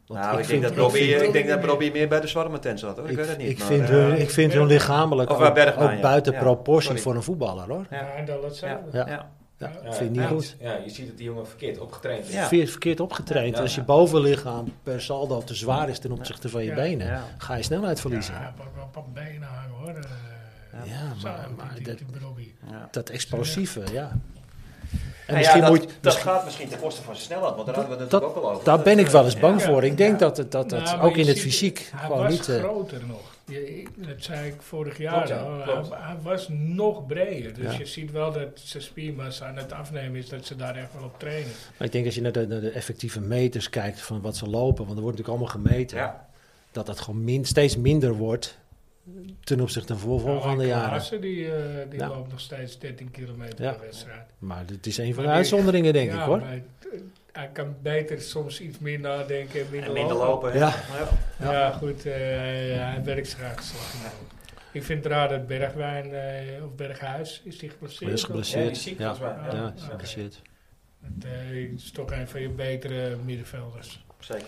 Want Nou, ik, vind- denk dat ik Robbie, vind- ik denk dat Robbie meer bij de zwarmetent zat. Hoor. Ik, ik, weet het niet. ik maar, vind, eh, hun, ik vind hun lichamelijk Of bij ook, Bergwijn, ook ja. buiten Ja. proportie Sorry. voor een voetballer hoor. Ja. Ja, en dat ja, hetzelfde. Ja. ja. Ja, Ja. dat vind ik niet ja, goed. Ja, je ziet dat die jongen verkeerd opgetraind is. Ja. Verkeer- Verkeerd opgetraind. Ja. Als je bovenlichaam per saldo te zwaar is ten opzichte van je Ja. benen, Ja. ga je snelheid verliezen. Ja, Ja, pak wel een paar benen hangen hoor. eh, zo, maar, die- maar die- dat, die Brobby. dat explosieve, ja. En Nou ja, misschien dat, moet, dat misschien- gaat misschien ten koste van zijn snelheid, want daar hadden we het dat- natuurlijk ook al over. daar ben ik wel eens bang Ja. voor. Ik denk dat het, dat, Nou, dat maar ook je in het ziet- fysiek Hij gewoon was niet... eh, groter nog. Je- ik- dat zei ik vorig jaar. Klopt, ja, al. klopt. Hij, hij was nog breder. Dus Ja. je ziet wel dat zijn spiermassa aan het afnemen is. Dat ze daar echt wel op trainen. maar ik denk als je naar de, naar de effectieve meters kijkt van wat ze lopen, want er wordt natuurlijk allemaal gemeten, Ja. dat dat gewoon min, steeds minder wordt ten opzichte van voorgaande Alleen jaren. Klaassen, die, eh, die Ja. loopt nog steeds 13 kilometer Ja. per wedstrijd. Maar dit is een van de Maar die- uitzonderingen, denk Ja, ik hoor. maar het- eh, hij kan beter soms iets meer nadenken en minder, En minder lopen. lopen. hè. Ja. Ja. Ja, goed, eh, hij werkt graag slag. Ik vind het raar dat Bergwijn eh, of Berghuis is die geblesseerd. Hij is Ja, die geblesseerd. is ziek Ja, volgens mij. ja, Ja, is oké. geblesseerd. Het eh, is toch een van je betere middenvelders. Zeker.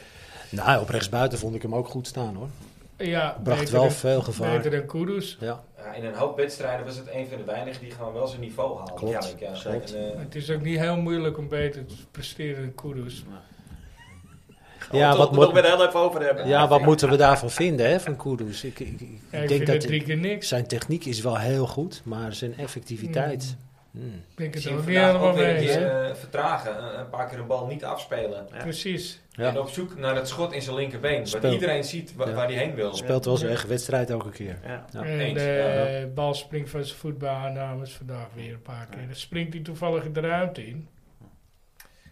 Nou, op rechtsbuiten vond ik hem ook goed staan hoor. Ja, Bracht beter wel dan- veel gevaar. Beter dan Kudus. Ja, Ja, in een hoop wedstrijden was het een van de weinigen die gewoon wel zijn niveau haalde. Klopt. denk ik, Ja, Klopt. En, eh, Het is ook niet heel moeilijk om beter te presteren dan Kudus. Oh, ja, wat, moeten we moet, het heel even over hebben? ja wat moeten we daarvan vinden hè, van Kudus? Ik, ik, ik Ja, ik denk vind dat het drie keer niks. zijn techniek is wel heel goed, maar zijn effectiviteit... hmm. Ik denk Ik het zie er hem ook niet vandaag helemaal ook weer mee een eens. keer eh, vertragen. Een, een paar keer een bal niet afspelen. Ja. Precies. Ja, En op zoek naar dat schot in zijn linkerbeen. Speel. Waar iedereen ziet wa- Ja. waar hij heen wil. speelt wel zijn eigen wedstrijd elke keer. Ja. Ja, en eens, de bal springt van zijn voetbalaannames vandaag weer een paar keer. Dan springt hij toevallig de ruimte in.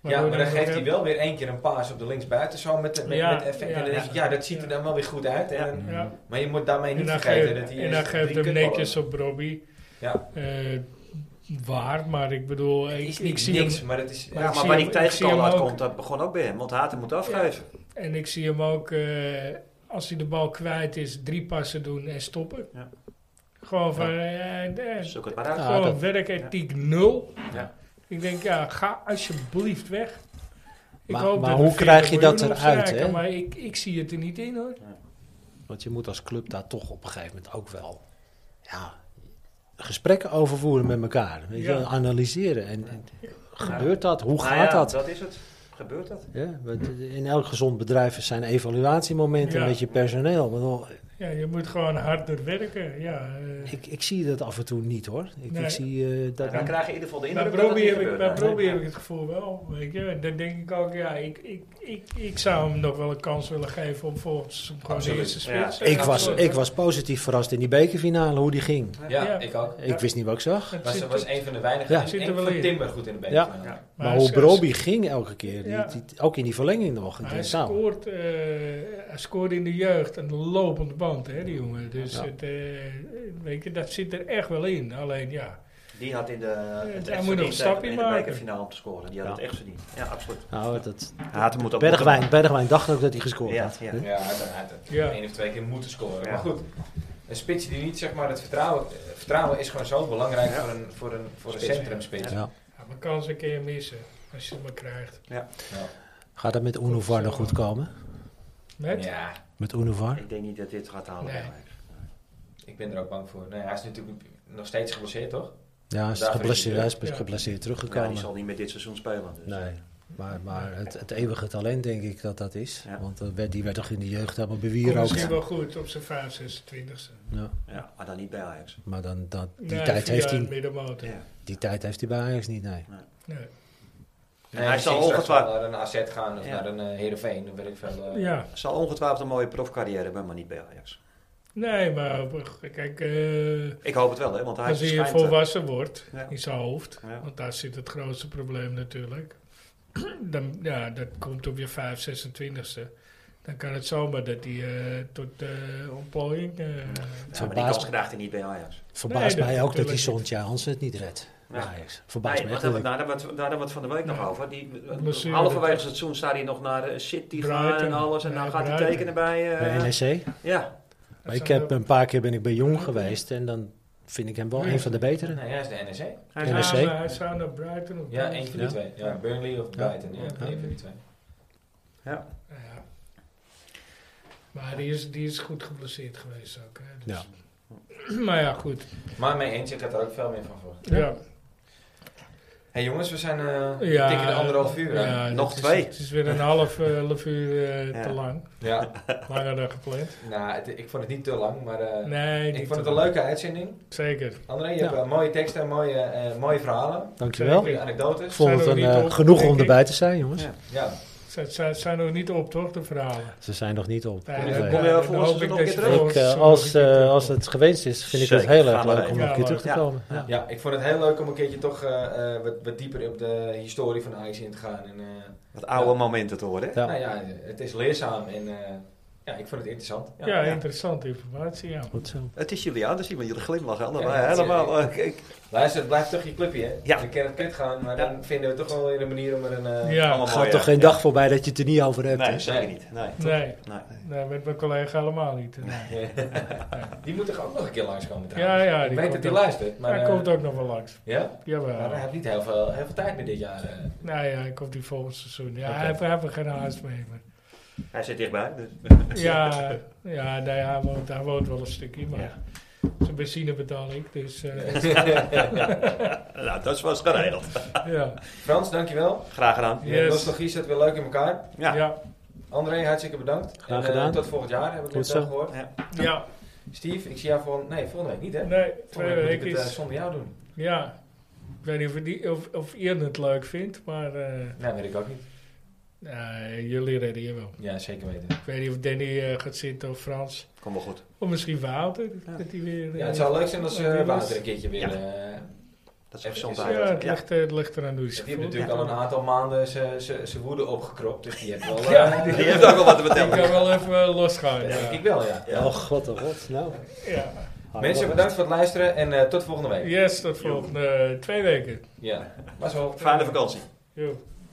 Ja, Waardoor maar dan nog geeft heel- hij wel weer één keer een paas op de linksbuiten. Zo met, de- met, Ja, met effect. ja. en dan denk je, ja, dat ziet er Ja. dan wel weer goed uit. En, dan- Ja. Maar je moet daarmee En niet dan vergeten geeft- dat hij... en dan eerst geeft drie hem kutballen- netjes op Robbie. Ja. Eh, waar, maar ik bedoel, Het ik, is ik niks, zie niks hem, maar het is... Ja, ik zie maar waar hem- die ik zie hem tegenstander ook- uitkomt, dat begon ook bij hem. Want Haten moet afgeven. En ik zie hem ook, eh, als hij de bal kwijt is, drie passen doen en stoppen. Ja. Gewoon van, eh, eh, Zoek het maar uit. Ja, gewoon dat- werkethiek nul. Ja. Ik denk, ja, ga alsjeblieft weg. Ik Maar- hoop maar dat hoe we 40 krijg je dat miljoen eruit, opstrijken, hè? Maar ik, ik zie het er niet in, hoor. Want je moet als club daar toch op een gegeven moment ook wel ja, gesprekken over voeren met elkaar. Weet je, Ja. Analyseren. En, en gebeurt dat? Hoe Nou gaat ja, dat? Dat is het. Gebeurt dat? Ja, want in elk gezond bedrijf zijn evaluatiemomenten Ja. met je personeel. Want al- Ja, je moet gewoon harder werken, ja. eh. Ik, ik zie dat af en toe niet hoor. Ik, Nee. ik zie eh, dat. Ja, wij krijgen in ieder geval de Bij indruk dat het Broby niet heb, ik, gebeurt. bij Nee. Broby heb ik het gevoel wel. Weet je. En Dan denk ik ook, ja, ik, ik, ik, ik zou hem nog wel een kans willen geven om volgens hem gewoon de Absoluut. eerste spits. eh, Ja. ik, was, ik was positief verrast in die bekerfinale hoe die ging. Ja, Ja. ik ook. Ik wist niet wat ik zag. Het Was, zit- was een van de weinigen. Ja. Dus Zit er één wel van in. Timber goed in de been. Ja. Ja. Maar, hij hoe scoort- Broby ging elke keer. Die- Ja. Die, ook in die verlenging nog. Ik Hij denk, nou, scoort, eh, hij scoort in de jeugd een lopende band, hè, die jongen. Dus Ja. het, eh, weet je, dat zit er echt wel in. Alleen ja, Die had in de, het hij moet echt nog een verdiend stapje tegen- in de maken. bekerfinale om te scoren. Die had Ja. het echt verdiend. Ja, absoluut. nou, dat, Haten moet ook Bergwijn, Bergwijn dacht ook dat hij gescoord Ja, had. ja. Hè? Ja, hij had- hij had het Ja. één of twee keer moeten scoren. Ja. Maar goed, een spits die niet, zeg maar, het vertrouwen... eh, Vertrouwen is gewoon zo belangrijk voor een, voor een, voor een Spits, centrumspits. Ja. ja, maar kansen kun je missen als je het maar krijgt. Gaat dat met Unovar nog goed komen? Met? ja, Met Unovar? Ik denk niet dat dit gaat halen. Nee. Bergwijn. Ik ben er ook bang voor. Nee, hij is natuurlijk nog steeds geblesseerd, toch? Ja, hij is Daarvoor is geblesseerd, hij hij is terug. Ja, geblesseerd die teruggekomen. zal niet meer dit seizoen spelen. Dus. Nee, maar, maar het, het eeuwige talent denk ik dat dat is. Ja. Want eh, werd- die werd toch in de jeugd helemaal Komt bewierookt. misschien wel goed op zijn 5, 26 e Ja, Ja, maar dan niet bij Ajax. maar dan, dat, die, tijd heeft hij, middenmotor. Ja. die tijd heeft hij bij Ajax niet, nee. Nee. Nee, hij zal misschien straks ongetwijfeld- wel naar een AZ gaan of Ja. naar een eh, Heerenveen. Dan weet ik veel. eh. Ja. Zal ongetwijfeld een mooie profcarrière hebben, maar niet bij Ajax. Nee, maar op- kijk, eh, Ik hoop het wel, hè, want hij als hij schijnt... volwassen wordt Ja. in zijn hoofd, Ja. want daar zit het grootste probleem natuurlijk. Dan, ja, dat komt op je 5, 26e. Dan kan het zomaar dat hij eh, tot eh ontplooiing. eh, eh, ja, maar die Verbaasd- kans krijgt hij niet bij Ajax. Verbaast Nee, dat mij ook dat die natuurlijk niet. Sontja Hans het niet redt. bij Ja. Ajax. Verbaast nee, mij want echt. daar, dat daar, ik- daar, daar hebben we het van de week nog Ja. over. Die, eh, Blessure, halverwege dat- het seizoen staat hij nog naar eh, City gaan Brighton. en alles. En Ja, dan gaat hij Brighton. tekenen bij... eh, Bij NEC. ja, Maar ik heb een paar keer ben ik bij Jong geweest en dan vind ik hem wel Nee. een van de betere. Nee, hij is de NEC. hij NEC. is Ja, maar hij zou naar Brighton of Ja, Brighton. één van die Ja. twee. Ja, Burnley of Brighton. Ja, Ja. één van die twee. Ja. Maar die is, die is goed geblesseerd geweest ook. Hè? Dus- Maar ja, goed. Maar mee eens, ik had er ook veel meer van voor. Ja. hey jongens, we zijn eh Ja, dikke de anderhalf uur aan. Ja, ja, Nog dit is- twee. Het is weer een half, eh, half uur eh, Ja. te lang. Langer dan gepland. nou, het- ik vond het niet te lang, maar eh, Nee, ik niet vond het te een lang. leuke uitzending. Zeker. André, je Ja. hebt eh, mooie teksten, mooie, eh, mooie verhalen, Dankjewel. Zeker. mooie Ik anekdotes. vond het Zijn een, we er niet eh, op, genoeg denk om ik? erbij te zijn, jongens. Ja. Ja, Ze zijn, zijn er niet op, toch, de verhalen? Ze zijn nog niet op. Nee, Nee. eh, dan- kom je dan volgens hoop ons ik nog dat een keer je terug? volgens Ik, eh, ons nog een als, keer eh, terug als komt. het gewenst is, vind ik Zeker, het heel erg gaan we leuk heen. om nog een Ja, keer terug te leuk. komen. Ja. ja, ik vond het heel leuk om een keertje toch eh, eh, wat, wat dieper op de historie van Ajax in te gaan. En, eh, Wat oude momenten te horen. hè? Ja. Nou ja, het is leerzaam en eh, ja, ik vond het interessant. Ja, ja. interessante informatie, ja. Goed zo. Het is jullie aan te zien, want jullie glimlachen allemaal. Ja, dat is- helemaal. eh, kijk, Luister, het blijft toch je clubje, hè? Ja. We kunnen het kut gaan, maar Ja. dan vinden we toch wel weer een manier om er een... eh, Ja, allemaal Er mooi, gaat hè? toch geen Ja. dag voorbij dat je het er niet over hebt. Nee, hè? zeker niet. Nee. nee, Nee. nee, met mijn collega helemaal niet. Nee. Die moet toch ook nog een keer langskomen Ja, trouwens? ja, ik die weet komt dat hij ook. luistert, maar... Hij eh, komt ook nog wel langs. Ja? Maar hij Jawel. heeft niet heel veel, heel veel tijd meer dit jaar. eh. Nou ja, hij komt die volgend seizoen. Ja, Oké. hij heeft- hij heeft er geen haast mee. Maar. Hij zit dichtbij. Dus. Ja, ja nee, hij, woont, hij woont wel een stukje, maar Ja. zijn benzine betaal ik. Dus eh, Nou, dat was geregeld. ja. Frans, dankjewel. Graag gedaan. De Yes. Nostalgie zit weer leuk in elkaar. Ja. Ja. ja, André, hartstikke bedankt. Graag En, eh, gedaan. tot volgend jaar, heb ik Goed net zo. al gehoord. Steve, ik zie jou volgende... Nee, volgende week niet, hè? Nee, twee Volgende week moet weken ik het eh, is. zonder jou doen. Ja. Ik weet niet of, die, of, of Ian het leuk vindt, maar eh, Nee, weet ik ook niet. nee, jullie redden hier wel. Ja, zeker weten. Ik weet niet of Danny eh, gaat zitten of Frans. Kom wel goed. Of misschien Wouter. Dat hij weer, Ja, eh, het zou leuk zijn als Ja, die eh was- Wouter een keertje weer... Ja. eh, Dat is Even gezond. is- ja, het, eigenlijk. Ja. ligt, eh, het ligt eraan hoe hij Die zich heeft voelt. natuurlijk al een aantal maanden zijn woede opgekropt. Dus die heeft wel... eh, Ja, Die heeft ook wel wat te Ik vertellen. kan wel even eh, losgaan. ja, Ja. denk ik wel, ja. Oh god, oh god. Nou. Ja. Mensen, bedankt voor het luisteren en eh, tot volgende week. Yes, tot volgende eh, twee weken. Ja. Was wel. Fijne vakantie. Jo.